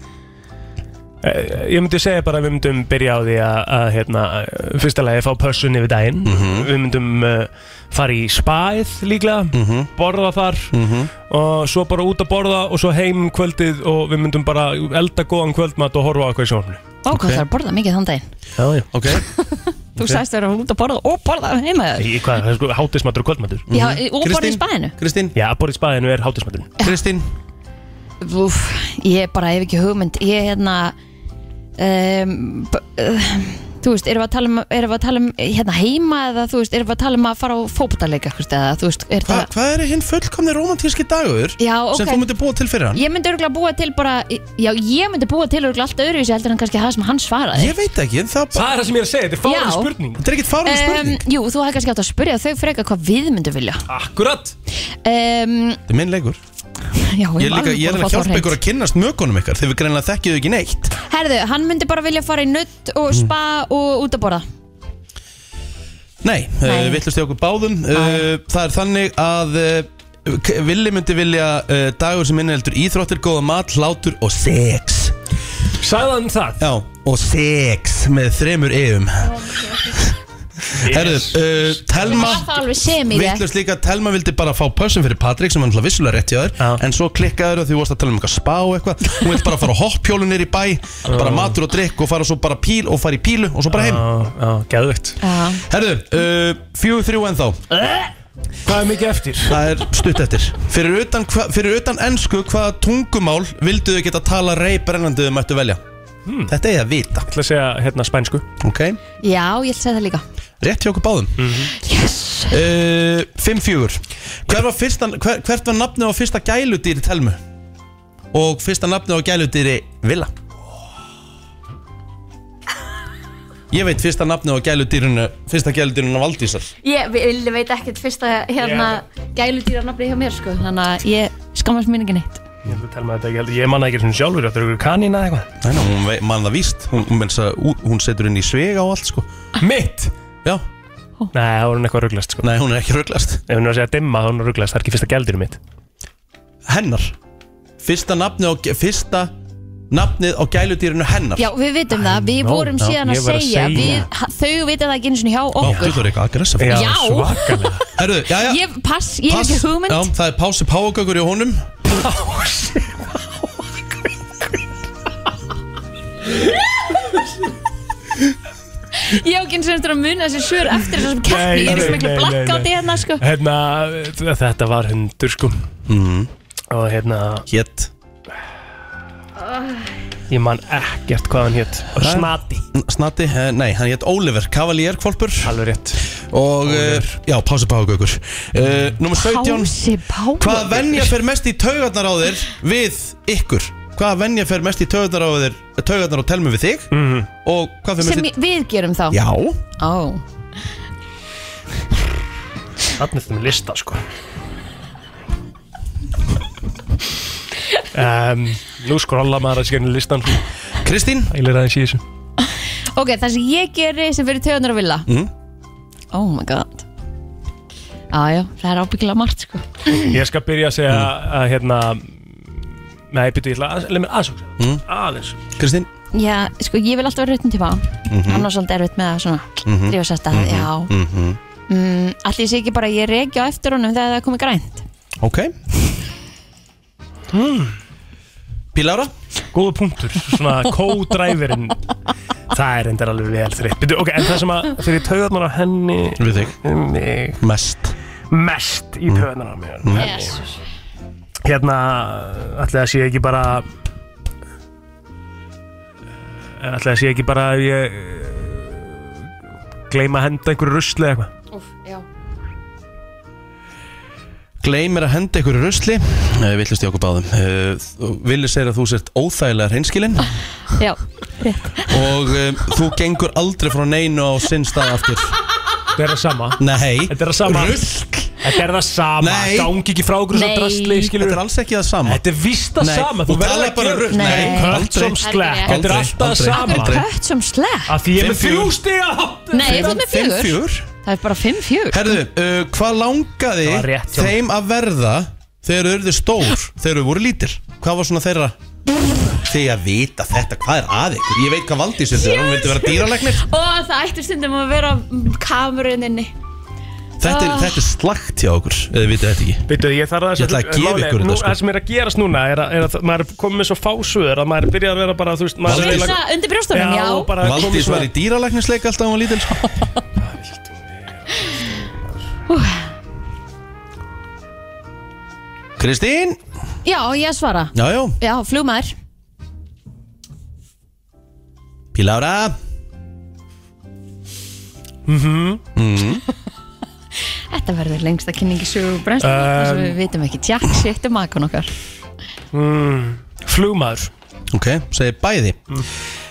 Speaker 4: Eh, Ég myndi segja bara að við myndum byrja á því að, að hérna, eh, fyrsta lagi fá pössun yfir daginn Við myndum uh, fara í spaið líklega, borða þar og svo bara út að borða og svo heim kvöldið og við myndum bara elda góðan kvöldmat og horfa á eitthvað í sjónfnu
Speaker 3: Ó, hvað það er að borða mikið þann daginn
Speaker 4: Já, já
Speaker 1: Ok,
Speaker 3: Þú sagðist að vera út að borða og borða heima þér
Speaker 4: Í hvað, það er sko hátismatur og kvöldmatur
Speaker 3: Já, og borða í
Speaker 1: Kristín,
Speaker 3: spæðinu
Speaker 1: Kristín,
Speaker 4: Já, að borða í spaðinu er hátismaturinn
Speaker 1: Kristín
Speaker 3: Úf, ég bara hef ekki hugmynd Ég hérna um, b- uh, Þú veist, erum við að tala um, erum við að tala um hérna heima eða þú veist, erum við að tala um að fara á fótboltaleik eitthvað, eða þú veist, er
Speaker 1: Hva,
Speaker 3: það
Speaker 1: Hvað er hinn fullkomni romantíski dagur
Speaker 3: Já, ok.
Speaker 1: Sem þú myndir búa til fyrir hann
Speaker 3: Ég myndi örgulega búa til bara Já, ég myndi búa til örgulega allt öðruvísi heldur en kannski það sem hann svaraði
Speaker 1: Ég veit ekki, en það, bara,
Speaker 4: Það er það sem ég er að segja, þetta er fárið
Speaker 3: Já.
Speaker 4: spurning
Speaker 1: þetta er ekkert fárið spurning
Speaker 3: Um, Jú, þú hefði kannski átt að spyrja þau frekar hvað við myndum vilja
Speaker 4: Akkurat
Speaker 3: um,
Speaker 1: Þetta er minn leikur
Speaker 3: Já,
Speaker 1: Ég er líka, ég er að hjálpa ykkur að kynnast mökunum ykkar Þegar við greinlega þekkið þau ekki neitt
Speaker 3: Herðu, hann myndi bara vilja fara í nutt og spa og út að borða
Speaker 1: Nei, uh, vittlust í okkur báðum uh, Það er þannig að uh, k- Villi myndi vilja uh, dagur sem inniheldur íþróttir, góða mat, hlátur og sex
Speaker 4: Sæðan það
Speaker 1: Já, og sex með þremur eðum Herðu, uh, Telma
Speaker 3: Það er alveg sem í þig
Speaker 1: Vittlust líka að Telma vildi bara fá pössun fyrir Patrik sem hann hlað vissulega rétt hjá þér
Speaker 4: Já.
Speaker 1: en svo klikkaður og því vorst að tala um eitthvað spá og eitthvað hún vildi bara fara á hoppjólu nýri bæ bara matur og drikk og fara svo bara píl og fara í pílu og svo bara heim
Speaker 4: Já, já, geðvögt
Speaker 1: Mm. Herðu, uh, fjögur þrjú ennþá
Speaker 4: Hvað er mikið eftir?
Speaker 1: Það er stutt eftir Fyrir utan, hva, fyrir utan ensku hvaða tungumál vildu þau geta tala rey brennandi þau mættu velja Þetta er að vita
Speaker 4: ætla að segja hérna spænsku
Speaker 1: Ok,
Speaker 3: Já, ég ætla að segja það líka
Speaker 1: rétt hjá okkur báðum
Speaker 3: Yes
Speaker 1: uh, Fimm fjögur Hver var fyrsta, hver, Hvert var nafnið á fyrsta gæludýri Telmu? Og fyrsta nafnið á gæludýri Villa Ég veit fyrsta nafnið á gæludýrinu Fyrsta gæludýrinu Valdísar
Speaker 3: Ég vil- veit ekkert fyrsta hérna gæludýra nafni hjá mér sko Þannig að ég skammast mér ekki neitt
Speaker 4: Ég ætla að tala með þetta ekki heldur Ég manna ekki svona sjálfur Þetta er ykkur kanína eða eitthvað
Speaker 1: Nei, ná, hún vei- man það víst Hún, hún, mensa, hún setur inn í svega og allt sko
Speaker 4: Mitt?
Speaker 1: Já,
Speaker 4: Nei, það voru hann eitthvað rugglast sko
Speaker 1: nei, hún er ekki röglast
Speaker 4: Ef hún er að segja dimma þá er hún rugglast Það er ekki fyrsta gældir mitt
Speaker 1: Hennar Fyrsta nafnið á, fyrsta nafnið á gæludýrinu hennar
Speaker 3: Já, við vitum það, við
Speaker 4: know,
Speaker 3: vorum
Speaker 4: já,
Speaker 3: síðan að
Speaker 4: ég var að
Speaker 3: segja,
Speaker 4: segja.
Speaker 3: við, ha- Þau vita það ekki eins og hjá
Speaker 1: Vá,
Speaker 3: okkur
Speaker 1: þú þarf eitthvað agressif
Speaker 4: Já,
Speaker 3: Já.
Speaker 4: svakalega
Speaker 1: Herðu, já, já
Speaker 3: Ég, pass, ég hef ekki hugmynd
Speaker 1: Já, það er pási páagökur í honum
Speaker 3: Ég á ekki eins og eftir að muna þessi svör eftir þessum keppni,
Speaker 4: Nei,
Speaker 3: ég er
Speaker 4: nei,
Speaker 3: svo miklu
Speaker 4: nei, nei,
Speaker 3: blakkátt
Speaker 4: nei.
Speaker 3: í hérna sko
Speaker 4: Hérna, þetta var hundur sko
Speaker 1: Mhm.
Speaker 4: Og hérna,
Speaker 1: Hétt
Speaker 4: ég man ekkert hvað hann hétt Snati
Speaker 1: Snati, eh, nei, hann hétt Oliver Cavalier kvolpur
Speaker 4: Alveg rétt
Speaker 1: Og, eh, já, pási páagökur uh, Númer 17
Speaker 3: Pási, pási
Speaker 1: Hvaða venja fer mest í taugarnar á þér við ykkur? Hvaða venja fer mest í taugarnar á þér Taugarnar á telmi við þig Og hvað fer mest
Speaker 3: Sem
Speaker 1: í...
Speaker 3: ég- við gerum þá
Speaker 1: Já,
Speaker 3: Ó,
Speaker 4: Þannig þetta með lista sko um, Nú skrolla maður að skjörni listan sko. Ég
Speaker 1: Kristín
Speaker 4: lera aðeins í þessu
Speaker 3: Ok, það sem ég geri sem fyrir töðunar að vilja
Speaker 1: Mhm.
Speaker 3: Oh my god Jájá, það er ábyggilega margt sko
Speaker 4: Ég skal byrja að segja að hérna Nei, byrju, ég ætla að leið mér aðsóksa mm. Aðeins
Speaker 1: Kristín
Speaker 3: Já, sko, ég vil alltaf vera rautin til fá Annars svolítið erfitt með að svona mm -hmm. Drífa sérst að, já mm Allir sé ekki bara að ég reki á eftir honum þegar það er komið grænt
Speaker 1: Ok Hmm. Pílára
Speaker 4: Góða punktur, svona co-driverinn Það er endur alveg vel þreytt Byrju, ok, en það sem að fyrir taugarnar á henni um
Speaker 1: Við þig
Speaker 4: Mig
Speaker 1: Mest
Speaker 4: Mest í taugarnar á mér
Speaker 3: Jesus
Speaker 4: Hérna, ætli að sé ekki bara eh, ætli að sé ekki bara að ég eh, gleyma að henda einhverju rusli eða eitthvað
Speaker 3: Úf, já
Speaker 1: Gleimir að henda ykkur rusli uh, Villust í okkur báðum uh, Villi segir að þú sért óþægilega hreinskilin
Speaker 3: Já,
Speaker 1: Og uh, þú gengur aldrei frá neinu á sinn stað aftur
Speaker 4: Þetta er það sama
Speaker 1: Nei
Speaker 4: Þetta er það sama
Speaker 1: Rusl
Speaker 4: Þetta er það sama
Speaker 1: Nei.
Speaker 4: Gangi ekki frá okkur svo
Speaker 3: Nei.
Speaker 4: drastli
Speaker 1: Þetta
Speaker 4: skilur
Speaker 1: er alls ekki það sama
Speaker 4: Þetta er vist það
Speaker 1: Nei,
Speaker 4: sama
Speaker 1: þú talar bara rusl.
Speaker 3: Nei, Nei,
Speaker 4: Kött
Speaker 1: aldrei.
Speaker 4: som slekk Þetta er
Speaker 1: Aldrei,
Speaker 4: alltaf það
Speaker 1: aldrei,
Speaker 4: sama
Speaker 1: aldrei.
Speaker 3: kött sem slepp
Speaker 4: Að því ég er
Speaker 1: Fimm,
Speaker 4: með þrjú
Speaker 1: fjögur.
Speaker 4: stiga
Speaker 3: Nei, þú ert með
Speaker 1: Fimm
Speaker 3: fjögur
Speaker 1: fjögur
Speaker 3: Það er bara fimm fjögur
Speaker 1: Herðu, uh, hvað langaði
Speaker 4: Það var rétt hjá mér.
Speaker 1: þeim að verða þegar þau urðu stór, þegar þau voru lítil? Hvað var svona þeirra? Þegar að vita þetta, hvað er að ykkur? Ég veit hvað valdi sér þegar hún vildi vera dýralegnir
Speaker 3: Og það ætti stundum að vera kameruninni
Speaker 1: þetta, er- þetta er slagt hjá okkur, eða vitið þetta ekki
Speaker 4: Býtu, ég þarf að
Speaker 1: Ég ætla að gefa
Speaker 4: Máli,
Speaker 1: ykkur þetta,
Speaker 4: nú,
Speaker 1: sko.
Speaker 4: Það sem er að gerast núna er að, er að maður er komið með svo fásöður að maður er byrjað að vera bara þú veist maður er
Speaker 1: Valdís-
Speaker 4: eiginlega-
Speaker 3: Svisa undir brjóstunum, já,
Speaker 4: og bara komið
Speaker 1: Valdís
Speaker 4: svona-
Speaker 1: var í dýralæknisleik alltaf hún var lítil sko. Kristín
Speaker 3: já, ég svara
Speaker 1: Já, já,
Speaker 3: Já, flugmaður
Speaker 1: Pílára
Speaker 3: Þetta verður lengsta kynningi sögur brennslu þar sem við vitum ekki tjátt sitt um makun okkar
Speaker 4: Flugmaður
Speaker 1: Ok, segi bæði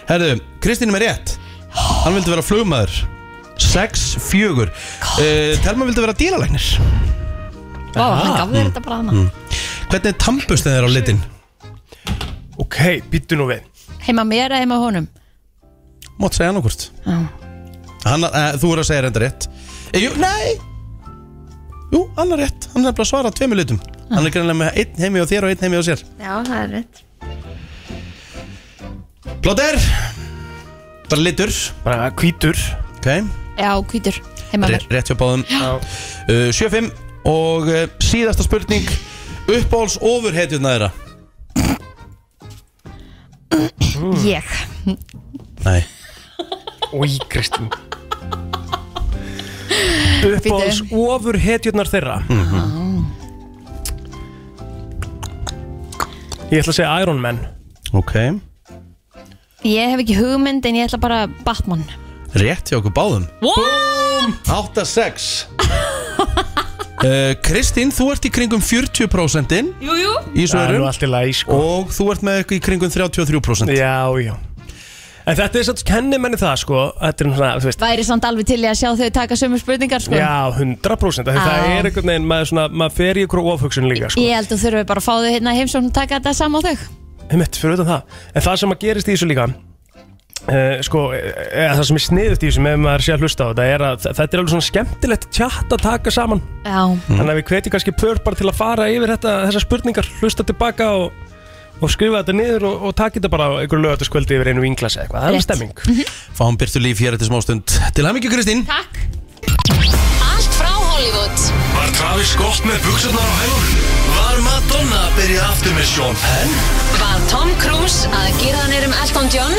Speaker 1: Herðu, Kristín er með rétt Hann vildi vera flugmaður 6-4 uh, Telma vildi vera dýralæknir
Speaker 3: Vá, hann gaf þér þetta bara hana
Speaker 1: Hvernig tampust þeir á litin?
Speaker 4: Ok, býttu nú við
Speaker 3: Heima mér eða heima honum
Speaker 1: Mátt segja hann okkur
Speaker 3: Já.
Speaker 1: Þú er að segja reynda rétt e, jú, Nei Jú, hann er rétt, hann er bara að svara tveimur litum Hann er greinlega með einn heimi á þér og einn heimi á sér
Speaker 3: Já, það er rétt
Speaker 1: Plóter Bara litur
Speaker 4: Bara hvítur
Speaker 1: Ok,
Speaker 3: Já, hvítur, heima
Speaker 1: Ré-
Speaker 3: mér
Speaker 1: rétt hjá báðum uh, 7-5 Og uh, síðasta spurning Uppáhalds ofurhetjurna þeirra
Speaker 3: Ég
Speaker 1: Nei
Speaker 4: Í Kristín Uppáðs ofur hetjurnar þeirra Ég ætla að segja Iron Man
Speaker 1: Ok
Speaker 3: Ég hef ekki hugmynd en ég ætla bara Batman
Speaker 1: Rétt hjá okkur báðum
Speaker 3: Búm!
Speaker 1: 8-6 uh, Kristín, þú ert í kringum 40%
Speaker 3: Jú, jú
Speaker 1: í
Speaker 4: Það er nú
Speaker 1: svörum
Speaker 4: allt í lagi sko
Speaker 1: Og þú ert með eitthvað í kringum 33%
Speaker 4: Já, já En þetta er satt kenni menni það sko Þetta er nú svona, þú veist
Speaker 3: Væri samt alveg til í að sjá þau taka sömu spurningar sko
Speaker 4: Já, 100% af því Það
Speaker 3: Já.
Speaker 4: er einhvern veginn, maður, svona, maður fer í ykkur ofhugsun líka sko.
Speaker 3: Ég held að þurfum við bara að fá þau hérna heimsókn og taka þetta saman á þau
Speaker 4: Einmitt, fyrir utan það En það sem að gerist í þessu líka Uh, sko, eða það sem er sniðut í þessu með maður sé að hlusta á þetta er að þ- þetta er alveg svona skemmtilegt tjatt að taka saman
Speaker 3: Já,
Speaker 4: þannig að við hvetjum kannski pör bara til að fara yfir þetta, þessar spurningar, hlusta tilbaka og, og skrifa þetta niður og, og taka þetta bara á einhver lögataskvöldi yfir einu vinglas eða eitthvað, það er
Speaker 3: Rétt.
Speaker 4: stemming
Speaker 1: Fáum Byrtu Líf hér eftir smástund Til hæmingju Kristín
Speaker 3: takk
Speaker 9: Allt frá Hollywood
Speaker 2: Var Travis Scott með buksurnar á hælunum? Var Madonna að byrja aftur með Sean Penn?
Speaker 9: Var Tom Cruise að gera hann erum Elton John?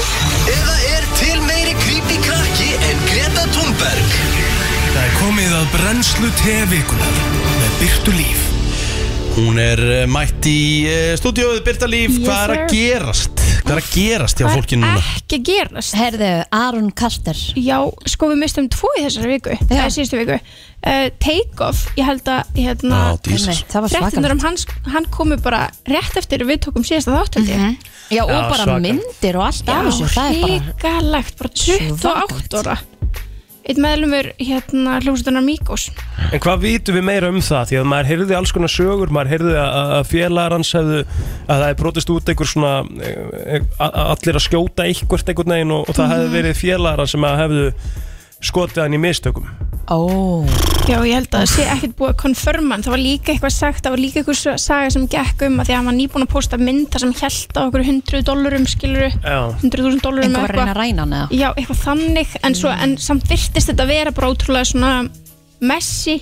Speaker 2: Eða er til meiri creepy krakki en Greta Thunberg? Það er komið að brennslu tevikunar með Byrtu Líf
Speaker 1: Hún er eh, mætt í uh, stúdíóið Byrta
Speaker 3: Yes,
Speaker 1: Líf Hvað er að
Speaker 3: sir.
Speaker 1: gerast? Hvað er að gerast hjá fólkinu núna?
Speaker 10: ekki að gerast
Speaker 3: Herðu, Aron Carter
Speaker 10: Já, sko við mistum tvo í þessari viku Það er síðustu viku uh, Take off, ég held að hérna,
Speaker 1: Á, Jesus.
Speaker 3: Einmitt, Það var svakar
Speaker 10: Frettindur um hans, hann komi bara rétt eftir við tókum síðasta þáttaldi mm -hmm.
Speaker 3: Já, og
Speaker 4: Já,
Speaker 3: bara
Speaker 4: svakalegt.
Speaker 3: myndir og allt af þessu Það er bara
Speaker 10: hrikalegt, bara 28
Speaker 3: Svakalegt.
Speaker 10: ára Eitt meðlumur hérna hljómsveitunar Míkos
Speaker 4: En hvað vitum við meira um það? Því að maður heyrði alls konar sögur, maður heyrði að- að að félagar hans hefðu, að það hefði brotist út einhver svona, eh, að- að allir að skjóta einhvert einhvern veginn og, og það hefði verið félagar hans sem að hefðu skotið hann í mistökum.
Speaker 3: Ó,
Speaker 10: Já, ég held að það sé ekkert búið að konfirma hann. Það var líka eitthvað sagt, það var líka eitthvað saga sem gekk um að því að hann var nýbúin að posta mynda sem held á okkur 100 dollurum skiluru
Speaker 4: Já.
Speaker 10: 100.000 dollurum
Speaker 3: einhver var að reyna að ræna hann eða
Speaker 10: Já, eitthvað þannig, en, svo, en samt virtist þetta vera bara ótrúlega svona messi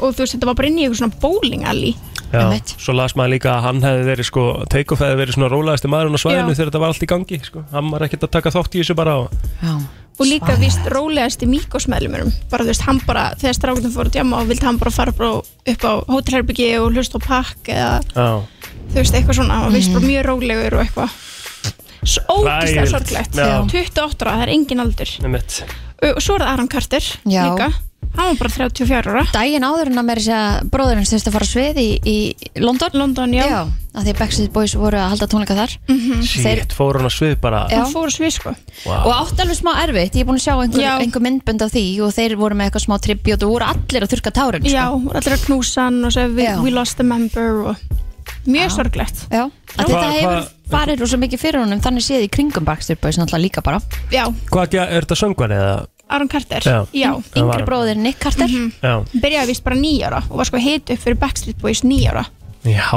Speaker 10: og þú veist, þetta var bara inn í eitthvað svona bowling alley.
Speaker 4: Já.
Speaker 3: Einmitt.
Speaker 4: Svo las maður líka að hann hefði verið sko, take-off hefði verið svona rólaðasti maðurinn á svæðinu
Speaker 10: Já.
Speaker 4: þegar þetta var allt í gangi, sko. Hann var ekkert að taka þátt í þessu bara og...
Speaker 3: Já.
Speaker 10: og líka víst rólegasti Míkos-meðlumunum bara þú veist, hann bara, þegar strákunum fór að djama og vildi hann bara fara bara upp á hótelherbyggi og hlusta á pakk eða
Speaker 4: Já.
Speaker 10: þú veist, eitthvað svona og veist bara mjög rólegur og eitthvað Svo ógislega
Speaker 4: Hræðilegt,
Speaker 10: sorglegt
Speaker 4: já.
Speaker 10: 28 ára, það er engin aldur
Speaker 4: Einmitt.
Speaker 10: og og svo er það Aron Carter
Speaker 3: Já.
Speaker 10: líka hann var bara 34 ára
Speaker 3: daginn áður en að mér sé að bróðurinn þurfti að fara á svið í, í London
Speaker 10: London, já, Mhm.
Speaker 3: já að því að Backstreet Boys voru að halda tónleika þar Mhm, Þeir-
Speaker 4: Shit, fór hann á svið bara
Speaker 3: Já.
Speaker 10: hann fór á svið sko
Speaker 4: Vá.
Speaker 3: og átt alveg smá erfitt, ég er búin að sjá einhver,
Speaker 10: Já.
Speaker 3: einhver myndbönd af því og þeir voru með eitthvað smá tribut og voru allir að þurka tárin
Speaker 10: já,
Speaker 3: sko.
Speaker 10: og allir að knúsa hann og segja we,
Speaker 3: Já.
Speaker 10: we lost a member og mjög sorglegt
Speaker 3: já. að
Speaker 4: Hva-
Speaker 3: þetta hefur
Speaker 4: hva-
Speaker 3: farið rosa mikið fyrir honum þannig séð í kringum Backstreet Boys náttúrulega líka bara
Speaker 10: já,
Speaker 4: Hvað er, er þetta söngvar eða?
Speaker 10: Aron Carter
Speaker 4: Já. Það var
Speaker 3: yngri
Speaker 4: hann.
Speaker 3: bróðir Nick Carter
Speaker 10: Mhm.
Speaker 4: Já,
Speaker 10: byrjaði vist bara nýja ára og var sko hit upp fyrir Backstreet Boys nýja ára
Speaker 4: já,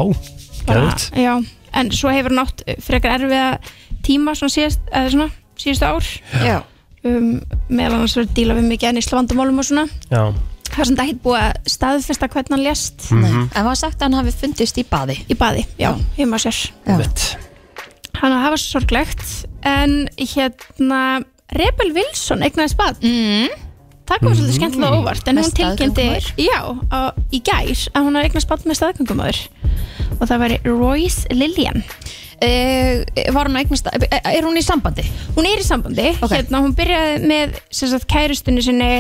Speaker 10: bara,
Speaker 4: gæðut
Speaker 10: já, en svo hefur hann átt frekar erfiða tíma svona síðast, eða svona, síðustu ár
Speaker 3: já.
Speaker 10: um, meðal annars verið að díla við mikið nýslavandamálum og svona
Speaker 4: Já,
Speaker 10: það er samt ekkert búið að staðfesta hvernig hann lést
Speaker 3: Nei.
Speaker 4: Mhm.
Speaker 3: en var sagt að hann hafi fundist í baði
Speaker 10: í baði, já, heima á sér
Speaker 3: Já.
Speaker 4: einmitt
Speaker 10: hann hafa svo sorglegt en hérna Rebel Wilson eignaðist bad
Speaker 3: mm.
Speaker 10: það kom svolítið skemmtilega á óvart en
Speaker 3: Með
Speaker 10: hún tilkynnti
Speaker 3: staðgöngumóður.
Speaker 10: já, á, í gær að hún hafa eignast bad með staðgöngumöður og það væri Royce Lillian
Speaker 3: e, var hann að eignast e, er hún í sambandi?
Speaker 10: hún er í sambandi,
Speaker 3: Ok.
Speaker 10: hérna hún byrjaði með sem sagt, kærustunni sinni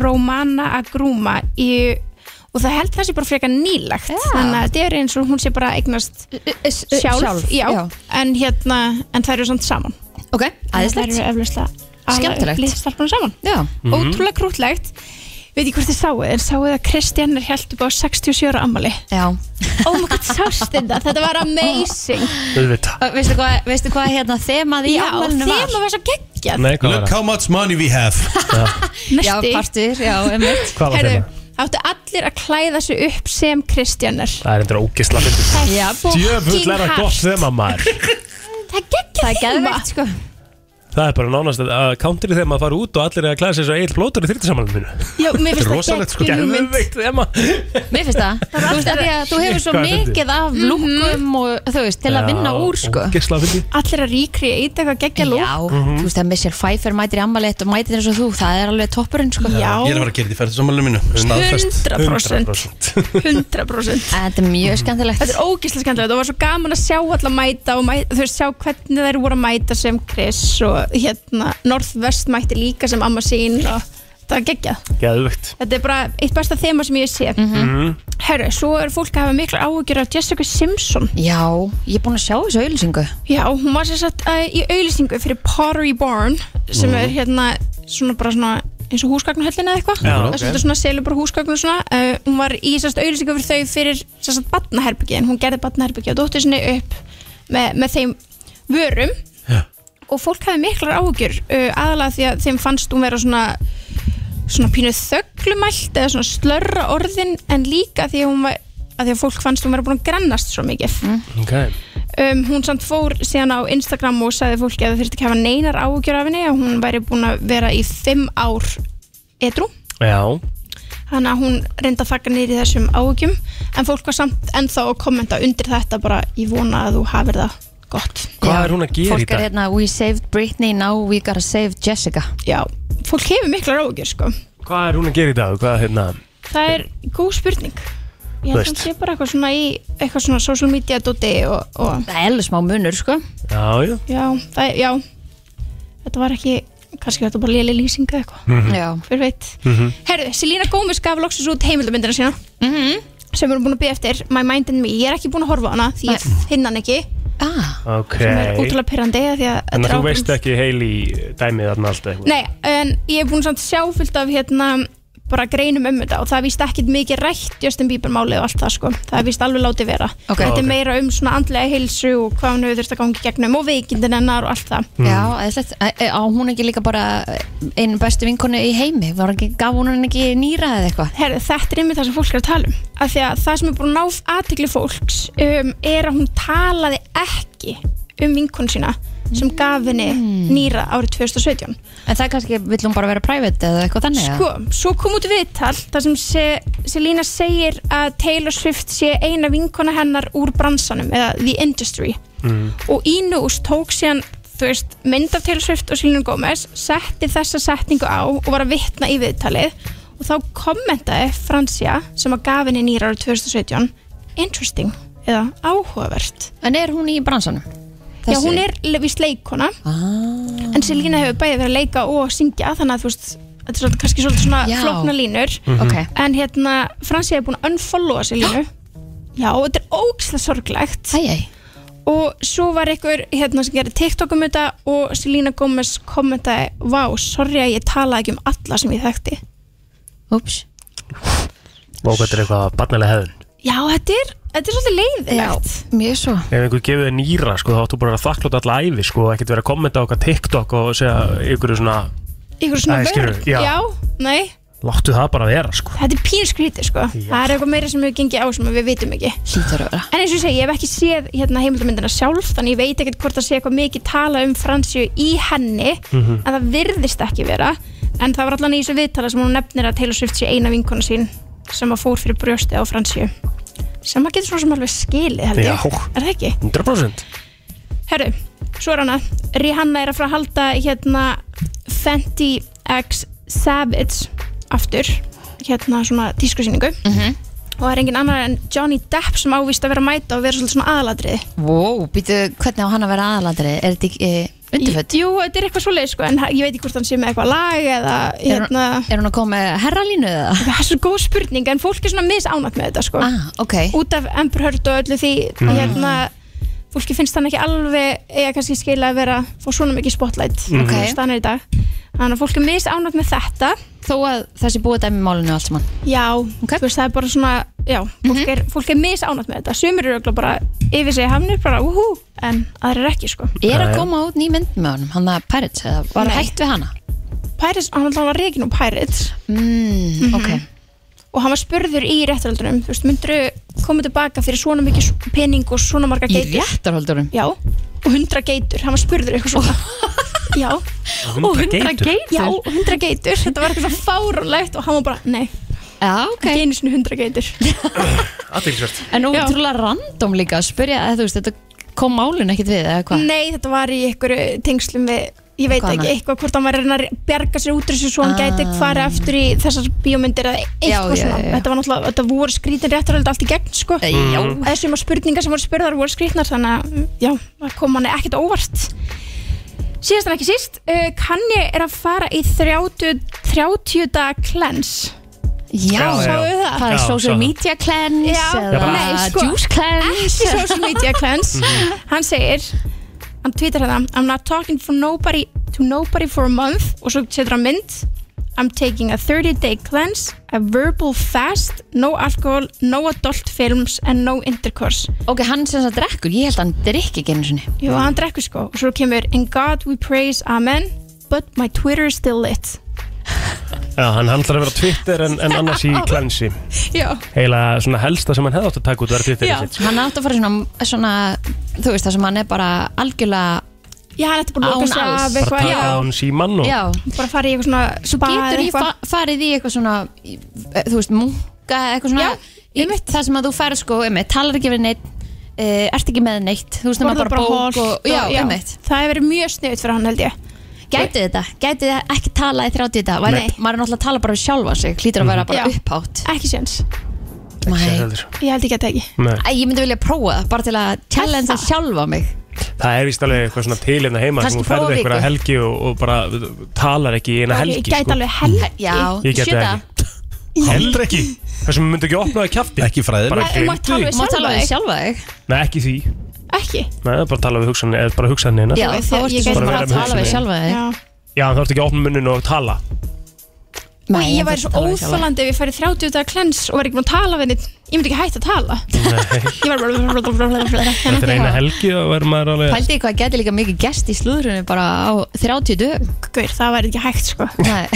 Speaker 10: Romana Agruma í, og það held það sé bara frekar nýlagt
Speaker 3: Já.
Speaker 10: þannig að þetta er eins og hún sé bara að eignast
Speaker 3: E, e, s- e,
Speaker 10: sjálf, já, en hérna en það eru samt saman
Speaker 3: ok,
Speaker 10: það
Speaker 3: æðislegt
Speaker 10: eru eflauslega
Speaker 3: Skemmtilegt.
Speaker 10: listastarpunum saman
Speaker 3: já,
Speaker 1: Mhm.
Speaker 10: ótrúlega krútlegt veit ég hvort þið sáu, en sáu það að Kristján er held upp á 67 ára ammali
Speaker 3: já
Speaker 10: oh my god, sást þetta, þetta var amazing
Speaker 4: Auðvitað
Speaker 3: Og Veistu hvað, veistu hvað hérna þemað í afmælinu var?
Speaker 10: þeim var svo geggjað
Speaker 4: Nei, hvað var
Speaker 1: Look
Speaker 4: það?
Speaker 1: how much money we have
Speaker 3: Já,
Speaker 10: næsti,
Speaker 3: partur, já, einmitt
Speaker 4: Hvað var
Speaker 10: herru,
Speaker 4: það?
Speaker 10: áttu allir að klæða sig upp sem Kristján er
Speaker 4: Það er endur ógisla fyrir
Speaker 3: Já,
Speaker 4: Djöfull er það
Speaker 10: hart.
Speaker 4: gott þeim að maður
Speaker 10: það er geggjað
Speaker 3: það er
Speaker 10: þema.
Speaker 3: geðveikt, sko
Speaker 4: Það er bara nánast að- að counteri þeim að fara út og allir er að klæða sér svo eitt blótur í þyrtisamalinu mínu
Speaker 10: já,
Speaker 1: Þetta er
Speaker 10: mér finnst
Speaker 1: rosalegt,
Speaker 10: það
Speaker 1: sko.
Speaker 10: geggjað hugmynd
Speaker 4: þeim að
Speaker 3: Mér finnst það, þú veist að því að þú hefur svo
Speaker 4: Hvað er fyndið?
Speaker 3: mikið af
Speaker 10: Mhm.
Speaker 3: lúkum og þú veist, til að vinna úr, sko
Speaker 4: Ógisla fyrir
Speaker 10: allir að ríkri eitthvað eitthvað
Speaker 3: Já,
Speaker 10: geggjað lúk Mhm.
Speaker 3: þú veist að Michelle Pfeiffer mætir í ammæliðt og mætir eins og þú, það er alveg toppurinn, sko
Speaker 10: já,
Speaker 1: Ég er að fara að gera þetta í ferðarsammalinu mínu Staðfest
Speaker 10: 100%
Speaker 4: 100%
Speaker 10: 100%
Speaker 3: En Þetta er mjög skemmtilegt
Speaker 10: Þetta er ógíslega skemmtilegt og var svo gaman að sjá alla mæta og mæta, þú veist, sjá hvernig þær voru að mæta sem Chris og hérna Northwest mætti líka sem amma sín og það var geggjað.
Speaker 4: Gæðvögt
Speaker 10: Þetta er bara eitt besta þema sem ég sé. Herru, svo er fólk að hafa mikla áhugjur af Jessica Simpson.
Speaker 3: Já, ég er búin að sjá þessu auðlýsingu
Speaker 10: Já, hún var sér satt uh, í auðlýsingu fyrir Pottery Barn sem er hérna svona bara svona eins og húsgagnahöllin eða eitthvað.
Speaker 4: Já,
Speaker 10: Það er svolítið svona selur bara húsgagn og svona. Uh, hún var í sérst auðlýsingu fyrir þau fyrir sérst batnaherbyggi en hún gerði batnaherbyggi og dóttir sinni upp með, með þeim vörum og fólk hafði miklar áhugjur uh, aðalega því að þeim fannst hún vera svona svona pínu þöglumælt eða svona slörra orðin en líka því að hún var að því að fólk fannst hún vera búin að grannast svo mikið
Speaker 4: Ok
Speaker 10: um, hún samt fór síðan á Instagram og sagði fólki að það þurfti ekki að hafa neinar áhugjur af henni að hún væri búin að vera í fimm ár edru
Speaker 4: Já
Speaker 10: þannig að hún reyndi að þakka niður í þessum áhugjum en fólk var samt ennþá að kommenta undir þetta bara ég vona að þú hafir það gott
Speaker 4: Hvað
Speaker 3: Já,
Speaker 4: er hún að gera í
Speaker 3: Fólk er
Speaker 4: dag?
Speaker 3: hérna, we saved Britney, now we gotta save Jessica
Speaker 10: já, fólk hefur miklar áhugjur sko
Speaker 4: Hvað er hún að gera í dag? Hvað er hérna?
Speaker 10: það er góð spurning ég
Speaker 4: Þú
Speaker 10: held að
Speaker 4: veist.
Speaker 10: hún sé bara eitthvað svona í eitthvað svona social media doti og, og
Speaker 3: Það er alveg smá munur, sko
Speaker 4: Já, já
Speaker 10: já, það er, já þetta var ekki, kannski var þetta bara léli lýsinga eitthvað
Speaker 4: Mhm.
Speaker 3: Já
Speaker 10: hver veit Herðu, Selena Gomez gaf loksins út heimildamindina sína sem við erum búin að byggja eftir My Mind and Me, ég er ekki búin að horfa á hana því ég finn hann ekki,
Speaker 3: Ah,
Speaker 4: Ok
Speaker 10: sem er útrúlega pyrrandi því að þetta
Speaker 4: Þannig að
Speaker 10: er
Speaker 4: þú
Speaker 10: ákveðin-
Speaker 4: veist ekki heil í dæmið þarna allt eitthvað
Speaker 10: Nei, en ég er búin samt sjá fullt af hérna bara greinum um þetta og það er víst ekkit mikið rætt Justin Bieber málið og allt það sko það er víst alveg látið vera
Speaker 3: Ok.
Speaker 10: þetta
Speaker 4: Ok.
Speaker 10: er meira um svona andlega heilsu og hvað hann hefur þurft að gangi gegnum og veikindin hennar og allt það
Speaker 3: Já, æðislegt. Æ, æ, e, á hún ekki líka bara einu bestu vinkonu í heimi var ekki, gaf hún henni ekki nýra eða eitthvað
Speaker 10: Herðu, þetta er einmitt það sem fólk er að tala um af því að það sem er búin að ná aðtekli fólks um, er að hún talaði ekki um vinkonu sína sem gaf henni nýra árið 2017
Speaker 3: en það kannski vill hún bara vera private eða eitthvað þannig eða?
Speaker 10: sko, svo kom út viðtal þar sem Se- Selena segir að Taylor Swift sé eina vinkona hennar úr bransanum eða the industry og í nús tók síðan þú veist, mynd af Taylor Swift og Selena Gomez setti þessa setningu á og var að vitna í viðtalið og þá kommentaði Francia sem að gaf henni nýra árið 2017 interesting eða eða áhugavert
Speaker 3: En er hún í bransanum?
Speaker 10: Já,
Speaker 3: Þessi-
Speaker 10: hún er vist leikona ah. En Selina hefur bæðið verið að leika og syngja Þannig að þú veist, þetta er svolítið- kannski svolítið svona
Speaker 3: Já.
Speaker 10: flókna línur
Speaker 4: Mm.
Speaker 3: Mhm. Ok.
Speaker 10: En hérna, Fransi hefur búin að unfollowa Selinu Já, og þetta er ógislega sorglegt
Speaker 3: Æ, æ
Speaker 10: Og svo var einhver hérna sem gerði TikTok um þetta Og Selina Gómez kommentaði Vá, sorry að ég talaði ekki um alla sem ég þekkti
Speaker 3: Úps
Speaker 4: Og þetta er eitthvað barnalega hefðun
Speaker 10: Já, þetta er, þetta er svolítið leiðilegt
Speaker 3: Já, mjög svo
Speaker 4: Ef einhver gefið þér nýra, sko, þá áttu bara að þakkláta alla æfi, sko, og ekkert vera að kommenta á okkar TikTok og segja ykkur svona,
Speaker 10: Ykkur
Speaker 4: Æ,
Speaker 10: svona vörn
Speaker 4: skilur, já.
Speaker 10: nei
Speaker 4: láttu það bara vera, sko.
Speaker 10: Þetta er pínu skrítið sko Það er eitthvað meira sem hefur gengið á sem við vitum ekki
Speaker 3: Lítur að vera
Speaker 10: En eins og ég segi, ég hef ekki séð hérna, heimildamindina sjálf Þannig ég veit ekkert hvort það sé eitthvað mikið tala um Fransju í henni
Speaker 4: Mhm.
Speaker 10: En það virðist ekki vera En það var allan í þessu viðtala sem hún nefnir að Taylor Swift sé eina vinkona sín Sem að fór fyrir brjósti á Fransju Sem að getur svo sem alveg skilið held ég
Speaker 4: Já.
Speaker 10: Er það ekki?
Speaker 4: 100%.
Speaker 10: Herru, svo er hana Rihanna er að fara að halda hérna Fenty X Savage aftur hérna svona tískusýningu
Speaker 3: Mhm.
Speaker 10: og það er engin annar en Johnny Depp sem ávist að vera að mæta og vera svolítið svona aðalatriði
Speaker 3: Vó, býtu, hvernig á hann að vera aðaladri? Er þetta ekki e, undirfött?
Speaker 10: Jú, þetta er eitthvað svolítið sko en ha- ég veit ekki hvort hann sé með eitthvað lag eða hérna
Speaker 3: Er, hún- er hún að koma með herralínu eða?
Speaker 10: það er svo góð spurning en fólk er svona misánátt með þetta sko
Speaker 3: Ah, ok
Speaker 10: út af Amber Heard og öllu því
Speaker 4: Mhm.
Speaker 10: hérna fólki finnst hann ekki alveg eiga kannski skila að vera fá svona mikið spotlight
Speaker 4: Mhm. Ok.
Speaker 10: stannar í dag þannig að fólk er misánátt með þetta
Speaker 3: Þó að þessi búið dæmi í málinu allt saman
Speaker 10: Já, Mhm. þú veist, það er bara svona, já, fólk er, fólk er misánætt með þetta. Sumir eru örugglega bara yfir sig hafnir, bara úhú, en aðrir ekki, sko.
Speaker 3: Er að koma út ný mynd með honum, hann að Pirates eða var
Speaker 10: Nei.
Speaker 3: hægt við hana?
Speaker 10: Pirates, hann alltaf var reikin úr Pirates.
Speaker 3: Mm, ok
Speaker 10: Og hann var spurður í réttaröldunum, þú veist, myndur koma tilbaka fyrir svona mikið pening og svona marga
Speaker 3: Í
Speaker 10: geitur?
Speaker 3: réttarhöldurum?
Speaker 10: Já, og hundra geitur, hann var spurður eitthvað svona. já.
Speaker 4: Og 100 geitur?
Speaker 10: Já, og hundra geitur, þetta var eitthvað fárunlegt og hann var bara, nei.
Speaker 3: Já, ok
Speaker 10: Ekki einu sinni hundra geitur.
Speaker 4: Aðeinsvært.
Speaker 3: En ótrúlega random líka að spyrja að þú veist, þetta kom málinu ekkit við eða hvað?
Speaker 10: Nei, þetta var í einhverju tengslum við ég veit
Speaker 3: Hvað
Speaker 10: ekki,
Speaker 3: annað?
Speaker 10: eitthvað hvort hann var að reyna að bjarga sér út úr þessu svo hann
Speaker 3: Ah.
Speaker 10: gæti farið aftur í þessar bíómyndir eða eitthvað
Speaker 3: Já, já,
Speaker 10: svona
Speaker 3: já.
Speaker 10: þetta var náttúrulega, þetta voru skrítin réttaröld allt í gegn sko,
Speaker 3: Eh, já.
Speaker 10: þessum að spurningar sem voru spurðar voru skrítnar þannig að mm, já, það kom hann ekkert á óvart síðast en ekki síst uh, Kanye er að fara í 30, 30 dag cleanse
Speaker 3: Já,
Speaker 4: Já, já.
Speaker 10: Sáuð það?
Speaker 3: Það er
Speaker 4: Já, sá
Speaker 3: social
Speaker 4: það.
Speaker 3: media cleanse
Speaker 10: Já,
Speaker 3: eða
Speaker 4: bara-
Speaker 10: nei, sko,
Speaker 3: juice cleanse
Speaker 10: ekki social media cleanse hann segir hann tweetar hérna I'm not talking for nobody to nobody for a month og svo setur hann mynd I'm taking a 30 day cleanse a verbal fast no alcohol no adult films and no intercourse
Speaker 3: Ok, hann sem það drekkur, ég held að hann drikki ekki einu sinni
Speaker 10: jú hann drekkur sko og svo kemur In God we praise amen but my Twitter is still lit
Speaker 4: Já, hann hann ætlar að vera á Twitter en, en annars í klensi.
Speaker 10: já
Speaker 4: Heila svona helsta sem hann hefði átt að taka út verið Twitter
Speaker 10: Já.
Speaker 4: sitt.
Speaker 3: Hann átt að fara í svona, svona þú veist það sem hann er bara algjörlega
Speaker 10: já hann ætti bara að
Speaker 3: Án
Speaker 10: loka sig
Speaker 3: alls.
Speaker 10: af
Speaker 4: Bara
Speaker 10: eitthvað
Speaker 4: taka á
Speaker 10: já
Speaker 4: hann símann og...
Speaker 3: Já,
Speaker 10: bara fara í eitthvað svona
Speaker 3: svo
Speaker 10: spa eða
Speaker 3: getur ég
Speaker 10: eitthvað.
Speaker 3: fa farið í eitthvað svona í, eh, þú veist, munka eitthvað svona
Speaker 10: Já,
Speaker 3: í, það sem að þú færð sko, einmitt, talar ekki við neitt Uh, ert ekki með neitt, þú veist nema
Speaker 10: borða
Speaker 3: bara
Speaker 10: bara
Speaker 3: bók
Speaker 10: holt
Speaker 3: og, já, já.
Speaker 10: það hefur verið mjög sniðut fyrir hann held ég
Speaker 3: gætið þetta, gætið þið ekki tala í 30 þetta, maður
Speaker 10: Nei.
Speaker 3: er náttúrulega að tala bara við sjálfa sig, hlýtur
Speaker 4: Mhm.
Speaker 3: að vera bara
Speaker 10: Já.
Speaker 3: upphátt
Speaker 10: ekki séns,
Speaker 3: Nei.
Speaker 4: Heldur.
Speaker 10: ég held ekki að það ekki
Speaker 4: Nei.
Speaker 3: Æ, ég myndi vilja prófa það, bara til að challenge að sjálfa mig
Speaker 4: Það er vist alveg eitthvað svona til hérna heima sem
Speaker 3: Kannski
Speaker 4: þú ferði
Speaker 3: prófa
Speaker 4: einhverja
Speaker 3: viku.
Speaker 4: helgi og, og bara talar ekki í eina helgi
Speaker 10: ég gæti
Speaker 4: sko.
Speaker 10: alveg helgi
Speaker 3: já,
Speaker 4: Ég gæti
Speaker 3: sjöta,
Speaker 4: það Heldur ekki Það sem myndi ekki opna það kjafti
Speaker 1: Ekki fræðileg.
Speaker 4: Bara
Speaker 10: Nei, þú mátt
Speaker 4: glimtu
Speaker 10: tala
Speaker 4: því
Speaker 10: við
Speaker 3: má tala
Speaker 10: sjálfa
Speaker 3: við
Speaker 10: þig
Speaker 3: sjálfa þig
Speaker 4: Nei ekki því Nei
Speaker 10: ekki
Speaker 4: bara tala við hugsanina Eða bara hugsanina
Speaker 3: já,
Speaker 10: Ég-
Speaker 3: þá
Speaker 10: ég
Speaker 3: ertu
Speaker 10: gæti
Speaker 3: svona
Speaker 4: bara
Speaker 3: bara
Speaker 4: verið
Speaker 3: að
Speaker 4: með
Speaker 3: tala við
Speaker 4: hugsunina.
Speaker 3: sjálfa þig
Speaker 10: já.
Speaker 4: Já þú ert ekki að opna munnun og tala
Speaker 10: og ég væri
Speaker 3: þarf
Speaker 10: svo
Speaker 3: að tala við sjálfa þig.
Speaker 10: óþólandi ef ég færi 30 dagar klens og væri ekki búin að tala við neitt ég myndi ekki hægt að tala
Speaker 4: Nei
Speaker 10: ég væri bara
Speaker 4: Þetta er eina
Speaker 3: Já.
Speaker 4: helgi og verður maður alveg
Speaker 3: Pældi hvað gæti líka mikið gest í slúðrunni bara á 30 dög
Speaker 10: Gaur, það væri ekki hægt sko
Speaker 3: Nei.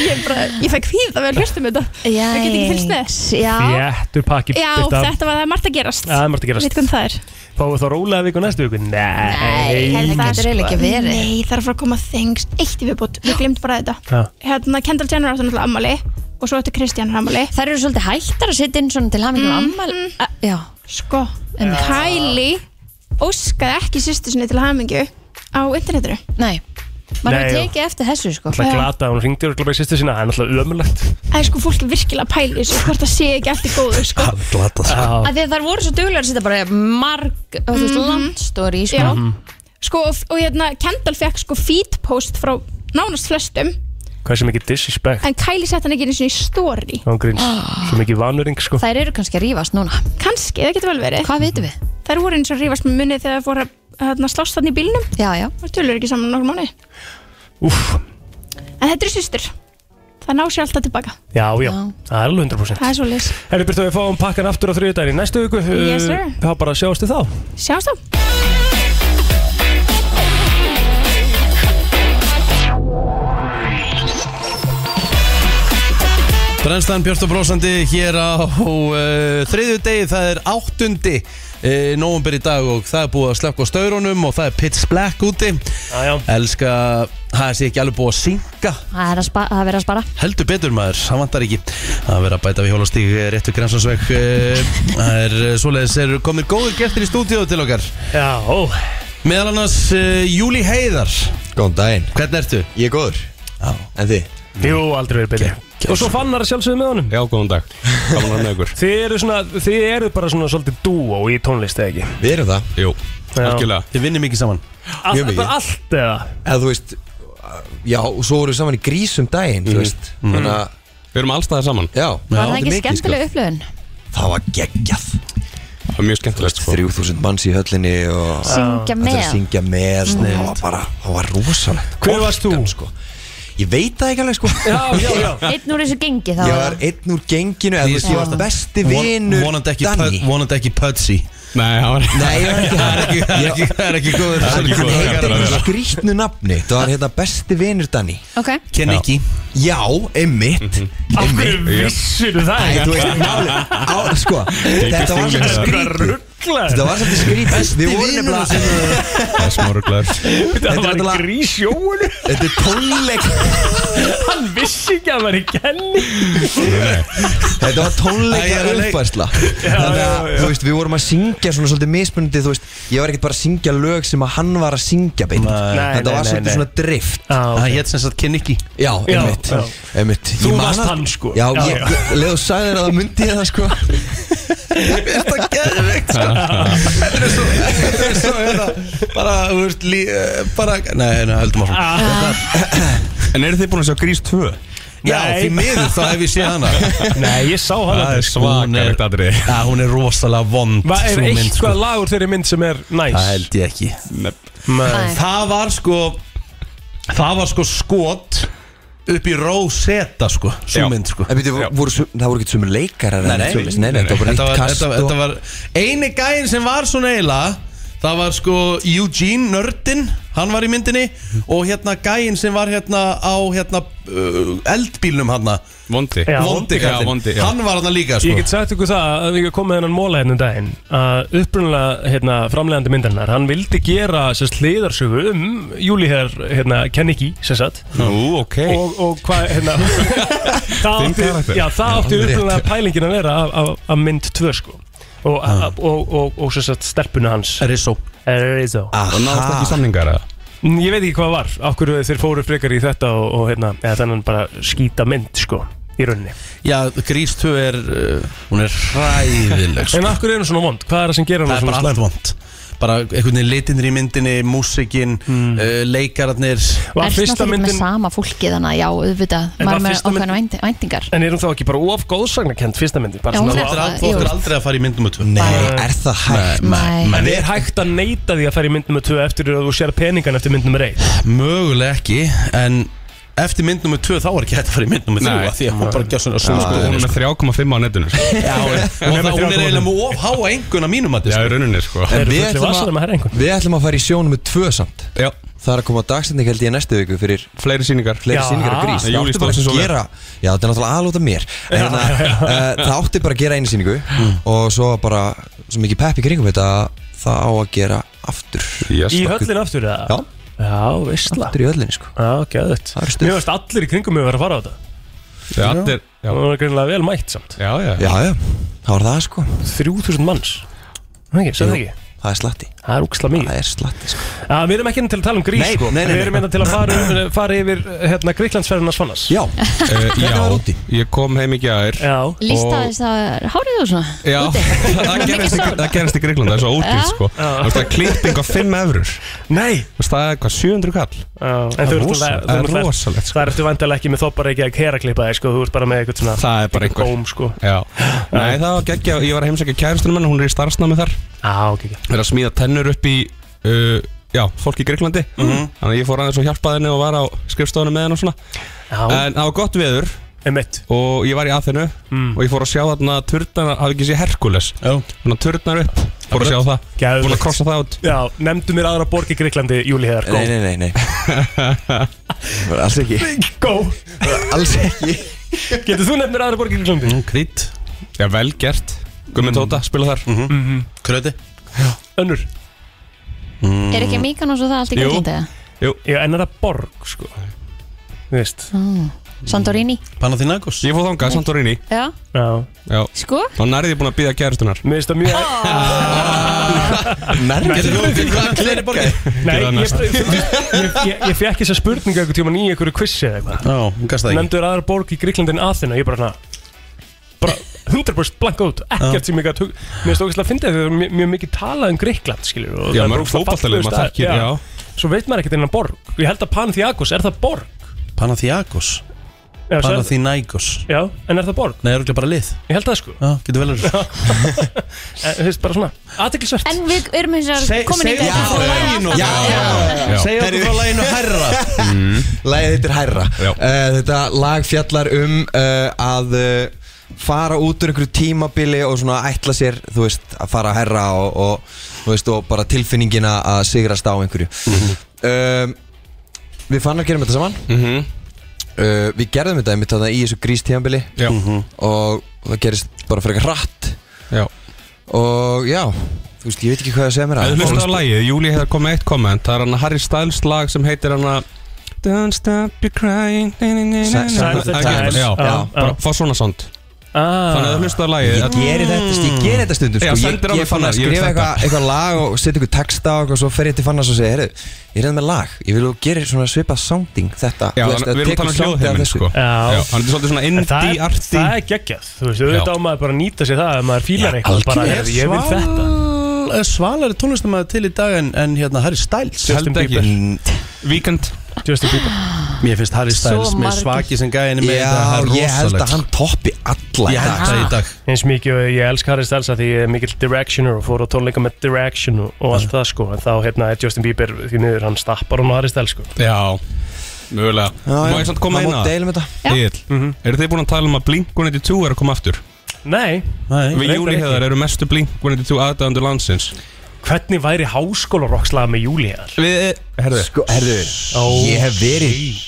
Speaker 10: ég, bara, ég fæ kvíða við að hlusta um þetta
Speaker 3: Jæks.
Speaker 10: ég get ekki fylgst með
Speaker 3: Já,
Speaker 4: Þéttur pakki
Speaker 10: já,
Speaker 4: Birta.
Speaker 10: þetta var það er margt að gerast
Speaker 4: Það er margt að
Speaker 10: Veit
Speaker 4: gerast
Speaker 10: hvernig það er?
Speaker 4: Fáum við þá rólega viku næstu viku Nei
Speaker 3: Nei, heyrðu, það getur eiginlega ekki verið
Speaker 10: Nei, það er að fara að koma þengst Eitt í viðbútt, við glemt bara þetta
Speaker 4: Já.
Speaker 10: Hérna, Kendall Jenner átti náttúrulega ammali Og svo ætti Kristján ammali
Speaker 3: Þær eru svolítið hættar að setja inn svona til hamingjum mm, ammal Já,
Speaker 10: Sko,
Speaker 3: Einmitt.
Speaker 10: Kylie óskaði ekki sýstu sinni til hamingju á internetinu
Speaker 3: nei maður
Speaker 4: Nei,
Speaker 3: hefur
Speaker 4: og-
Speaker 3: tekið eftir þessu sko
Speaker 4: Það glata, hún ringdi örgulega bara í sýstu sína, það er náttúrulega ömulegt
Speaker 10: Það er sko fólk er virkilega pæli þessu hvort það sé ekki allt í góðu sko.
Speaker 4: Glata
Speaker 1: Ah,
Speaker 3: Af því að þær voru svo duglegar að setja bara marg, þú veist,
Speaker 10: Mhm.
Speaker 3: langt story sko.
Speaker 10: Já.
Speaker 1: Mhm.
Speaker 10: sko, og, og hérna Kendall fekk sko feed post frá nánast flestum
Speaker 4: Hvað sem ekki disrespect
Speaker 10: en Kylie sett hann ekki einu sinni í story
Speaker 4: Án gríns, svo mikið vanurinn sko
Speaker 3: Þær eru kannski að rífast núna
Speaker 10: Kanski, það getur vel verið
Speaker 3: Hvað vitum við?
Speaker 10: Þær voru eins og rífast með munni þegar það fór að hérna, slást þarna í bílnum
Speaker 3: Já, já
Speaker 10: Það tölur ekki saman nokkur mánu
Speaker 4: Úff,
Speaker 10: En þetta eru systur Það ná sér alltaf tilbaka
Speaker 4: já, já,
Speaker 10: Já.
Speaker 4: það er alveg 100%
Speaker 10: Það er svo leys
Speaker 4: Herri Byrta, við fáum pakkan aftur á þriðdæri næstu viku uh,
Speaker 10: Yes, sir.
Speaker 4: Þá bara sjáumstu þá
Speaker 10: Sjáumst þá
Speaker 1: Brennstan Björnstóð Brósandi hér á uh, þriðju degi, það er áttundi uh, nóvumber í dag og það er búið að slökka á staurunum og það er pitch black úti
Speaker 4: já, já.
Speaker 1: Elska, það sé ekki alveg búið að synga
Speaker 3: Það er að, spa, að vera að spara
Speaker 1: Heldur betur maður, það vantar ekki að vera að bæta við eh, hjólastík rétt við grensansveg Það er eh, svoleiðis, er komið góður gestir í stúdíu til okkar
Speaker 4: Já ó.
Speaker 1: Meðal annars uh, Júli Heiðar
Speaker 11: Góðan daginn
Speaker 1: Hvernig ertu?
Speaker 11: Ég er góður
Speaker 1: Já
Speaker 11: En þið?
Speaker 4: Jú, aldrei verið betri Og svo fannar að sjálfsögðu með honum
Speaker 12: Já, góðan dag Gaman að vera með ykkur
Speaker 4: Þið eru, svona, þið eru bara svona svolítið dúo í tónlist eða ekki
Speaker 11: Við erum það
Speaker 12: Jú,
Speaker 4: Já.
Speaker 12: algjörlega
Speaker 1: Þið vinnum mikið saman
Speaker 4: Allt, bara allt eða
Speaker 11: Eða þú veist Já, og svo vorum við saman í grísum daginn,
Speaker 1: Mhm.
Speaker 11: þú veist Þannig að
Speaker 12: Við erum allstaðar saman
Speaker 11: Já
Speaker 3: Var það ekki skemmtileg upplöfun?
Speaker 11: Það var geggjað
Speaker 12: Það var mjög skemmtilegt sko
Speaker 11: 3000 manns í höllinni og Allir
Speaker 3: Syngja
Speaker 11: að
Speaker 3: með.
Speaker 11: Syngja með og Það var bara, það var rosalegt Hver varst þú? Sko. Ég veit það ekki alveg sko
Speaker 3: Einn úr þessu gengi þá
Speaker 11: Ég var einn úr genginu eða þú veist, ég var besti vinur
Speaker 1: Vonandi ekki
Speaker 11: Danni.
Speaker 1: pö- Vonandi ekki Pötsi
Speaker 12: Nei, það var
Speaker 11: Nei, ég var ekki
Speaker 1: Það er ekki- það er ekki- það er ekki góður
Speaker 11: Það er ekki góður
Speaker 1: Hann heitir
Speaker 11: Það er
Speaker 1: þessu skrý-
Speaker 11: skrýtnu nafni Það var hérna besti vinur Danni
Speaker 3: Ok
Speaker 1: Kenn ekki
Speaker 11: Já, einmitt
Speaker 12: Mhm.
Speaker 4: Af hverju vissir það
Speaker 11: Æ, þú veist, málið- á- Sko, þetta var svolítið skrýtnu Þetta var svolítið skrýtnu Við vorum nefnilega
Speaker 12: Það er smá rugglar
Speaker 4: Það var grí sjóinu
Speaker 11: Þetta er tónleik
Speaker 4: Hann vissi ekki að það var í kenni
Speaker 11: Þetta var tónleika
Speaker 1: Æ, ég er að leik-
Speaker 11: uppfærsla
Speaker 4: Já,
Speaker 11: Þannig að,
Speaker 4: já, já.
Speaker 11: þú veist, við vorum að syngja svona svolítið mismunandi Þú veist, ég var ekkert bara að syngja lög sem að hann var að syngja beint
Speaker 1: Nei,
Speaker 11: Þetta
Speaker 1: nei,
Speaker 11: var
Speaker 1: nei,
Speaker 11: svolítið
Speaker 1: nei.
Speaker 11: svona drift
Speaker 12: Ah,
Speaker 1: Það hétt sem sagt Kenn ekki
Speaker 11: Já,
Speaker 1: Já,
Speaker 11: einmitt,
Speaker 1: já.
Speaker 11: einmitt
Speaker 1: Þú
Speaker 11: Ég man
Speaker 1: varst
Speaker 11: að-
Speaker 1: hann, sko.
Speaker 11: Já,
Speaker 1: Já,
Speaker 11: ég,
Speaker 1: já.
Speaker 11: ég- leið og sagði þér að það myndi ég það sko Þetta geðvikt sko
Speaker 1: Þetta er svo, hérna, bara, þú veist, lí, eh, bara, nei, nei, höldum áfram
Speaker 11: Ah.
Speaker 4: Ah.
Speaker 12: En eru þið búin að sjá Grís 2?
Speaker 1: Já,
Speaker 4: Nei.
Speaker 1: því miður þá hef ég séð hana
Speaker 4: Nei, ég sá hann
Speaker 12: Það er svakalegt atrið
Speaker 1: Já, hún er rosalega vond
Speaker 4: Va, Er
Speaker 1: sú mynd, sko.
Speaker 4: eitthvað lagur þeirri mynd sem er næs?
Speaker 1: Það held ég ekki
Speaker 4: Nei.
Speaker 1: Það var sko, það var sko skot upp í Róseta, sko,
Speaker 12: Já.
Speaker 1: svo mynd, sko
Speaker 11: En byrju, voru, sum- það voru ekki sumur leikarar eða
Speaker 1: Nei, nei.
Speaker 11: neitt svoleiðis? nei, nei, þetta var bara nýtt
Speaker 1: Þetta var,
Speaker 11: kast
Speaker 1: þetta, þetta var eini gæinn sem var svona eiginlega Það var sko Eugene Nördin, hann var í myndinni Og hérna gæinn sem var hérna á hérna uh, eldbílnum hérna
Speaker 12: Vondi
Speaker 4: Já.
Speaker 1: Vondi
Speaker 12: Já, vondi,
Speaker 1: kallinn,
Speaker 12: já.
Speaker 1: hann var hérna líka sko
Speaker 4: Ég get sagt ykkur það að við komum með hennan móla hérna um daginn að upprunalega hérna, framlegandi myndarinnar hann vildi gera sérst hliðarsögu um Júli hér, hérna, kenn ekki sem sagt
Speaker 12: Nú, ok
Speaker 4: og, og hvað, hérna það
Speaker 12: Þinn
Speaker 4: átti,
Speaker 12: karakter.
Speaker 4: já, það átti
Speaker 12: Já,
Speaker 4: upprunalega pælingin að vera af, af, af mynd 2 sko og, ah. og, og, og, og sem sagt stelpuna hans
Speaker 1: Rizzo
Speaker 4: Rizzo
Speaker 12: Og náðast ekki samningar eða?
Speaker 4: Mm, Ég veit ekki hvað var, af hverju þeir fóru frekar í þetta og, og hérna, eða þennan bara skýta mynd sko, í rauninni
Speaker 1: Já, Grís 2 er, uh, hún er hræðileg sko
Speaker 4: En af hverju er hún svona vond? Hvað er það sem gerir
Speaker 1: Það er
Speaker 4: hún svona
Speaker 1: bara allt vond Bara einhvern veginn litinir í myndinni, músikinn, uh, leikararnir
Speaker 3: Það er svona fyrir með sama fólki þannig að já, auðvitað
Speaker 4: En var
Speaker 3: maður með
Speaker 4: fyrsta
Speaker 3: ákveðna vænt- væntingar
Speaker 4: En er hún þá ekki bara of góðsagnakent fyrsta myndi? Bara
Speaker 3: Já,
Speaker 4: svona-
Speaker 3: hún er
Speaker 1: Þú
Speaker 3: það,
Speaker 1: ættir
Speaker 3: jú.
Speaker 1: aldrei að fara í myndum og tvö
Speaker 11: Nei, er það hægt?
Speaker 3: Nei.
Speaker 4: En er hægt að neyta því að fara í mynd nummer 2 eftir að þú sér peningan eftir mynd nummer 1?
Speaker 1: Mögulega ekki, en eftir mynd nummið 2 þá er ekki hægt að fara í mynd nummið 3
Speaker 12: Nei.
Speaker 1: af því að hún bara gjá svona
Speaker 12: Svo sko, hún
Speaker 1: sólskoðun
Speaker 12: er með 3,5 á netinu sko.
Speaker 1: og það hún er eiginlega með ofháa enguna mínum
Speaker 12: Já,
Speaker 1: að
Speaker 12: í
Speaker 1: þetta
Speaker 12: rauninni sko
Speaker 11: En
Speaker 4: Eru
Speaker 11: við
Speaker 4: fullir
Speaker 11: ætlum
Speaker 4: vasar um að herra
Speaker 11: að,
Speaker 4: einhvern?
Speaker 11: við ætlum að fara í sjónum með tvö samt
Speaker 12: Já,
Speaker 11: Það er að koma á dagstending held ég næstu viku fyrir
Speaker 12: fleiri síningar
Speaker 11: fleiri
Speaker 4: Já.
Speaker 11: síningar að
Speaker 12: Nei,
Speaker 11: grís Það
Speaker 12: Júlí
Speaker 11: átti
Speaker 12: stóð
Speaker 11: bara
Speaker 12: sig
Speaker 11: að
Speaker 12: svo vel.
Speaker 11: gera Já, þetta er náttúrulega aðlóta mér En hérna, uh, það átti bara að gera einu síningu Og svo var bara, svo mikið pepp í kringum þetta að Það á að gera aftur
Speaker 12: yes,
Speaker 4: Í höllin aftur eða?
Speaker 11: Já,
Speaker 4: Já, veistla
Speaker 11: aftur í öllinni sko
Speaker 4: Já, gæðut
Speaker 11: Það er stuð.
Speaker 4: Mér veist allir í kringum mig vera að fara á þetta
Speaker 12: Já, allir- já,
Speaker 4: Það var greinlega vel mætt samt
Speaker 12: já, já.
Speaker 11: Já, já, það var það sko
Speaker 4: 3000 manns Það ekki, segðu það ekki
Speaker 11: Það það er slatti
Speaker 4: Það er úksla mikið
Speaker 11: Það er slatti sko.
Speaker 4: að, Við erum ekki hérna til að tala um grís
Speaker 11: Nei,
Speaker 4: sko.
Speaker 11: nei, nei,
Speaker 4: Við erum
Speaker 11: nei.
Speaker 4: hérna til að fara, fara yfir hérna, Gríklandsferðina Svannas
Speaker 11: Já,
Speaker 12: Eh, já, ég kom heim í gær
Speaker 4: Já,
Speaker 3: Lýsta þess að hárið og svona
Speaker 12: Já, það gerist, í- það gerist í Gríklanda, það er svo ódýrt
Speaker 3: Já.
Speaker 12: sko
Speaker 4: Já.
Speaker 12: Það er klipping á 5 eurur
Speaker 4: Nei
Speaker 12: Það er hvað, 700 kall
Speaker 4: En þú ert
Speaker 12: rosa- það
Speaker 4: náttúrulega- þú
Speaker 12: er
Speaker 4: náttúrulega-
Speaker 12: rosalegt
Speaker 4: Það ertu vandalega ekki með þoppar ekki að hera klippa þig sko. Þú ert bara með eitthvað svona
Speaker 12: Það er bara einhver
Speaker 4: Góm sko
Speaker 12: Já, nei það var geggja, ég var að heimsækja kærastunum hennar, hún er í starfsnámi þar
Speaker 4: Já, ah, ok
Speaker 12: Verið að smíða tennur upp í, uh, já, fólk í Greiklandi Þannig að ég fór aðeins og hjálpaði henni og var á skrifstofunum með henni og svona
Speaker 4: Já.
Speaker 12: En það var gott veður
Speaker 4: Einmitt. Mm.
Speaker 12: Og ég var í aðþennu og ég fór að sjá þarna turnar, hafi ekki sé Herkules Þannig að turnar upp, fór að sjá það
Speaker 4: Geðveikt.
Speaker 12: Búin að krossa það út
Speaker 4: Já, nefndu mér aðra borg í Gríklandi, Júli Heðar
Speaker 11: Nei, nei, nei, nei Alls ekki
Speaker 4: Go
Speaker 11: Alls ekki
Speaker 4: Getur þú nefnt mér aðra borg í Gríklandi? Mm,
Speaker 12: Krít Já, vel gert Gummi Tóta, spila þar mm
Speaker 4: -hmm.
Speaker 12: Kröti
Speaker 4: Önnur
Speaker 12: mm.
Speaker 3: Er ekki Míkanós og það allt í
Speaker 12: Jú.
Speaker 3: Gríklandi?
Speaker 12: Jú
Speaker 4: Já, en er það borg, sko Þú veist
Speaker 3: Mm. Santorini
Speaker 12: Panathinaikos Ég fóð þangað, Santorini
Speaker 3: Já,
Speaker 4: Já,
Speaker 12: já.
Speaker 3: Sko?
Speaker 12: Þá nærði ég búin að býða kærastunar
Speaker 4: Mér finnst það mjög
Speaker 12: Nærði
Speaker 4: Getur þú- hvað
Speaker 12: er fleiri borgir?
Speaker 4: Nei,
Speaker 12: Gerðu það
Speaker 4: ég,
Speaker 12: næst.
Speaker 4: ég, ég, ég fekk þessa spurningu einhvern tíman í einhverju quizzi eða eitthvað
Speaker 1: Já, hún gast það ekki.
Speaker 4: Nefndu þér aðra borg í Gríklandin Aþina Ég bara hana bara 100% blanka út, ekkert sem ég gæti Mér finnst það að fyndið þegar mjög, mjög mikið talað um Gríkland skilur og
Speaker 12: Já,
Speaker 4: það er
Speaker 12: mörg
Speaker 4: ógeðslega
Speaker 12: fótboltalið
Speaker 4: fallegur
Speaker 12: maður
Speaker 4: staður.
Speaker 12: þekkir, já.
Speaker 4: Svo veit maður ekkert innan borg Ég held að Panþiakos, er það borg?
Speaker 1: Panathinaikos
Speaker 4: Já, sagði-
Speaker 1: Panathinaikos
Speaker 4: Já, en er það borg?
Speaker 1: Nei, er ekki bara lið
Speaker 4: Ég held það sko
Speaker 1: Já, getur vel verið
Speaker 4: En þú veist bara svona, aðtiklisvert
Speaker 3: En við erum hins
Speaker 1: Se-
Speaker 3: vegar komin í
Speaker 1: segðu okkur frá laginu. Já, já, já, já. Segðu okkur frá laginu Hærra.
Speaker 11: Lægið þetta er Mm. hærra uh, Þetta lag fjallar um uh, að uh, fara út úr einhverju tímabili og svona ætla sér, þú veist, að fara hærra og, og, þú veist, og bara tilfinningina að sigrast á einhverju um, Við fannar gerum þetta saman uh, Við gerðum þetta einmitt þarna í þessu grístímabili
Speaker 12: Já.
Speaker 11: Mhm. og það gerist bara frekar hratt
Speaker 12: Já.
Speaker 11: og já, þú veist, ég veit ekki hvað að segja mér
Speaker 12: Það
Speaker 11: að
Speaker 12: er hlustað á lagið, Júli hefði komið eitt komment Það er hann Harry Styles lag sem heitir hann að Don't stop your crying nei, nei, nei, nei, nei.
Speaker 11: Silence the
Speaker 12: Það er
Speaker 11: Times.
Speaker 12: ekki- Já,
Speaker 11: Já,
Speaker 12: já,
Speaker 11: já.
Speaker 12: bara fá svona sound
Speaker 4: Ah.
Speaker 12: Þannig að það hlustaði lagið
Speaker 11: Ég geri þetta, ég geri þetta stundum
Speaker 12: Já,
Speaker 11: sko. ég,
Speaker 12: sendir á
Speaker 11: ég
Speaker 12: mig
Speaker 11: fann að
Speaker 12: fannar, ég vil þetta.
Speaker 11: skrifa eitthvað eitthva lag og setja eitthvað texta og, eitthvað, og svo fer ég til fann að segja Heyrðu, ég er þetta með lag, ég vil þú gerir svona svipað sounding þetta
Speaker 12: Já,
Speaker 11: þú
Speaker 12: þannig að við erum að
Speaker 11: tekur
Speaker 12: tala um
Speaker 11: soundið af
Speaker 12: hljóðheiminn
Speaker 11: þessu.
Speaker 12: sko Já, Hann er svolítið svona
Speaker 4: En það er-
Speaker 12: indie-arti
Speaker 4: Það er geggjað, þú veist, auðvitað á maður bara að nýta sér það ef maður fílar eitthvað, bara hefur ég vil þetta
Speaker 1: þetta Svalari tónlistamæður til í dag en, en hérna Harry Styles
Speaker 12: Held ekki. Weekend
Speaker 4: Justin Bieber
Speaker 1: Mér finnst Harry
Speaker 4: Svo
Speaker 1: Styles með
Speaker 4: margir.
Speaker 1: svaki sem gæðin með
Speaker 11: Já,
Speaker 1: þetta það er
Speaker 11: ég held
Speaker 1: rosalegt,
Speaker 11: að hann
Speaker 1: sko.
Speaker 11: toppi alla
Speaker 1: Ég held það í dag
Speaker 4: eins mikið og ég elsk Harry Styles að því ég er mikill Directioner og fór á tónleika með Direction og, og allt það sko en þá hérna er Justin Bieber því miður hann stappar hún á Harry Styles sko
Speaker 12: Já, mögulega
Speaker 4: já,
Speaker 12: Má ég samt koma
Speaker 4: það
Speaker 12: inn
Speaker 4: má
Speaker 12: að
Speaker 4: deila um þetta. Já.
Speaker 12: Egil, eru þið búin að tala um að Blink-182 er að koma aftur?
Speaker 4: Nei,
Speaker 12: Við
Speaker 4: reyndar
Speaker 12: Júli
Speaker 4: ekki.
Speaker 12: hefðar eru mestu Blink-182 aðdæðandu landsins
Speaker 4: Hvernig væri háskólarokslag með Júli hér?
Speaker 12: Við, herðu
Speaker 11: Sko, herðu, ég hef verið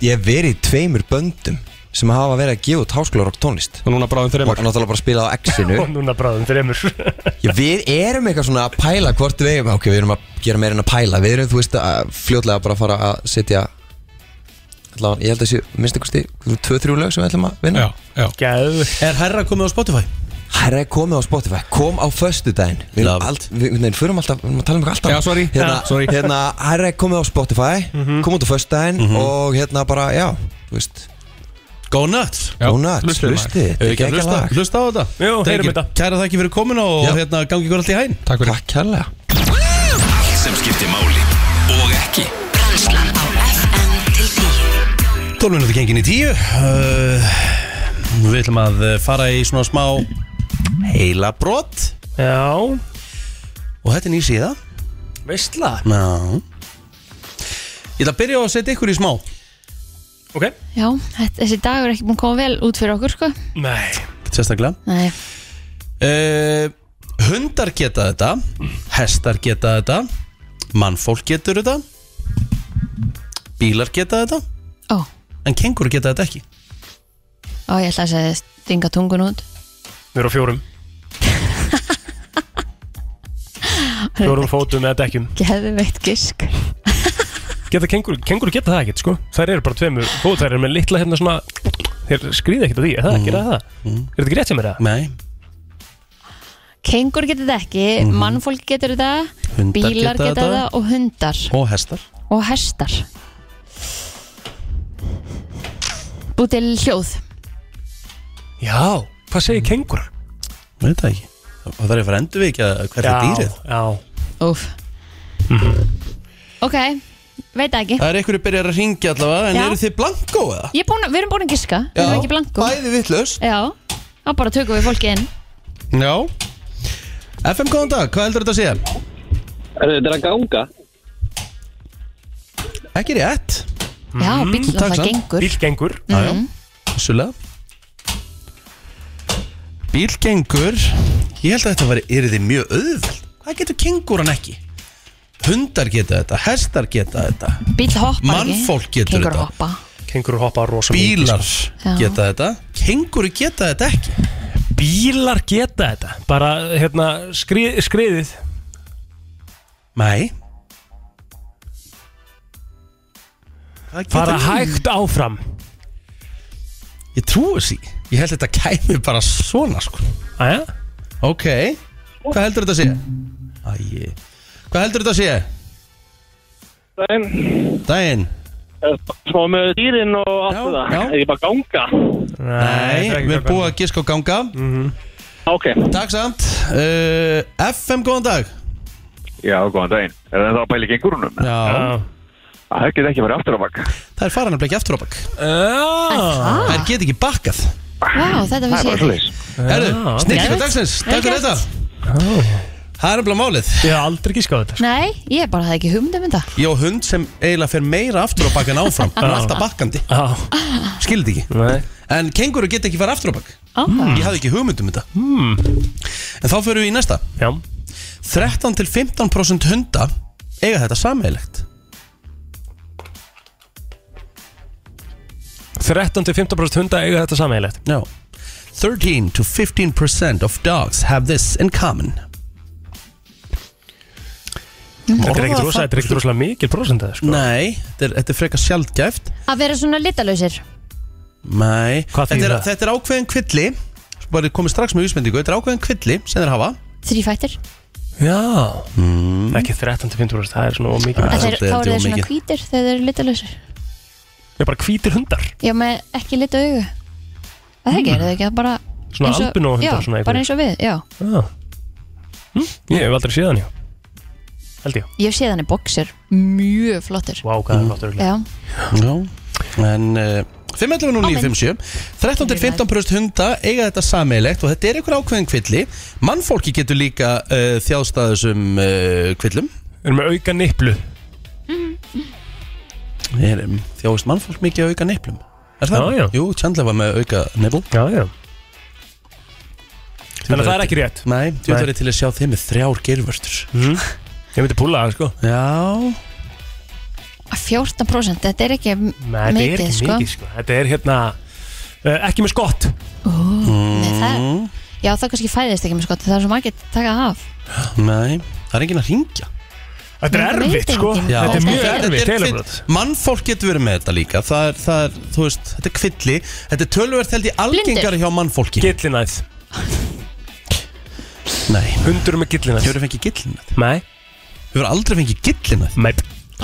Speaker 11: Ég hef verið í tveimur böndum sem hafa verið að gefa út háskólarokk tónlist
Speaker 12: Og núna bráðum þreymur
Speaker 11: Og náttúrulega bara spila á X-inu
Speaker 4: Og núna bráðum þreymur
Speaker 11: Já, Við erum eitthvað svona að pæla hvort við eigum Ok, við erum að gera meira en að pæla Við erum, þú veist, að fljótlega bara að fara að setja allavega, Ég held að sé, minnst einhversti, tvö-þrjú lög sem við ætlum að vinna
Speaker 12: Já, já
Speaker 4: Gæðu
Speaker 1: Er Herra komið á Spotify?
Speaker 11: Herra er komið á Spotify, kom á föstudaginn Við erum allt, við, nei, förum alltaf, við erum að tala um eitthvað alltaf
Speaker 12: Já, sorry.
Speaker 11: Hérna,
Speaker 12: Já, sorry. Mhm.
Speaker 11: hérna herra er komið á Spotify, kom út á föstudaginn Og hérna bara, já, þú veist
Speaker 1: Go nuts
Speaker 11: Já, Go nuts, hlustið maður. hlustið, þetta er
Speaker 1: Ekki að
Speaker 11: geggjað
Speaker 1: hlusta,
Speaker 11: lag.
Speaker 1: hlusta á þetta
Speaker 4: Jú, heyrum
Speaker 1: Drengir,
Speaker 4: þetta.
Speaker 1: Kæra þakki fyrir komuna og hérna gangi ykkur allt í hæn
Speaker 12: Takk fyrir
Speaker 11: Takk hérlega
Speaker 2: Allt sem skiptir máli og ekki
Speaker 9: Brennslan á FM til 10
Speaker 1: Tólminúti gengin í tíu uh, Við ætlum að uh, fara í svona smá heila brot
Speaker 4: Já
Speaker 1: Og þetta er ný síða
Speaker 4: Veistla
Speaker 1: Já Ég ætla að byrja á að setja ykkur í smá
Speaker 4: Ok
Speaker 3: Já, þetta- þessi dagur er ekki búin að koma vel út fyrir okkur sko
Speaker 4: Nei
Speaker 1: Sérstaklega
Speaker 3: Nei,
Speaker 1: uh, Hundar geta þetta Hestar geta þetta Mannfólk getur þetta Bílar geta þetta
Speaker 3: Ó.
Speaker 1: En kengur geta þetta ekki
Speaker 3: á ég ætla að segja stinga tungun út
Speaker 4: Við erum á fjórum Fjórum fótum eða dekkjum
Speaker 3: Geðveitt gisk
Speaker 4: Geta kengur, kengur geta það ekkert sko Þær eru bara tveimur fót, þær eru með litla hérna svona
Speaker 1: Mm.
Speaker 4: Þér skrýða ekkert á því, er það ekki, er það það? Er þetta ekki rétt sem er það?
Speaker 1: Nei
Speaker 3: kengur getur þetta ekki,
Speaker 1: Mhm.
Speaker 3: mannfólk getur þetta
Speaker 1: Hundar
Speaker 3: bílar
Speaker 1: geta
Speaker 3: getur
Speaker 1: þetta.
Speaker 3: þetta og hundar
Speaker 1: Og hestar
Speaker 3: og hestar Búið til hljóð
Speaker 4: Já, hvað
Speaker 1: Mm.
Speaker 4: segir kengur?
Speaker 1: Veit það ekki Og það er að fara endurvika hvert
Speaker 4: Já,
Speaker 1: er dýrið
Speaker 4: Já,
Speaker 3: Úf Ok, veit það ekki
Speaker 1: Það er einhverju byrjar að ringja allavega En
Speaker 3: Já.
Speaker 1: eru þið blankó eða?
Speaker 3: Ég er búin, Við erum búin að giska, við erum
Speaker 1: Já,
Speaker 3: ekki blanko
Speaker 1: Bæði vittlust
Speaker 3: Já, þá bara tökum við fólki inn
Speaker 1: Já FM góðan dag, hvað heldur þetta að segja?
Speaker 6: Er þetta að ganga?
Speaker 1: Ekki rétt
Speaker 3: Já, bíll
Speaker 1: Mhm. Takk
Speaker 3: náttúrulega
Speaker 1: samt.
Speaker 3: gengur. Bíll
Speaker 4: gengur
Speaker 1: Já, já, vissulega Bíl gengur Ég held að þetta var, er þið mjög auðveld Hvað getur kengúran ekki? Hundar geta þetta, hestar geta þetta
Speaker 3: Bíll hoppar
Speaker 1: Mannfólk
Speaker 3: ekki
Speaker 1: getur
Speaker 3: Kengur
Speaker 1: þetta.
Speaker 3: hoppa
Speaker 4: Kengur hoppa rosa
Speaker 1: Bílar
Speaker 3: Já.
Speaker 1: geta þetta Kenguru geta þetta ekki
Speaker 4: Bílar geta þetta Bara, hérna, skrið, skriðið
Speaker 1: Nei Það getur
Speaker 4: Fara
Speaker 1: ekki.
Speaker 4: hægt áfram
Speaker 1: Ég trúi því Ég held þetta kæmi bara svona sko
Speaker 4: Æja
Speaker 1: Ok Hvað heldur þetta að sé? Æi Hvað heldur þetta að sé?
Speaker 8: Dæn
Speaker 1: Dæin
Speaker 8: Svo með dýrin og allt það Er ég bara að ganga?
Speaker 1: Nei,
Speaker 8: þetta er ekki
Speaker 1: við
Speaker 8: ganga. Mhm.
Speaker 1: erum búið að giska á ganga
Speaker 8: Ok
Speaker 1: Takk samt uh, FM, góðan dag
Speaker 13: Já, góðan daginn. Er það að bæla gengurunum?
Speaker 1: Já.
Speaker 13: Það getur ekki verið aftur á bakk.
Speaker 1: Það er faran að blekja aftur á bakk
Speaker 4: Það
Speaker 1: er get ekki bakkað
Speaker 3: Ah, Vá, þetta
Speaker 13: Það er
Speaker 3: vissi
Speaker 13: bara
Speaker 3: ég
Speaker 13: svolítið.
Speaker 1: Herðu,
Speaker 4: ok.
Speaker 1: snillíka dagsins, takk fyrir
Speaker 3: Vel
Speaker 1: þetta
Speaker 3: gert.
Speaker 1: Það er nefnilega málið
Speaker 4: Ég hef aldrei gískað þetta sko.
Speaker 3: Nei, ég bara hafði ekki hugmynd um þetta
Speaker 1: Ég á hund sem eiginlega fer meira aftur á bakk en áfram Hann er
Speaker 4: Já.
Speaker 1: alltaf bakkandi Skildi ekki
Speaker 4: Nei.
Speaker 1: En kenguru get ekki fara aftur á bakk
Speaker 3: Áhugavert.
Speaker 1: Ég hafði ekki hugmynd um þetta
Speaker 4: Hmm.
Speaker 1: En þá förum við í næsta
Speaker 4: Já.
Speaker 1: 13 til 15% hunda eiga þetta sameigilegt
Speaker 4: 13-15% hunda eiga þetta sameiglegt
Speaker 1: Já 13 to 15% of dogs have this in common
Speaker 4: Þetta er ekkit rosa- þetta er ekkit rosalega mikil prosent sko.
Speaker 1: Nei, þetta er, þetta er frekar sjaldgæft
Speaker 3: Að vera svona litalausir
Speaker 1: Nei Þetta
Speaker 4: þýðir
Speaker 1: er,
Speaker 4: það?
Speaker 1: þetta er ákveðin kvilli Svo bara komið strax með vísmyndingu Þetta er ákveðin kvilli sem þeir hafa
Speaker 3: Þrýfættir
Speaker 4: Já mm. Ekki 13-15% það er svona of mikið
Speaker 3: Þá eru þeir svona hvítir þegar þeir eru litalausir
Speaker 4: Ég er bara hvítir hundar
Speaker 3: Já, með ekki lita augu Það er ekki, er það ekki að bara
Speaker 4: Svona
Speaker 3: eins og-
Speaker 4: albinóhundar,
Speaker 3: Já,
Speaker 4: svona einhverjir.
Speaker 3: bara eins og við, já
Speaker 4: Já hm? Ég hef aldrei séð hann já Held ég
Speaker 3: Ég sé þannig boxer, mjög flottur
Speaker 4: Vá, hvað er flottur
Speaker 3: Já,
Speaker 1: Já En uh, 5.11.09.57 13-15% hunda eiga þetta sameigilegt og þetta er einhver ákveðin kvilli Mannfólki getur líka uh, þjást að þessum uh, kvillum
Speaker 4: Erum við auka niplu
Speaker 1: Erum, Þjáist mannfólk mikið að auka neflum Er það?
Speaker 4: Já, já.
Speaker 1: Jú, Chandler var með auka nefl
Speaker 4: Já, já Þannig að það er ekki rétt
Speaker 1: Nei, þú verður til að sjá þeim með þrjár geirvörtur
Speaker 4: mm. Ég myndi púla það sko
Speaker 1: Já
Speaker 3: 14% þetta er ekki
Speaker 4: Nei, þetta er
Speaker 3: mikið,
Speaker 4: ekki
Speaker 3: sko
Speaker 4: mikið sko Þetta er hérna uh, Ekki með skott
Speaker 3: Ó, Nei, það
Speaker 1: Mm.
Speaker 3: Já, það kannski fæðist ekki með skott Það er svo margir að taka það af
Speaker 1: Nei, það er enginn að ringja
Speaker 4: Þetta er
Speaker 3: Nei,
Speaker 4: erfitt
Speaker 3: veit
Speaker 4: sko
Speaker 3: enginn.
Speaker 1: Já.
Speaker 4: Þetta er mjög
Speaker 1: Þetta er-
Speaker 4: erfitt
Speaker 1: þetta er
Speaker 4: Telebrot
Speaker 1: kvill- Mannfólk getur verið með þetta líka Það er, það er þú veist, þetta er kvilli Þetta er tölverð held í algengari hjá mannfólki
Speaker 4: Gillinæð
Speaker 1: Nei
Speaker 4: Hundur með gillinæð
Speaker 1: Hefur fengið gillinæð?
Speaker 4: Nei
Speaker 1: Hefur aldrei fengið gillinæð?
Speaker 4: Nei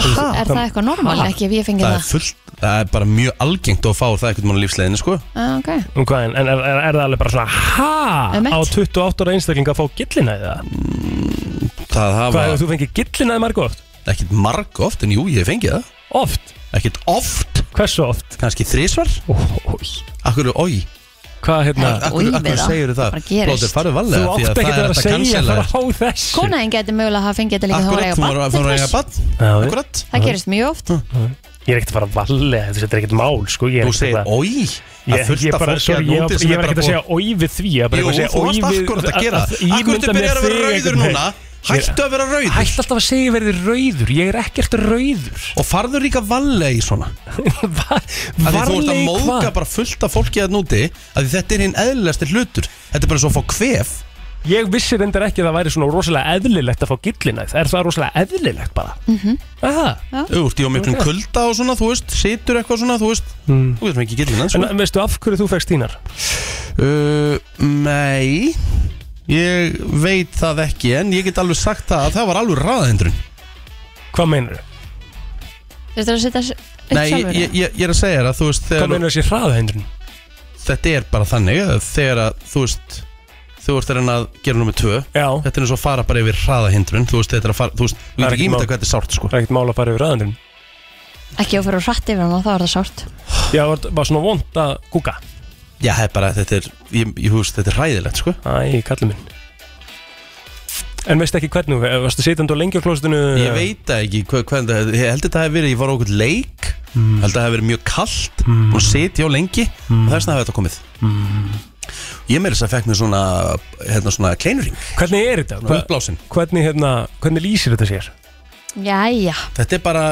Speaker 3: Er það eitthvað normal, ekki ef ég fengi
Speaker 1: Það
Speaker 3: það?
Speaker 1: er fullt, það er bara mjög algengt að fá það einhvern mann lífsleiðinu sko
Speaker 3: Ah, ok
Speaker 4: um hvað, En, en er, er, er það alveg bara svona
Speaker 3: Emmett.
Speaker 4: Ha? Á 28 ára einstakling að fá gillinæð eða?
Speaker 1: Það hafa
Speaker 4: Hvað hefur þú fengið gillinæð marg oft?
Speaker 1: Ekkert marg oft, en jú, ég hef fengið það
Speaker 4: Oft?
Speaker 1: Ekkert oft
Speaker 4: Hversu oft?
Speaker 1: Kanski þrísvar Akkur, oi
Speaker 4: Hvað hérna?
Speaker 1: Akkur,
Speaker 3: Oj, við
Speaker 1: akkur
Speaker 3: það.
Speaker 1: segir
Speaker 3: Það
Speaker 1: það
Speaker 3: bara gerist.
Speaker 1: Blóður farðu valega
Speaker 4: Þú
Speaker 1: því
Speaker 4: átt
Speaker 1: það
Speaker 4: ekki
Speaker 1: er
Speaker 4: að vera að
Speaker 1: hægt
Speaker 4: segja
Speaker 1: cancela.
Speaker 4: frá þessi
Speaker 3: Konaðin geti mögulega að hafa fengið þetta líka þegar
Speaker 1: Akkurat, þú var
Speaker 3: hún
Speaker 1: að
Speaker 3: var að
Speaker 1: eiga
Speaker 3: eiga
Speaker 1: bann Akkurat
Speaker 3: Það gerist mjög oft
Speaker 4: Ég er ekkert að fara að valja Þetta er ekkert mál sko Þú
Speaker 1: segir oi
Speaker 4: Ég,
Speaker 1: Það er fullt
Speaker 4: ég,
Speaker 1: af
Speaker 4: bara,
Speaker 1: fólki
Speaker 4: sorry,
Speaker 1: þarna
Speaker 4: ég,
Speaker 1: úti
Speaker 4: ég,
Speaker 1: sem er
Speaker 4: var
Speaker 1: bara
Speaker 4: ekkert að
Speaker 1: búið-
Speaker 4: segja oi við því ég var bara
Speaker 1: Jú,
Speaker 4: að segja
Speaker 1: þú
Speaker 4: oi
Speaker 1: varst
Speaker 4: við-
Speaker 1: akkurat að gera það.
Speaker 4: ímynda
Speaker 1: Akkur ertu
Speaker 4: mér
Speaker 1: byrjar að vera
Speaker 4: þig
Speaker 1: rauður
Speaker 4: einhvern veginn.
Speaker 1: núna?
Speaker 4: Ég-
Speaker 1: Hættu að vera rauður.
Speaker 4: Hættu alltaf að segja ég verði rauður Ég er ekkert rauður
Speaker 1: Og farður líka valega í svona Af því Þú ert að
Speaker 4: Varlega
Speaker 1: móðga
Speaker 4: hvað?
Speaker 1: bara fullt af fólki að núti að þetta er hinn eðlilegasti hlutur Þetta er bara svo að fá kvef
Speaker 4: Ég vissi reyndar ekki að það væri svona rosalega eðlilegt að fá gillinæð Er það rosalega eðlilegt bara? Aha.
Speaker 1: Þú ert í á miklum kulda og svona, þú veist Situr eitthvað svona, þú veist Þú veist sko. mikið gillin
Speaker 4: En veistu af hverju þú fegst þínar?
Speaker 1: Uh, Nei Ég veit það ekki En ég get alveg sagt það að það var alveg ráðhendrun
Speaker 4: Hvað meinar þau?
Speaker 3: Þurftur að setja upp
Speaker 1: Nei, ég,
Speaker 3: sjálfur
Speaker 1: ég, ég, ég er að segja þér að þú veist Hvað
Speaker 4: meinar þessi hraðahindrun?
Speaker 1: Þetta er bara þannig að þegar að þú veist Þú ert að reyna að gera nummer tvö
Speaker 4: Já.
Speaker 1: Þetta er eins og að fara bara yfir hraðahindrun Þú veist, þetta er að fara Þú veist, þú
Speaker 4: er
Speaker 1: veist ekki
Speaker 4: ekkert
Speaker 1: ímynda
Speaker 4: mál.
Speaker 1: hvað þetta er sárt sko
Speaker 4: Það er ekkert mál að fara yfir hraðahindrun
Speaker 3: Ekki að fara og hratt yfir hana, þá er það sárt
Speaker 4: Já, var, var svona vond að kúka
Speaker 1: Já, það er bara, þetta er Ég, ég þú veist, þetta er hræðilegt sko
Speaker 4: Æ, kallið minn En veist ekki hvernig, eh, varstu sitjandi á lengi á klóstinu
Speaker 1: Ég veit það ekki hvað, hvað, Ég held þetta hef verið, ég var á okkur leik
Speaker 4: Mm.
Speaker 1: Held að það hef verið mjög kallt mm. Og sitja á lengi
Speaker 4: Mm.
Speaker 1: Og þess vegna hef þetta komið
Speaker 4: Mm.
Speaker 1: Ég meira þess að fekk mér svona, hérna, svona kleinurring
Speaker 4: Hvernig er þetta?
Speaker 1: Svona uppblásin
Speaker 4: Hvernig, hérna, hvernig lýsir þetta sér?
Speaker 3: Jæja
Speaker 1: Þetta er bara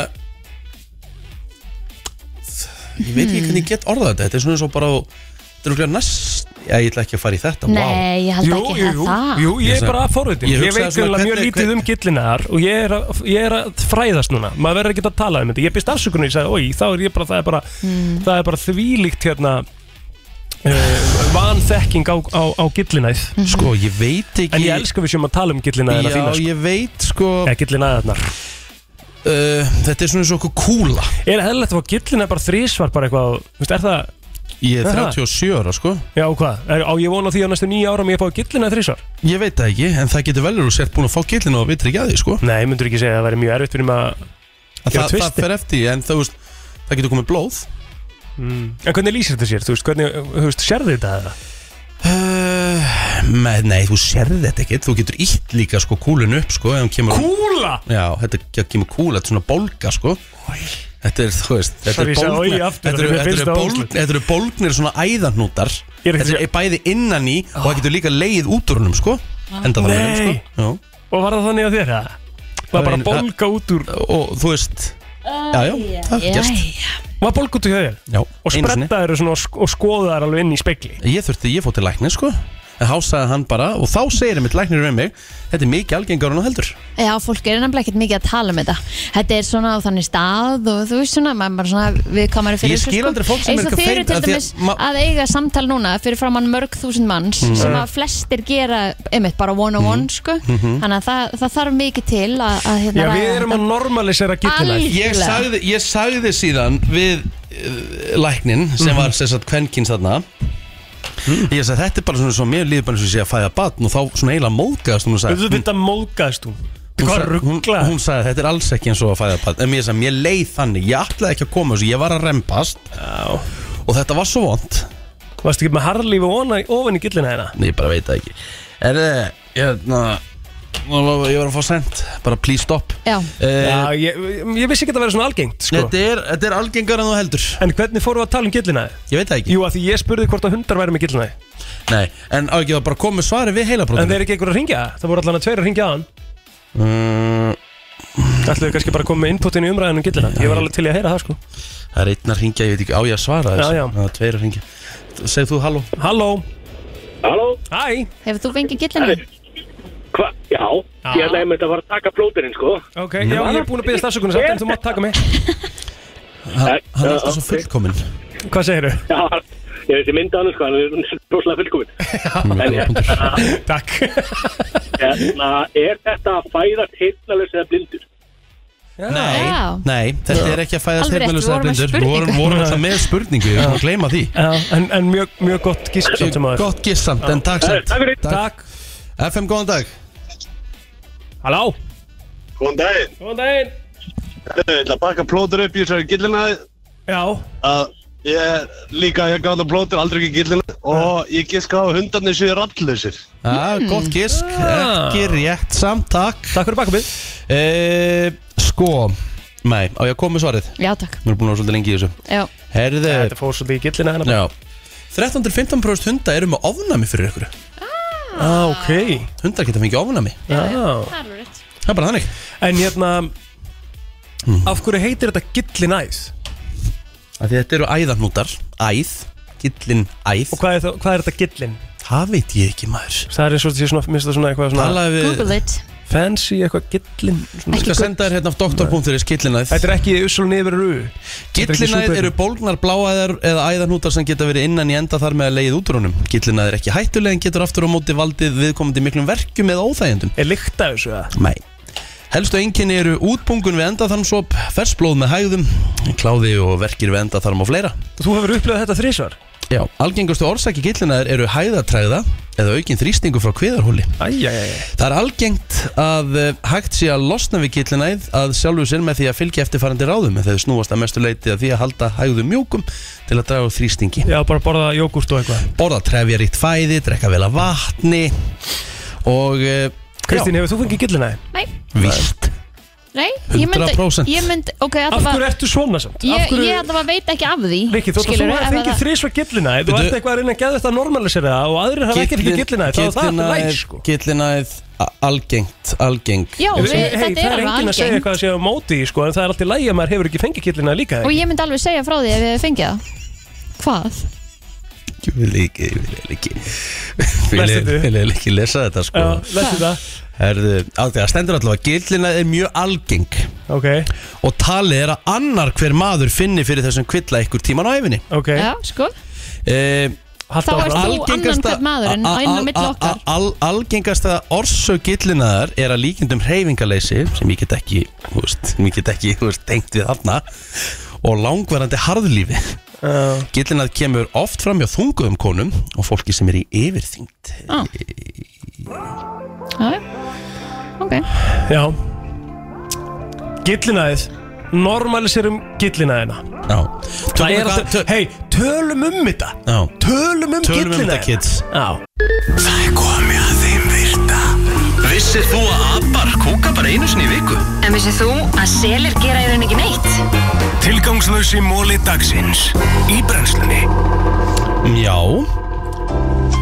Speaker 1: Ég veit ekki hvernig ég get orðað þetta Þetta er svona eins og bara Þetta er okkur næst Já, ég ætla ekki að fara í þetta vá.
Speaker 3: Nei, ég held ekki
Speaker 4: jú,
Speaker 3: það
Speaker 4: Jú, ég er
Speaker 1: Ég
Speaker 4: bara
Speaker 1: sagði-
Speaker 4: að
Speaker 1: ég
Speaker 4: forvitin Ég,
Speaker 1: hugsaði
Speaker 4: veit
Speaker 1: svona,
Speaker 4: greinlega mjög
Speaker 1: hvernig-
Speaker 4: lítið um gillinar og ég er, að, ég er að fræðast núna maður verður ekki að tala um þetta, ég byrst afsökunni ég sagði, oi, þá er ég bara, það er bara
Speaker 3: Hmm.
Speaker 2: Mm.
Speaker 4: það er bara þvílíkt hérna uh, vanþekking á, á, á gillinæð
Speaker 1: Sko, ég veit ekki
Speaker 4: En ég elska við séum að tala um gillinæðina
Speaker 1: Já,
Speaker 4: þína sko.
Speaker 1: ég veit sko
Speaker 4: Eða gillinæðarnar
Speaker 1: uh, Þetta er svona eins og okkur kúla
Speaker 4: Er heðlegt að fá gillinæð bara þrísvar bara eitthvað, þú veist, er það
Speaker 1: Ég er
Speaker 4: Er það?
Speaker 1: 37 ára sko
Speaker 4: Já, og hvað? Er, á ég vona því á næstu nýja árum ég fá gillinæð þrísvar?
Speaker 1: Ég veit það ekki, en það getur vel verið að þú sért búin að fá gillinu og vitir ekki að því sko
Speaker 4: Nei, myndur ekki segja að það væri mjög erfitt fyrir maður að
Speaker 1: Það,
Speaker 4: gera
Speaker 1: það
Speaker 4: tvisti
Speaker 1: fer eftir, því, en það, veist, það getur komið blóð
Speaker 4: Mm. En hvernig lýsir þetta sér? Þú veist, hvernig, þú veist, sérðu þetta eða?
Speaker 1: uh, með, Nei, þú sérði þetta ekki Þú getur ítt líka sko kúlinu upp sko ef hún kemur-
Speaker 4: Kúla?
Speaker 1: Já, þetta ke- kemur kúla, þetta er svona bólga sko Þetta er, þú veist Þetta
Speaker 4: Sorry,
Speaker 1: er
Speaker 4: ég sagði oj
Speaker 1: bólgnir-
Speaker 4: aftur,
Speaker 1: þetta eru-
Speaker 4: mér
Speaker 1: þetta
Speaker 4: finnst
Speaker 1: eru
Speaker 4: það
Speaker 1: bólg-
Speaker 4: ógeðslegt.
Speaker 1: þetta eru bólgnir svona æðarnútar
Speaker 4: Ég er ekki Ah.
Speaker 1: Þetta er bæði innan í og það getur líka leið út úr húnum sko Enda það
Speaker 4: Nei.
Speaker 1: sko Já.
Speaker 4: Og var það þannig að þér eða? Var bara
Speaker 1: ein-
Speaker 4: bólga út úr
Speaker 1: Og þú veist Já, já, það
Speaker 3: Jæja.
Speaker 1: gerst
Speaker 4: Var bólga út úr hjá þér?
Speaker 1: Já, einu
Speaker 4: Og
Speaker 1: sinni.
Speaker 4: sprettaður og, svona og sk- og skoðaður alveg inn í spegli
Speaker 1: Ég þurfti, ég fór til læknir sko En þá sagði hann bara, og þá segir einmitt læknir um mig Þetta er mikið algengar en á heldur
Speaker 3: Já, fólk er nefnilega ekkert mikið að tala um þetta Þetta er svona á þannig stað og þú veist svona, maður bara svona viðkamari fyrir
Speaker 1: Ég
Speaker 3: þessu, sko.
Speaker 1: skil aldrei fólk sem er
Speaker 3: Eins og
Speaker 1: eitthvað
Speaker 3: þeir eru
Speaker 1: feim-
Speaker 3: til
Speaker 1: að því að
Speaker 3: dæmis að, eiga samtal núna fyrir framann mörg þúsund manns
Speaker 1: Mm.
Speaker 3: sem að flestir gera, einmitt bara one on one sko,
Speaker 1: Mhm.
Speaker 3: þannig að það, það þarf mikið til að, að hérna
Speaker 4: Já,
Speaker 3: ræða
Speaker 4: við erum
Speaker 3: þetta.
Speaker 4: að normalisera
Speaker 3: Algjörlega.
Speaker 4: gillinæð
Speaker 1: Ég sagði, ég sagði síðan við uh, læknin sem var sem sagt kvenkins þarna Ég sagði þetta er bara svona svo mér líður bara eins og ég sé að fæða batn og þá svona eiginlega móðgæðast hún og sagði
Speaker 4: Þú veit að móðgæðst hún
Speaker 1: Hún
Speaker 4: Hvað
Speaker 1: sa- hún,
Speaker 4: ruggla?
Speaker 1: hún sagði þetta er alls ekki eins og að fæða barn En mér, sagði, mér leið þannig, ég ætlaði ekki að koma þessu, ég var að rempast Já. Og þetta var svo vond
Speaker 4: Varstu ekki með harlífi ofan- ofan í gillinæðina?
Speaker 1: Nei, ég bara veit það ekki Er það, hérna nú lofa- Ég var að fá sent, bara please stop
Speaker 3: Já
Speaker 4: Já, ég, ég vissi ekki að það verið svona algengt sko.
Speaker 1: Eh. Þetta er, þetta er algengar en þú heldur
Speaker 4: En hvernig fórum við að tala um gillinæði?
Speaker 1: Ég veit það ekki
Speaker 4: Jú, að því ég spurði hvort að hundar væri með gillinæði
Speaker 1: Nei, en á ekki það bara komið svari við heilabrótinu
Speaker 4: En þeir eru ekki einhver að ringja? Það voru allan að tveir að ringja á hann
Speaker 1: mm,
Speaker 4: Ætluðu kannski bara að koma með inputin í umræðinu um gillinæði Ég var alveg til í að heyra það sko
Speaker 1: Það er einn að ringja, ég veit ekki á ég að svara
Speaker 4: Já,
Speaker 1: þessu
Speaker 4: já.
Speaker 1: Það er tveir að ringja Segð þú halló
Speaker 4: Halló
Speaker 14: Halló
Speaker 4: Hæ
Speaker 3: Hefur þú fengið gillinu?
Speaker 14: Hva? Já, ég ætlaði einmitt að fara að taka plóterinn sko
Speaker 4: Ok, já, ég er búin að byrja stafsökunum samt en þú mátt taka mig
Speaker 1: Hann hann er alltaf svo fullkominn
Speaker 4: Hvað segirðu?
Speaker 14: Já, ég veist ég mynda hann sko, hann er rosalega fullkomin En hérna
Speaker 4: Takk
Speaker 14: Hérna, er þetta að fæðast heyrnalös eða blindur?
Speaker 1: Nei, nei, þetta er ekki að fæðast
Speaker 14: Alveg rétt,
Speaker 1: heilmjölu
Speaker 14: við vorum með
Speaker 1: sæðblindur
Speaker 14: spurningu.
Speaker 1: Við vorum, vorum alltaf með spurningu, við vorum að gleyma því
Speaker 4: Já, en, en mjög, mjög gott gísk samt sem aður
Speaker 1: Gott giss samt, en takk samt
Speaker 14: Takk fyrir.
Speaker 4: Takk
Speaker 1: FM, góðan dag
Speaker 4: Halló
Speaker 15: Góðan daginn
Speaker 4: Góðan daginn
Speaker 15: Ég ætla að baka plótur upp í þessari gillinaði
Speaker 4: Já
Speaker 15: að ég er
Speaker 6: Eh,
Speaker 15: líka ég gáði plótur aldrei ekki gillinaði og ég giska á að hundarnir séu rattlausir
Speaker 14: Hmm.
Speaker 1: Já, gott gisk,
Speaker 4: Ah.
Speaker 1: ekki rétt samt, takk
Speaker 4: Takk fyrir bakabið
Speaker 1: Sko, nei, á ég að koma með svarið
Speaker 3: Já, takk
Speaker 1: Mér er búin að vera svolítið lengi í þessu
Speaker 3: Já,
Speaker 1: Herðu Þetta
Speaker 4: fór svolítið í hérna. gillina hennar
Speaker 1: Eh. Já 13-15% hunda eru með ofnami fyrir ykkur
Speaker 4: Ah, ok
Speaker 1: Hundar geta fengið ofnami
Speaker 4: Já
Speaker 3: það er alveg rétt
Speaker 1: Það er bara þannig
Speaker 4: En hérna Af hverju heitir þetta gillinæð?
Speaker 1: Af því Þetta eru æðarnútar, æð, gillin æð Og
Speaker 4: hvað er, það, hvað er þetta gillin?
Speaker 1: Það veit ég ekki maður
Speaker 4: Það er eins og þetta sé svona, minnst það svona eitthvað svona
Speaker 1: Talaðu við- Google
Speaker 3: it
Speaker 4: fancy eitthvað gillin
Speaker 1: Ég skal senda þér hérna á doktor.is gillinæð
Speaker 4: Þetta er ekki usulun yfir rú
Speaker 1: Gillinæð eru bólgnar bláæðar eða æðarhnútar sem geta verið innan í enda þar með að leiðið út úr honum Gillinæð er ekki hættuleg en getur aftur á móti valdið viðkomandi miklum verkjum eða óþægjendum
Speaker 4: Er lykt af þessu það?
Speaker 1: Nei Helstu einkenni eru útpungun við endaþarmsop, fersblóð með hægðum, kláði og verkir við endaþarm og fleira
Speaker 4: Þú hefur upplöðið þetta þrísvar?
Speaker 1: Já, algengustu orsaki gillinaðir eru hæðatræða eða aukin þrýstingu frá kviðarhóli
Speaker 4: Æjæjæj
Speaker 1: Það er algengt að eh, hægt sé að losna við gillinæð að sjálfu sér með því að fylgja eftirfarandi ráðum þegar snúast að mestu leiti að því að halda hægðum mjúkum til að draga úr þrýstingi
Speaker 4: Já, bara borða jógurt og eitthvað
Speaker 1: Borða trefjaríkt fæði, drekka vel að vatni og eh,
Speaker 4: Kristín,
Speaker 1: já.
Speaker 4: hefur þú fengið gillinæði?
Speaker 3: Nei,
Speaker 1: Víst
Speaker 3: nei ég myndi,
Speaker 1: 100%.
Speaker 3: ég myndi okay,
Speaker 4: Af hverju ertu svona samt?
Speaker 3: Ég,
Speaker 4: Af hverju-
Speaker 3: ég allavega veit ekki af því
Speaker 4: Rikki, þú þú
Speaker 3: skilurðu,
Speaker 4: hefur
Speaker 3: ef að
Speaker 4: fengið
Speaker 3: það-
Speaker 4: þrísvar gillinæði Þú
Speaker 1: Bíddu.
Speaker 4: ert eitthvað að reyna að geða þetta að normalisera það og aðrir hafa ekkert ekki gillinæði Þá er það alltaf læg sko
Speaker 1: Gillinæð, algengt, algeng
Speaker 3: Já,
Speaker 4: Hey,
Speaker 3: við- þetta er
Speaker 4: Það er
Speaker 3: alveg
Speaker 4: enginn að segja
Speaker 3: algengt.
Speaker 4: hvað að segja á móti í, sko, en það er alltaf læg að maður hefur ekki fengið gillinæði líka
Speaker 3: Og ég myndi alveg segja frá því ef ég hefði fengið það Hvað?
Speaker 1: Ég vil ekki, ég vil ekki Vil
Speaker 4: Lestu
Speaker 1: ég- vil ég ekki lesa þetta sko
Speaker 4: Já, lestu það.
Speaker 1: Herðu, að það stendur allavega Gildlina er mjög algeng
Speaker 4: okay.
Speaker 1: Og talið er að annar hver maður finni fyrir þessum kvilla ykkur tíman á æfinni
Speaker 4: okay.
Speaker 3: Já, sko
Speaker 1: e,
Speaker 3: Þá ert þú annan hvern maður en innan milli okkar.
Speaker 1: al, Algengasta orsök gillinaðar er að líkindum hreyfingaleysi sem ég get ekki, þú veist, ég get ekki þú veist, tengt við þarna og langvarandi harðlífi
Speaker 4: uh.
Speaker 1: Gillinað kemur oft fram hjá þunguðum konum og fólki sem er í yfirþyngd
Speaker 3: ah. Já, já. Ok
Speaker 4: Já Gillinæðið Normaliserum gillinæðina
Speaker 1: Já um
Speaker 4: Það er alltaf Hei, tölum um þetta
Speaker 1: Já
Speaker 4: Tölum
Speaker 1: Tölum um
Speaker 4: um
Speaker 1: þetta,
Speaker 4: gillinæðina
Speaker 1: kids.
Speaker 4: Já
Speaker 2: Það er komið að þeim virta Vissir þú að abar kúka bara einu sinni í viku?
Speaker 9: En vissið þú að selir gera í raun ekki neitt?
Speaker 2: Tilgangslösi móli dagsins Í brennslunni
Speaker 1: Já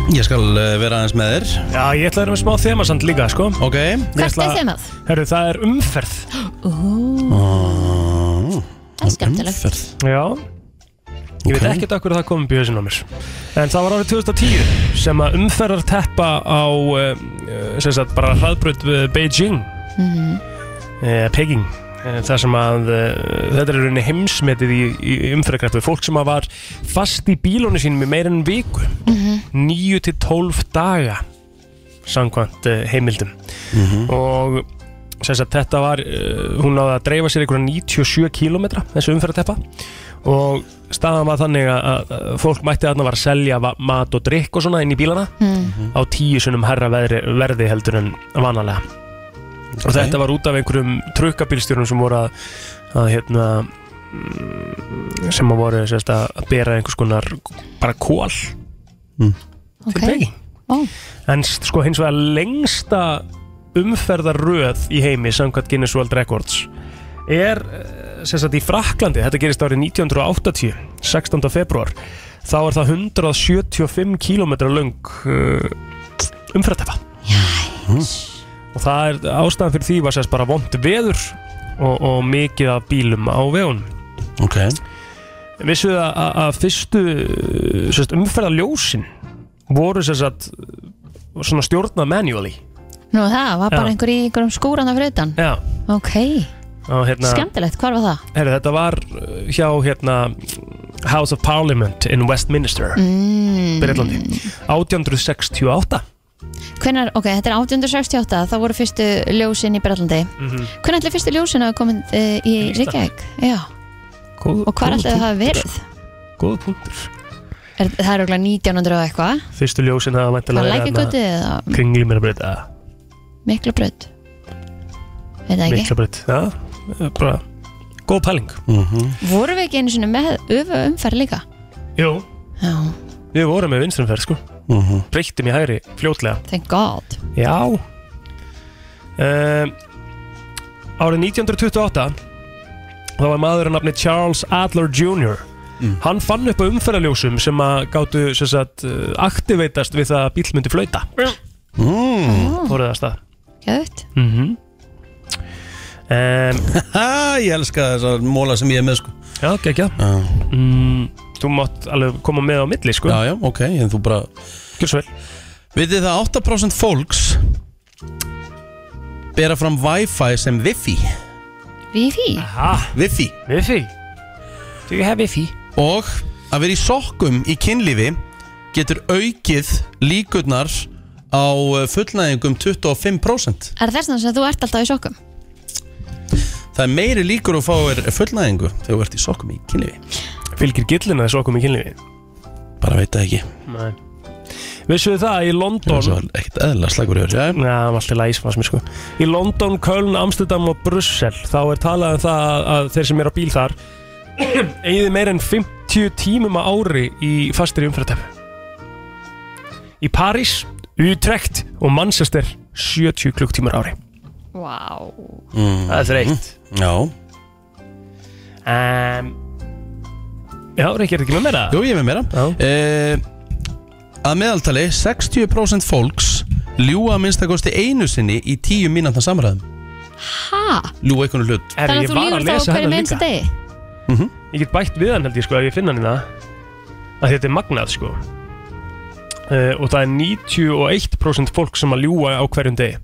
Speaker 1: Ég skal eh, vera aðeins með þér
Speaker 4: Já, ég ætla að vera með smá þemasand líka, sko
Speaker 1: Ok
Speaker 3: Hvert er þemað?
Speaker 4: Herru, það er umferð
Speaker 3: Það er skemmtilegt
Speaker 4: Já Ég veit ekkert af hverju það komum bjöðsinn á mér En það var árið 2010 sem að umferðar teppa á eh, eh, sem sagt bara hraðbröð við Beijing
Speaker 2: Mhm.
Speaker 4: eh, Peking eh, þar sem að eh, þetta er í rauninni heimsmetið í, í umferðarkraftu fólk sem að var fast í bílónu sínum í meira en viku
Speaker 2: Mhm.
Speaker 4: 9 til 12 daga samkvæmt eh, heimildum
Speaker 2: Mhm.
Speaker 4: og sem sagt þetta var uh, hún náði að dreifa sér einhverja 97 km þessu umferðarteppa og staðan var þannig að, að að fólk mætti þarna var að selja va- mat og drikk og svona inn í bílana
Speaker 2: Mhm.
Speaker 4: á tíu sunnum herra veðri, verði heldur en vanalega og
Speaker 2: Ok.
Speaker 4: þetta var út af einhverjum trukkabílstjórnum sem voru að, að hérna mm, sem að voru sérst, að bera einhvers konar bara kól
Speaker 3: Ok Ó.
Speaker 4: En st- sko hins vegar lengsta umferðarröð í heimi samkvæmt Guinness World Records er eh, sem sagt í Fraklandi, þetta gerist árið 1980, 16. februar þá er það 175 km löng uh, umferðartefa og það er ástæðan fyrir því var sérst bara vond veður og, og mikið af bílum á vegun
Speaker 1: Ok
Speaker 4: Vissu að, að, að fyrstu uh, sérst, umferðarljósin voru sérst að svona stjórnað manually
Speaker 3: Nú það var bara
Speaker 4: Já.
Speaker 3: einhver í einhverjum skúrana fyrir utan
Speaker 4: Já,
Speaker 3: Ok,
Speaker 4: og hérna
Speaker 3: skemmtilegt, hvar var það?
Speaker 4: Herri, þetta var uh, hjá hérna House of Parliament in Westminster
Speaker 3: Mm.
Speaker 4: Breitlandi 1868
Speaker 3: Hvenær, ok, þetta er 1868 þá voru fyrstu ljósin í Bretlandi
Speaker 4: Mhm.
Speaker 3: Hvernig ætli fyrstu ljósin hafa komið e, í Reykjavík? Já,
Speaker 4: góð,
Speaker 3: og hvar
Speaker 4: góð
Speaker 3: ætli það hafa
Speaker 4: punktur.
Speaker 3: verið?
Speaker 4: Góð punktur
Speaker 3: Er, það er okkur 1900 og eitthvað
Speaker 4: Fyrstu ljósin það
Speaker 3: Það
Speaker 4: væntanlega
Speaker 3: er
Speaker 1: hérna
Speaker 3: lækjagötu eða
Speaker 4: Kringli mér að breyta
Speaker 3: miklu brödd Veit það ekki
Speaker 4: Mikla breyta Já, eh, bara Góð pæling
Speaker 1: mm -hmm.
Speaker 3: Vorum við ekki einu sinni með öfu umferð líka?
Speaker 4: Jú,
Speaker 3: Já,
Speaker 4: við vorum með vinstrumferð sko
Speaker 1: mm -hmm.
Speaker 4: Breyttum í hægri fljótlega
Speaker 3: thank god
Speaker 4: Já um, Árið 1928 þá var maður að nafni Charles Adler Jr. Hann fann upp á umferðarljósum sem að gátu sem sagt, eh, aktiveitast við það að bíl myndi flauta
Speaker 1: Mm.
Speaker 4: Fóruð það af stað
Speaker 3: Gjöðt
Speaker 4: mm -hmm. um,
Speaker 1: Ég elska þessar móla sem ég er með sko
Speaker 4: Já, gekkja mm, Þú mátt alveg koma með á milli sko
Speaker 1: Já, já, ok, en þú bara
Speaker 4: Gjör svo vel
Speaker 1: Vitið það 8% fólks bera fram Wi-Fi sem Wi-Fi
Speaker 3: Vifi
Speaker 1: Wi-Fi
Speaker 4: Wi-Fi Do you have Wi-Fi?
Speaker 1: Og að vera í sokkum í kynlífi getur aukið líkurnar á eh, fullnæðingum 25%
Speaker 3: Er þess vegna sem þú ert alltaf í sokkum?
Speaker 1: Það er meiri líkur að fá þér fullnæðingu þegar þú ert í sokkum í kynlífi
Speaker 4: Fylgir gillina sokkum í kynlífi?
Speaker 1: Bara veit það ekki
Speaker 4: Nei Vissuðu það að í London
Speaker 1: Það var ekkert eðla slagur yfir
Speaker 4: Já, það var alltaf læs fannst mér sko Í London, Köln, Amsterdam og Brussel Þá er talað um það að- að þeir sem eru á bíl þar Eyði meir en 50 tímum á ári í fastri umfyrirtæmi Í París, Utrecht og Manchester 70 klukktímur á ári
Speaker 3: Vá
Speaker 1: mm.
Speaker 4: Það er þreytt
Speaker 1: Já
Speaker 4: um, Já, Ríkir, ekki með meira?
Speaker 1: Jú, ég er með meira eh, Að meðaltali 60% fólks ljúga að minnstakosti einu sinni í 10 mínútna samræðum
Speaker 3: Ha?
Speaker 1: Ljúga einhvern hlut
Speaker 3: Þannig að þú lífur þá á
Speaker 4: hérna
Speaker 3: hverju
Speaker 1: hérna
Speaker 3: með einstu degi?
Speaker 4: Ég get bætt við hann held ég sko ef ég finna hann í það að þetta er magnað sko uh, og það er 91% fólk sem að ljúa á hverjum degi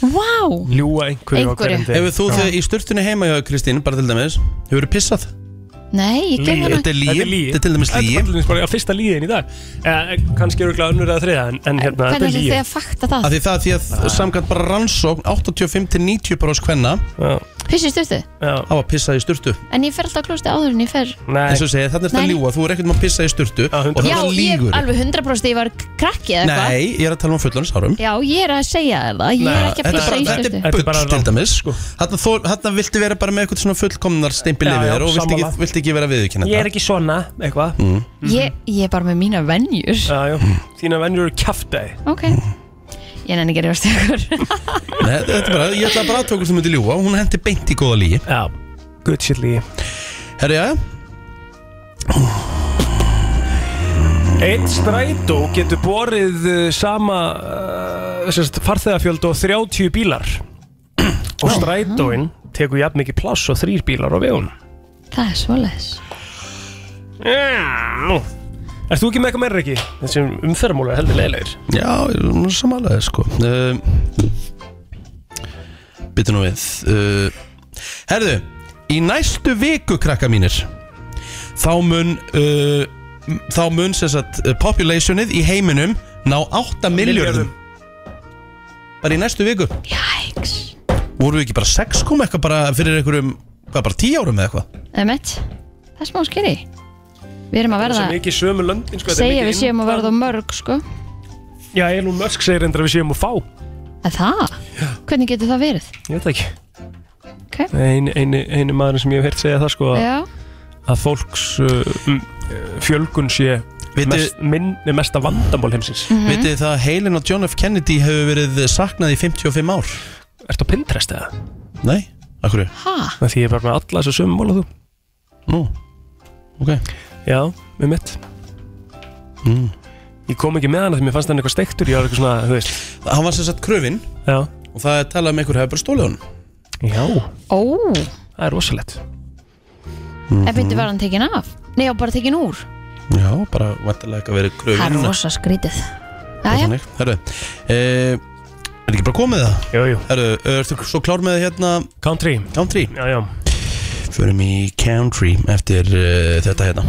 Speaker 3: Vá
Speaker 4: ljúa einhverju, á hverjum degi
Speaker 1: Hefur þú þegar í sturtunni heima hjá Kristín, bara til dæmis Hefur þú pissað?
Speaker 3: Nei, ég hérna- ger
Speaker 1: Þetta
Speaker 3: það
Speaker 1: er líi, þetta er til dæmis líi
Speaker 4: Þetta er til dæmis bara fyrsta líin í dag eh, Kannski eru glæða önnur eða þriða en, en hérna,
Speaker 3: Hvernig
Speaker 4: þetta er
Speaker 3: ætlið
Speaker 4: líi
Speaker 3: þið að fakta það?
Speaker 1: Af því það því að samkvæmt bara rannsókn 85-90% hvenna
Speaker 3: Pissið styrtu
Speaker 1: á að pissa í sturtu
Speaker 3: En ég fer alltaf að klósti áður en ég fer
Speaker 1: Nei. eins og segja, þannig er þetta
Speaker 3: Nei.
Speaker 1: ljúa, þú er ekkert maður að pissa í sturtu og
Speaker 3: Já,
Speaker 1: þetta
Speaker 3: ég
Speaker 1: lígur
Speaker 3: alveg 100% ég var krakki eða eitthvað
Speaker 1: Nei, ég er að tala um fullans árum
Speaker 3: Já, ég er að segja þér það Ég er ekki að pissa í styrtu
Speaker 1: Þetta er bara bull til dæmis sko. Þarna þor- Þarna viltu vera bara með eitthvað svona fullkomnar steimpil
Speaker 4: Já,
Speaker 1: yfir
Speaker 4: já,
Speaker 1: þér og viltu
Speaker 4: sammála.
Speaker 1: ekki, viltu ekki vera viðurkenna
Speaker 4: Ég er ekki svona, eitthvað
Speaker 1: mm.
Speaker 3: Ég ég er bara með mína venjur
Speaker 4: Já, já, þína vennur eru kjaftæði
Speaker 3: Ok Ég nenni ekki að rjósta ykkur
Speaker 1: Nei, þetta þetta er bara, ég ætla bara að tóka sem myndi ljúa og hún hendi beint í góða lígi
Speaker 4: Já, good shit lígi
Speaker 1: Herri, já,
Speaker 4: Einn strætó getur borið uh, sama uh, sérst, farþegafjöld og 30 bílar og strætóin tekur jafn mikið pláss og þrýr bílar á vegun
Speaker 3: Það er svoleiðis
Speaker 4: yeah. Erst þú ekki með eitthvað meira ekki? Þessi umferðamólu er heldur leiðilegir
Speaker 1: já, hún er samanlega sko um, Byttu nú við uh, Herðu, í næstu viku krakka mínir þá mun uh, m- þá mun sem sagt uh, populationið í heiminum ná 8 miljörðum bara í næstu viku
Speaker 3: Jæks
Speaker 1: voru við ekki bara 6 kom eitthvað bara fyrir einhverjum hvað bara 10 árum eða eitthvað
Speaker 3: Emmett Það er smá skeri Við erum að verða
Speaker 4: Sem ekki sömu löndin sko, þetta er
Speaker 3: Segja
Speaker 4: mikið
Speaker 3: við séum að
Speaker 4: innan-
Speaker 3: verða of mörg sko
Speaker 4: Já, Elon Musk segir endur að við séum að fá
Speaker 3: En það? Hvernig getur það verið?
Speaker 4: Ég veit það ekki
Speaker 3: Ok.
Speaker 4: Einu ein, ein maður sem ég hef heyrt segja það sko að,
Speaker 3: Já
Speaker 4: að fólks uh, m- uh, fjölgun sé mest, minn, mesta vandamál heimsins
Speaker 1: mm Vitið þið það að heilin á John F. Kennedy hefur verið saknað í 55 ár
Speaker 4: Ertu á Pinterest eða?
Speaker 1: Nei, af hverju?
Speaker 3: Ha?
Speaker 4: Það því ég er bara með alla þessu sömu móla þú
Speaker 1: Nú, ok
Speaker 4: Já, með mitt
Speaker 1: mm.
Speaker 4: Ég kom ekki með hana því mér fannst hann eitthvað steiktur Ég var eitthvað svona, þú veist
Speaker 1: Hann var sem sagt kröfin
Speaker 4: Já
Speaker 1: og það er talað um einhver hefur bara stólið honum
Speaker 4: Já
Speaker 3: Ó
Speaker 4: Það er rosalegt
Speaker 3: En byrju var hann tekin af Nei, já, bara tekin úr
Speaker 1: Já, bara vantilega eitthvað verið kröfin
Speaker 3: Það er rosa skrítið Jæja,
Speaker 1: Herru, e, er ekki bara komið það?
Speaker 4: Jú, jú
Speaker 1: Herru, ertu svo klár með hérna
Speaker 4: Country
Speaker 1: Country
Speaker 4: Já, já
Speaker 1: Förum í Country eftir uh, þetta hérna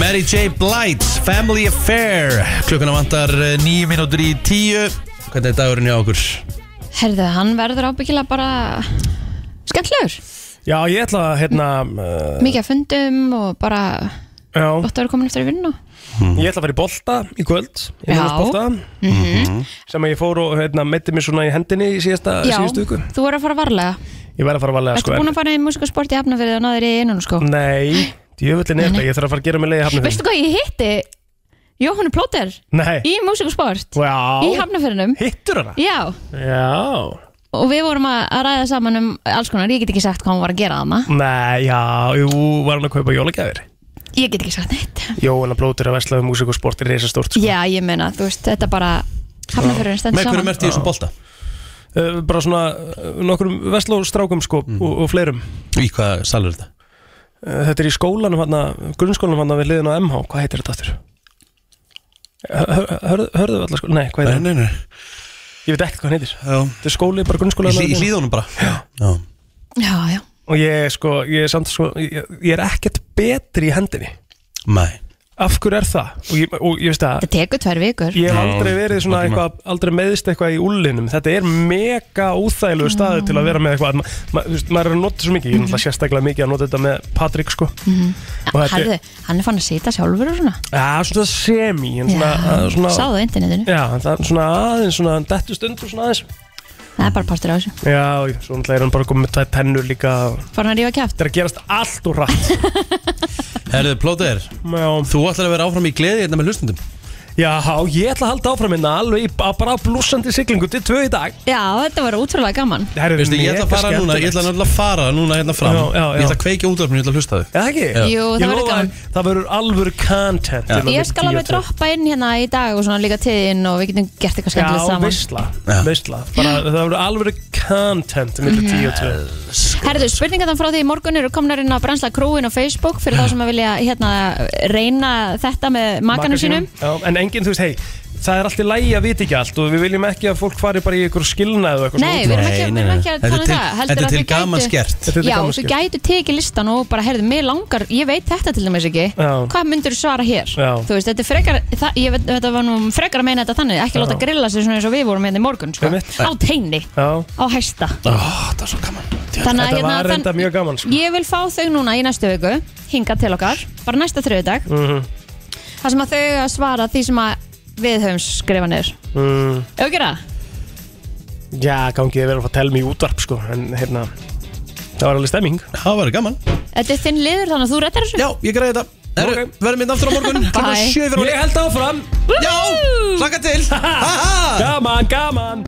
Speaker 1: Mary J. Blight, Family Affair Klukkuna vantar uh, nýju mínútur í tíu Hvernig er dagurinn hjá okkur?
Speaker 3: herðu, hann verður ábyggilega bara Skemmtlegur
Speaker 4: Já, ég ætla að, hérna uh,
Speaker 3: Mikið að fundum og bara
Speaker 4: Já
Speaker 3: Bótt að vera komin eftir í vinnu
Speaker 4: Ég ætla að fara í bolta í kvöld Ég
Speaker 3: Já.
Speaker 4: er bolta
Speaker 3: Mhm.
Speaker 4: Sem að ég fór og, hérna, meiti mér svona í hendinni í síðasta,
Speaker 3: Já,
Speaker 4: síðustu viku
Speaker 3: þú er að fara varlega
Speaker 4: Ég verð að fara varlega,
Speaker 3: Ertu
Speaker 4: sko
Speaker 3: búin að fara í músikasport í Hafnafyrði og náður í innun sko
Speaker 4: Nei, djöfullin er þetta Ég þarf að fara að gera mig leið í hafnum
Speaker 3: Veistu hvað ég hitti? Jóhannu Plóter
Speaker 4: Nei.
Speaker 3: Í músikasport
Speaker 4: Já.
Speaker 3: Í Hafnafyrðinum
Speaker 4: Hittur hana?
Speaker 3: Já
Speaker 4: Já
Speaker 3: Og við vorum að að ræða saman um alls konar Ég get ekki sagt hvað hún var að gera þarna
Speaker 4: Mm. Nei, já, jú, var hann að kaupa jólagjafir
Speaker 3: Ég get ekki sagt neitt
Speaker 4: Jóhanna blótur að vesla um músík og sport er sko. reysa stórt
Speaker 3: Já, ég meina, þú veist, þetta bara Hafnafyrðin stendur saman
Speaker 1: bolta?
Speaker 4: Eh, bara svona uh, nokkrum vesla og strákum sko og, og fleirum Eh,
Speaker 1: Í hvað salur þetta?
Speaker 4: þetta er í skólanum hann grunnskólanum hann við liðin á MH hvað heitir þetta aftur? Hör- hör- Hörðu, hörðu allar sko? Nei, hvað heitir
Speaker 1: Nei, nei, nei
Speaker 4: Ég veit ekkert hvað hann heitir Þetta er skóli, bara grunnskóla
Speaker 1: Í hlí- í Hlíðunum bara Já.
Speaker 3: Já, já
Speaker 4: Og ég, er sko, ég er samt sko Ég, ég er ekkert betri í hendinni
Speaker 1: Nei
Speaker 4: Af hverju er það? Og ég, og ég veist að
Speaker 3: Það tekur tvær vikur
Speaker 4: Ég hef aldrei verið svona eitthvað, aldrei meðist eitthvað í úllinum Þetta er mega óþægilegu staður til að vera með eitthvað ma, ma, þú veist, Maður er að nota svo mikið, ég er náttúrulega sérstaklega mikið að nota þetta með Patrik sko
Speaker 3: Mhm.
Speaker 4: Og þetta er-
Speaker 3: Herðu, Hann er fann að sita sjálfur og svona
Speaker 4: Já, svona semi en svona,
Speaker 3: Já,
Speaker 4: að- svona,
Speaker 3: sáðu á internetinu.
Speaker 4: Já, en það er svona aðeins, svona dettu stundur svona aðeins
Speaker 3: Það er bara partur á þessu
Speaker 4: Já, já, svo náttúrulega er hann bara komið með tvær tennur líka
Speaker 3: Fór hann að rífa kæft
Speaker 4: Það er að gerast allt og rætt
Speaker 1: Herðu, plóter Þú ætlar að vera áfram í gleði hérna með hlustundum
Speaker 4: Já, ég ætla að halda áfram hérna alveg í, að bara blúsandi siglingu til tvö í dag
Speaker 3: Já, þetta var útrúlega gaman
Speaker 4: Herru,
Speaker 1: Veistu, ég ætla að fara núna, ég ætla náttúrulega að fara núna hérna fram
Speaker 4: Já, já, já.
Speaker 1: Ég ætla að kveikja útvarpinu, ég ætla að hlusta þau
Speaker 4: Já, ekki?
Speaker 1: Já. Jú,
Speaker 3: það verður gaman.
Speaker 4: Það verður alvöru content
Speaker 1: Já.
Speaker 4: innan
Speaker 3: Ég
Speaker 4: við
Speaker 3: skal
Speaker 4: 10
Speaker 3: alveg
Speaker 4: til.
Speaker 3: droppa inn hérna í dag og svona líka tíðin og við getum gert eitthvað skemmtilegt
Speaker 4: Já,
Speaker 3: saman
Speaker 4: veistla, veistla bara, Það verður alvöru content millir
Speaker 3: Mhm.
Speaker 4: tíu og tvö
Speaker 3: Herðu, spurningarna frá því í morgun eru komnar inn á Bransla Krúin og Facebook fyrir þá sem að vilja hérna, reyna þetta með makanum sínum
Speaker 4: Já, en enginn, þú veist, hei, það er alltaf lægi að vita ekki allt og við viljum ekki að fólk fari bara í ykkur skilnað og eitthvað
Speaker 3: Nei, við erum ekki, við erum ekki að tala um það heldur að þau gætu- Já, þú gætu tekið listan og bara, herðu, mig langar ég veit þetta til dæmis ekki
Speaker 4: Já.
Speaker 3: Hvað myndur svara hér?
Speaker 4: Já.
Speaker 3: Þú veist, þetta er frekar það, ég veit, þetta var nú frekar að meina þetta þannig ekki
Speaker 4: Já.
Speaker 3: láta grilla sig svona eins og við vorum hérna í morgun sko.
Speaker 4: Einmitt.
Speaker 3: á teini,
Speaker 4: Já.
Speaker 3: á hæsta
Speaker 1: Það er svo gaman
Speaker 3: Þannig að
Speaker 4: Þetta
Speaker 3: hérna,
Speaker 4: var
Speaker 3: þann-
Speaker 4: reynda mjög gaman sko.
Speaker 3: Ég vil fá þau núna í næstu viku hinga til okkar, bara næsta þriðudag
Speaker 4: Mhm.
Speaker 3: þar sem að þau eiga að svara því sem að við höfum skrifað niður
Speaker 4: Mm.
Speaker 3: Ef við gera það?
Speaker 4: Já, gangi þið verið að fá að telma í útvarp sko, en hérna, það var alveg stemming
Speaker 1: Það var gaman
Speaker 3: Þetta er þinn liður þannig að þú rettar þessu
Speaker 1: Já, ég greiði þetta Herru, verðum við aftur á morgun klukkan
Speaker 3: Bye.
Speaker 1: sjö yfir ári.
Speaker 4: Ég held áfram
Speaker 1: Já, hlaka til Ha, ha.
Speaker 4: Gaman, gaman